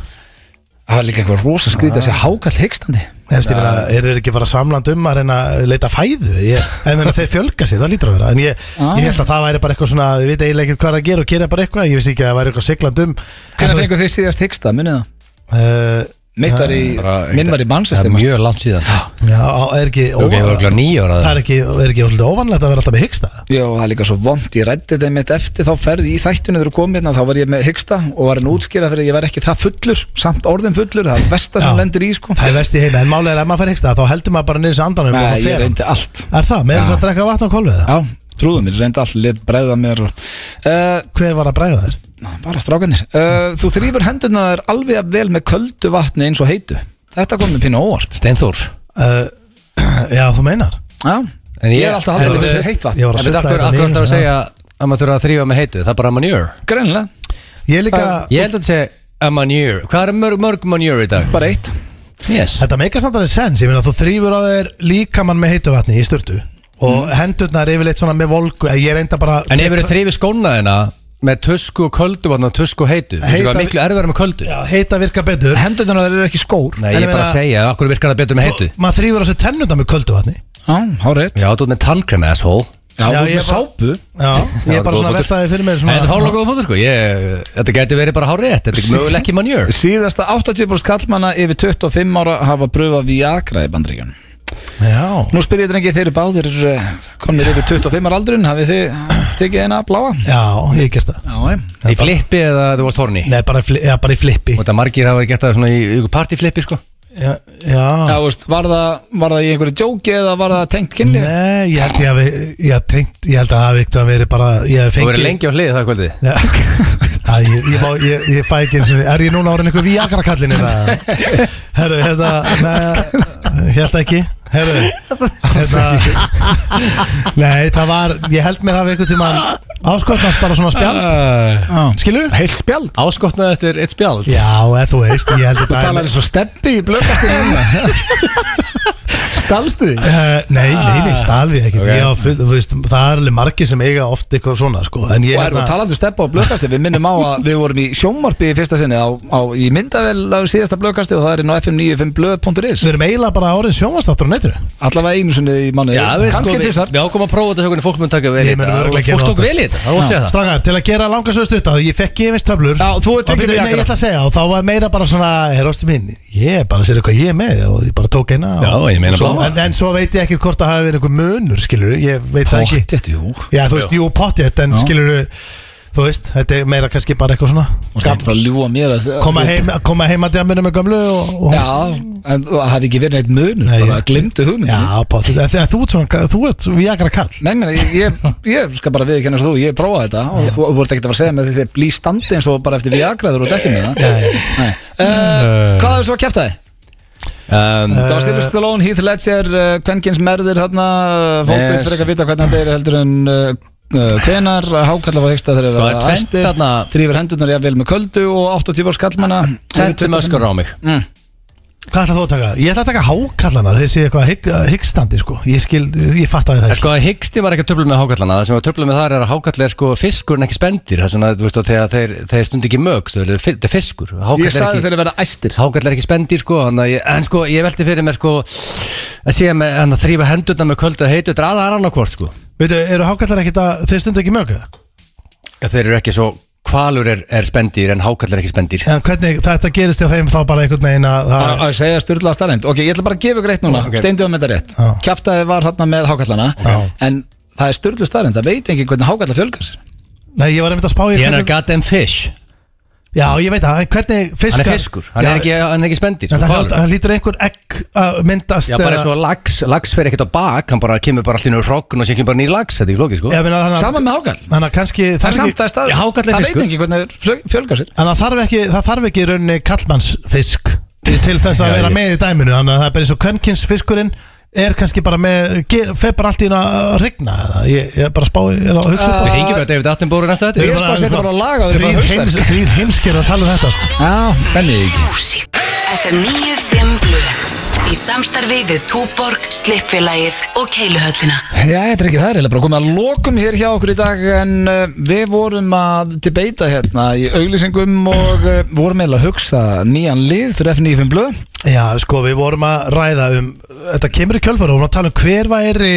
S1: Það var líka eitthvað rosa skrítið
S3: Ah.
S1: að sé hákall hyggstandi
S2: Efst, ég meina, eru þeir ekki bara samland um að reyna að leita fæðu? Ég, ég meina, þeir fjölga sér, það lítur að vera En ég, ég held að það væri bara eitthvað svona, ég veit eiginlega ekki hvað er að gera og gera bara eitthvað Ég vissi ekki að það væri eitthvað sigland um
S1: Hvernig fengur þið síðast hyggsta, munið það?
S2: Uh,
S1: Mitt var í,
S3: Bara-
S1: minn var í
S3: Það
S1: Manchester
S3: er
S1: manstu?
S3: mjög langt síðan
S2: já, á- er ekki
S3: Ok, ég voru
S2: óvan-
S3: ekki
S1: uh,
S3: nýja ára
S2: Það er ekki, er ekki svolítið óvanlegt að vera alltaf með hyggsta
S1: Já, og það er líka svo vond, ég rætti þeim mitt eftir þá ferði í þættunum þegar þú komið hérna, þá var ég með hyggsta og var hann útskýra fyrir að ég var ekki það fullur samt orðin fullur, það er besta sem
S2: Já.
S1: lendir í sko
S2: Það er vest í heima, en málega er ef maður fær hyggsta þá heldur maður bara niður um þessu andanum og
S1: Nei,
S2: það
S1: ég
S2: fer hann.
S1: reyndi allt
S2: Er það, með þess að drekka vatn á kolvið það?
S1: Já, trúðu mér, reyndi allt, let bregða mér og, uh,
S2: Hver var að bræða þér?
S1: bara strákanir uh, Þú þrýfur hendurna þær alveg jafn vel með köldu vatni eins og heitu Þetta kom mér pínu á óvart
S3: Steinþórs
S2: Uh, (clears throat) já, þú meinar
S1: Já,
S3: En
S1: ég er alltaf að halda
S2: Heyrðu,
S1: með þessu heitt vatn
S2: ég var að
S3: En veit
S2: sulla
S3: akkur, akkur
S2: þetta
S3: alltaf
S2: niður,
S3: að segja að maður þurfa að þrýfa með heitu, það er bara manure
S1: Greinlega,
S2: Ég er líka,
S3: Ég held að segja a manure Hvað er mörg, mörg manure í dag?
S1: bara eitt
S3: Yes
S2: þetta meikar samt alveg sens Ég meina þú þrýfur á þér líkamann með heitu vatni í sturtu Og
S1: Mm.
S2: hendurnar yfirleitt svona með volgu eh, Ég reynda bara
S3: En ef eru þrýfi skónaðina með tusku og köldu vatn og tusku og heitu Þú veist
S2: Heita-
S3: hvað miklu erfæra með köldu
S2: Já, heita virka betur
S1: Hendurna þær eru ekki skór
S3: Nei, ég
S2: En ég
S3: er bara
S2: meina-
S3: að segja, akkur virkar það betur með heitu
S2: Og Maður þrýfur á sér tennurnar með köldu vatni
S1: Já, hárið
S3: Já, þú ert með tannkrem, asshole
S1: Já,
S2: Já,
S1: þú ert
S2: ég
S1: með
S2: bara-
S1: sápu
S2: Já,
S3: Já,
S2: ég er bara
S3: góð
S2: svona
S3: punktur.
S2: veltaði fyrir mér
S3: En
S2: svona
S3: þetta er fálega góða punktur sko Ég- Þetta gæti verið bara hárið Þetta er möguleg ekki manure
S1: Síðasta 80% kallmanna yfir 25 ára hafa pröfað Viagra í bandríkjum
S2: Já
S1: Nú spyr ég drengi, þeir eru báðir eh, komnir yfir 25 ára aldrun hafið þið tekið eina bláa?
S2: Já, ég gerst það
S1: Já, ég
S3: Í flippi eða þú varst horni
S2: Nei, bara, í fli- já, bara í flippi
S3: Og þetta margir hafa gert það svona í ykkur partyflippi sko
S2: Já, já.
S1: Já, veist, var það, var það í einhverju djóki eða var það tengt kynli?
S2: Nei, ég held, ég, hafi, ég, haf tenkt, ég held að það hafi ekkert að verið bara Ég hef
S3: Þú
S2: fengið
S3: verið lengi á hliði það kvöldi
S2: Já, (laughs) Æ, ég, ég, má, ég, ég
S3: (laughs)
S2: fæ ekki eins og Er ég núna orðin einhver viagra kallin eða Herru, hérna nei, Hjælt ekki Herðu hérna, Nei, það var Ég held mér hafi einhvern tímann Áskotnast bara svona
S3: Ah.
S2: spjald Ah. Skilur?
S1: Ah. Heilt spjald
S3: Áskotnað eftir eitt spjald
S2: Já, eða þú veist Ég held
S1: Þú
S2: þetta
S1: talaði svo steppi í blöðkastin
S2: (laughs)
S1: núna Stalstu því?
S2: Uh, nei, nei, nei, stalfið ekkert
S3: Ah. Ok.
S2: okay. full, þú veist, Það er alveg margir sem eiga oft eitthvað svona sko. En ég
S1: Og erum við talandi um steppa á blöðkasti Við minnum á að við vorum í sjónvarpi í fyrsta sinni á, á, Í myndavel á síðasta blöðkasti Og það er inn á fm95blöð.is
S2: Við erum eiginlega bara orðin sjónvastáttur á netinu
S1: Allavega einu sinni í manni
S3: Já, við sko,
S1: Kanski
S3: við,
S1: tvisvar
S3: við ákomum að prófa þetta hvernig fólk mun taka vel í
S2: Ég mun
S3: þetta.
S2: örugglega gera
S3: Fólk tók vel í þetta,
S2: Ah. þetta.
S3: það er ótt að segja það
S2: Strákar, til að gera langa svo stutt að ég fekk gefins töflur
S1: Já, þú ert
S2: Og
S1: ekki með
S2: byrju, Nei, ég
S1: jakkann.
S2: ætla að segja, og þá var meira bara svona Herra ástu mín, ég er bara að segja hvað ég er með Og ég bara tók eina og,
S3: Já, ég meina
S2: svo,
S3: bara-
S2: en, en svo veit ég ekki hvort það hafi verið einhver munur, skilur Ég veit það ekki
S1: Pottþétt, jú.
S2: Já, þú veist, jú, pottjett, en skilur Þú veist, þetta er meira kannski bara eitthvað svona
S1: Og það er bara að ljúa mér að
S2: Koma heim, koma heim að dæminu með gömlu og, og
S1: Já, en það hefði ekki verið neitt munur
S2: Nei,
S1: Bara
S2: ég-
S1: glimtu hugmyndinu
S2: Já, pottjett, en þegar þú ert svona, þú ert viagra kall
S1: Nei, meni, ég, ég, ég skal bara viðkennast þú, ég prófaði þetta og þú voru ekkert að fara að segja með því að blí standi eins og bara eftir viagraður og ekki með það Nei. uh, Hvað er svo að kæfta þið?
S3: um,
S1: Það var Stephen Stallone, Heath Ledger, uh, Kvenkins Merðir þarna, fólk yes.
S3: Yes.
S1: veit fyrir að vita hvernig hann deyri heldur en uh, uh, hvenar, hákalla var hegsta þegar
S3: Sko, það er tvennt þarna.
S1: þrýfur hendurnar jafnvel með köldu og 80 árs kallmanna
S3: Tentum öskar á mig
S1: Mm.
S2: Hvað ætla þú að taka? Ég ætla að taka hákallana þeir séu eitthvað hygg, hyggstandi sko Ég skil, ég fatt að það
S3: En
S2: ekki
S3: sko að hyggsti var ekki að töfla með hákallana Það sem var að töfla með þar er að hákall er sko fiskur en ekki spendir Það er svona, þú veist, og þegar þeir, þeir stundi ekki mög Þetta er fiskur Hákarl
S1: Ég
S3: er
S1: sagði
S3: ekki-
S1: þeirra verða æstir
S3: Hákall er ekki spendir sko en, ég, en sko ég velti fyrir mér sko að sé með hann að þrýfa hendurna með köldu og heitu þetta er aðra annarkvort sko
S2: Veitu, eru hákallar ekkit að, þeir stundu ekki mjög eða?
S3: ja, þeir eru ekki svo kvalur er, er spendir en hákall er ekki spendir
S2: En hvernig þetta gerist hjá þeim þá bara einhvern veginn að
S1: Að
S3: Ah,
S2: það
S1: að segja styrla starrend Ok, ég ætla bara að gefa ykkur eitt núna okay. Steindu að mynda rétt
S2: Já.
S1: Kjaftaði var þarna með hákallana En það er styrlu starrend Það veit ekki hvernig hákalla fjölgar sér
S2: Nei, ég var einmitt að spá í
S3: Ég er
S2: hvernig,
S3: goddamn fish
S2: Já, ég veit það, en hvernig fiskar
S3: Hann er fiskur, hann,
S2: Já,
S3: er, ekki, hann er ekki sko, spendir
S2: En það, hljóta- það lítur einhver egg að myndast
S3: Já, bara svo lags, lags fer ekkert á bak Hann bara kemur bara allir nú hrogn og sé kemur bara nýr lags Þetta er ekki lókið sko
S2: Já, minna, þannig,
S1: Saman
S2: að-
S1: með hákall
S2: þannig að kannski
S1: Það er
S2: þarf
S1: samt
S2: ekki
S1: það er staður
S3: Já, hákarl er
S1: Það
S3: fiskur.
S1: veit ekki hvernig flög- fjölgar sér
S2: En það þarf ekki, það þarf ekki í rauninni kallmannsfisk til- til þess að
S3: Já,
S2: vera
S3: ég-
S2: með í dæminu Þannig að það er bara eins og kvenkinsfiskurinn er kannski bara með, ger- fer bara allt í hérna að rigna eða ég, ég er bara að spá, ég er að hugsa upp á
S3: Við hringjum bara David Attenborough í næsta
S1: Ég
S3: þetta
S1: er spá að setja bara á lag á því að fá hausverk.
S2: laga Þrýr heimskir að tala um þetta sko.
S1: Já, bennið ekki
S5: Músík FM 95 Blu Í samstarfi við Túborg, Slippfélagið og Keiluhöllina
S1: Já, þetta er ekki það, reyla bara komið að lokum hér hjá okkur í dag en uh, við vorum að debata hérna í auglýsingum og uh, vorum eiginlega að hugsa nýjan lið fyrir F95 blöð
S2: Já, sko, við vorum að ræða um Þetta kemur í kjölfara, við vorum að tala um hver væri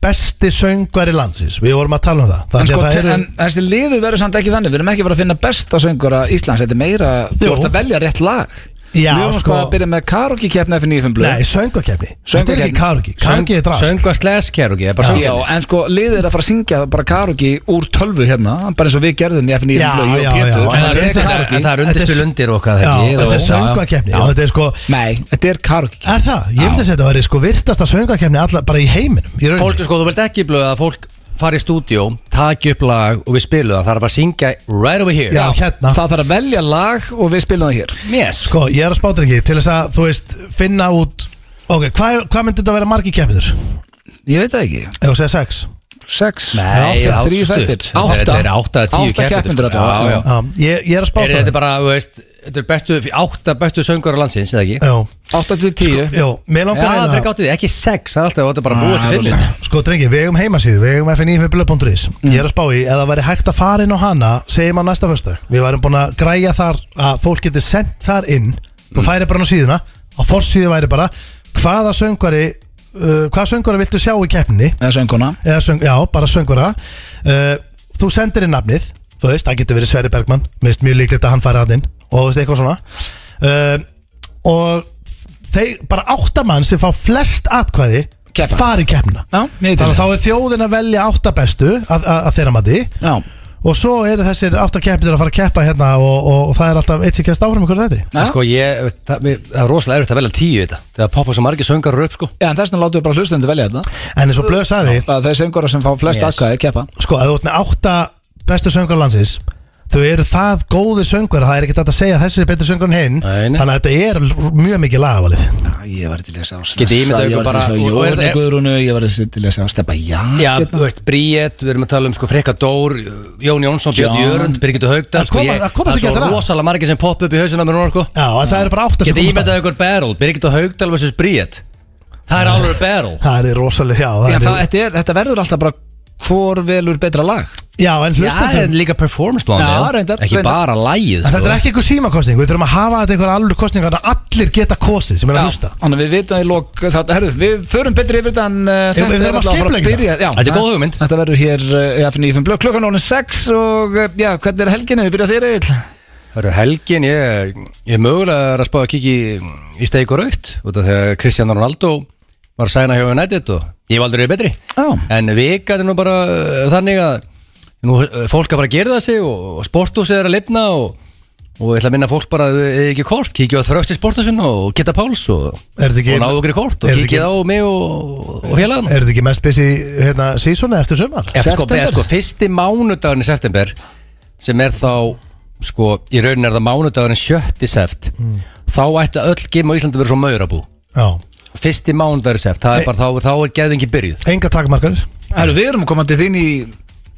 S2: besti söngvari landsins Við vorum að tala um það
S1: en,
S2: Þannig
S1: sko,
S2: að það
S1: eru...
S2: eru
S1: en þessi liður verður samt ekki þannig við erum ekki bara að finna besta söngara Íslands þetta er meira, þú
S2: Jú.
S1: ert að velja rétt lag
S2: Já,
S1: við erum sko
S2: sko.
S1: að byrja með karaoke keppna F95
S2: Nei,
S1: blöð
S2: söngvakefni Þetta er
S1: Söngvakeppni.
S2: ekki kargi, kargi er drast
S3: Söngu að sleskjær og ég er bara
S1: Já,
S3: söngvakeppni.
S1: en sko liðið er að fara að syngja bara karaoke úr tölvu hérna bara eins og við gerðum í F95
S2: Já,
S1: blöð ég
S2: já,
S1: og Pétur.
S2: já,
S1: En þetta er
S3: En
S1: karaoke.
S3: en það er undirspil
S2: Þetta er-
S3: undir og hvað
S2: Já,
S3: það
S2: þetta er söngvakefni og þetta er sko
S1: Nei, þetta er karaoke
S2: Er það? Ég myndi að segja þetta væri sko virtasta söngakefni alla, bara í heiminum í rauninni.
S3: Fólk, sko, þú vilt ekki blöða að fólk fari í stúdíó, taki upp lag og við spilum það, það er bara að syngja right over here
S2: Já, hérna
S1: það þarf að velja lag og við spilum það hér
S3: Yes,
S2: Sko, ég er að spáta ekki til þess að, þú veist, finna út Ok, hvað hva myndi þetta vera margi keppiður?
S1: Ég veit það ekki
S2: Ef þú segir sex
S1: Sex
S3: Nei,
S2: Já,
S3: það
S1: þrír þættir. Átta.
S3: Þetta er átta að tíu
S1: Átta keppendur
S3: sko.
S1: allavega,
S3: Já, já.
S2: Já, ég, ég er að
S3: Er
S2: spáta
S3: þetta bara, þú veist, þetta er bestu, átta bestu söngur á landsins, eða ekki?
S2: Jú,
S1: 8 til 10
S2: jú, mér
S3: Já,
S2: Sko, langar
S3: það er
S2: að
S3: ekki áttið, ekki sex, það er alltaf, þetta er bara búið til fimm
S2: Sko, drengi, við eigum heimasíðu, við eigum fnifibla.is Ég er að spá í, eða væri hægt að fara inn á hana segjum á næsta föstudag Við værum búin að græja þar að fólk geti sendt þar inn Þú færi bara inn á síðuna Á forsíðu væri bara Hvaða söngvari, uh, hvaða söngvari viltu sjá í keppni
S1: Eða sönguna
S2: eða söng, já, bara söngvara uh, þú sendir inn nafnið þú veist, það getur verið Sverri Bergmann mér finnst mjög líklegt að hann færi hann inn og þú veist, eitthvað svona uh, og þeir, bara áttamann sem fá flest atkvæði
S1: Keppa.
S2: fari í keppna
S1: Já, ég til
S2: þannig að þá er þjóðin að velja áttabestu að, að, að þeirra mati
S1: Já
S2: og svo eru þessir áttakeppnir að fara að keppa hérna og, og, og það er alltaf eitt sem kemst áfram ykkur þetta
S1: Já.
S3: Sko, ég, það mér- það er rosalega erfitt að velja tíu í þetta Það poppa svo margir söngarar upp, sko
S1: Já, en þess vegna látum við bara hlustendur velja þetta
S2: en eins og blöð sagði
S1: Að Þeir söngura sem fá flest
S3: Yes.
S1: aðkvæði keppa
S2: sko, að þú ert með átta bestu söngar landsins þau eru það góði söngur það er ekki þetta að segja að þessi er betur söngur en hinn
S3: Nei, nei.
S2: þannig að þetta er l- mjög mikið lagavalið
S1: Ég var til að sjá svona
S3: Getið ímyndað ykkur
S1: Ég var
S3: bara-
S1: til að sjá
S3: og- og er-
S1: Jónu Guðrúnu Ég var til að sjá Steppa Jan
S3: Já,
S2: hérna.
S3: þú veist, Bríett, við erum að tala um sko Frikka Dór, Jón Jónsson, Björn
S1: John.
S3: Jörund, Birgitu Haugdal sko,
S2: Það koma- það komast
S3: Það
S2: ekki eftir
S3: er
S2: það.
S3: svo rosalega margir sem popp upp í hausuna mér núna, sko
S2: Já, en það eru bara átt að
S3: Getið ímyndað ykkur battle, Birgitu Haugdal vs. Bríett Það er alveg battle
S2: Það er rosalega, já, það
S1: Já,
S2: er,
S1: það, þetta, er, þetta verður alltaf bara Hvor velur betra lag
S2: já en
S3: Já, það er
S2: hlustandum
S3: líka performance báðan
S1: Já, reyndar,
S3: Ekki
S1: reyndar.
S3: bara sko. lægið,
S2: Þetta er ekki einhver símakostning, við þurfum að hafa þetta einhver alveg kostning þannig að allir geta kostið sem er að hlusta
S1: Þannig að við vitum í lok Þetta, herðu, við förum betri yfir þetta en uh,
S2: Ef- ef við erum að
S1: allavega
S2: skipuleggja
S1: bara að byrja- já,
S3: Þetta er góð hugmynd.
S1: Þetta verður hér uh, FNF blöð klukkan orðin 6 og uh, já, hvernig er helginu? Við byrjað þér eil
S3: Það eru helgin, ég, ég mögulega er að spá að kikki í, í steik og raut út af þegar Kristján Ronaldo var að sæna hjá United og ég var aldrei betri
S1: Já.
S3: en vikan er nú bara uh, þannig að nú, uh, fólk er bara að gera það sig og, og sporthúsið er að lifna og, og ég ætla að minna fólk bara að eða ekki kort, kíkja á þrösti sporthúsinu og geta páls og, og
S2: Er þetta ekki,
S3: náðu okkur í kort og
S2: er þetta
S3: kíkja á mig og, og félagann
S2: er þetta ekki mest busy hérna, sísoni eftir sumar?
S3: Eftir sko,
S1: September?
S3: eða sko, fyrsti mánudagurinn í september sem er þá sko, í raunin er það mánudagurinn sjötti seft þá ætti öll geim á Íslandi að vera svo maurabú
S2: Já,
S3: fyrsti mánudagurinn seft, það
S2: Nei.
S3: er bara þá, þá er geðingi byrjuð
S2: enga takmarkar
S1: Herru, við erum komandi þín í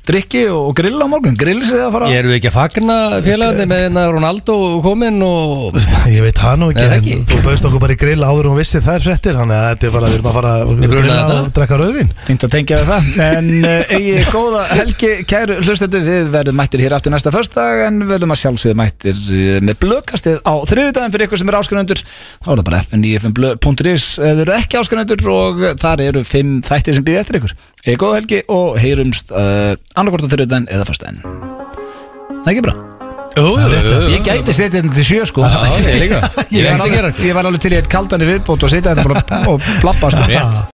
S1: drikki og og grill á morgun Grill sig að fara
S3: Ég eru ekki að fagna félagandi með hérna Ronaldo komin og
S2: (laughs) Ég veit það nú ekki,
S3: Nei, það
S2: en
S3: ekki.
S2: þú baust okkur bara í grill áður og vissir þær fréttir þannig að þetta er bara, við erum að fara að
S3: Ég bruna
S2: grilla
S3: þetta.
S2: og drekka rauðvín
S1: Fynd að tengja við það En uh, eigi góða helgi, kæru hlustendur Við verðum mættir hér aftur næsta föstudag En verðum að sjálfsögðu mættir eh, með blökastið á þriðudaginn Fyrir ykkur sem eru áskrunendur Þá er það bara fn9fn.is Þeir eru ekki áskrunendur og þar eru fimm þættir sem býði eftir ykkur Eigi góða helgi og heyrumst uh, annarkort á þriðudaginn eða föstudaginn Það er ekki bra Ég gæti setja þetta til sjö sko
S3: ég líka.
S1: (laughs) Ég
S3: Ég
S1: var
S3: veit að gera
S1: alveg- ég var alveg til í eitt kaldan í viðbót og setja þetta bara og blappa sko
S3: Rétt.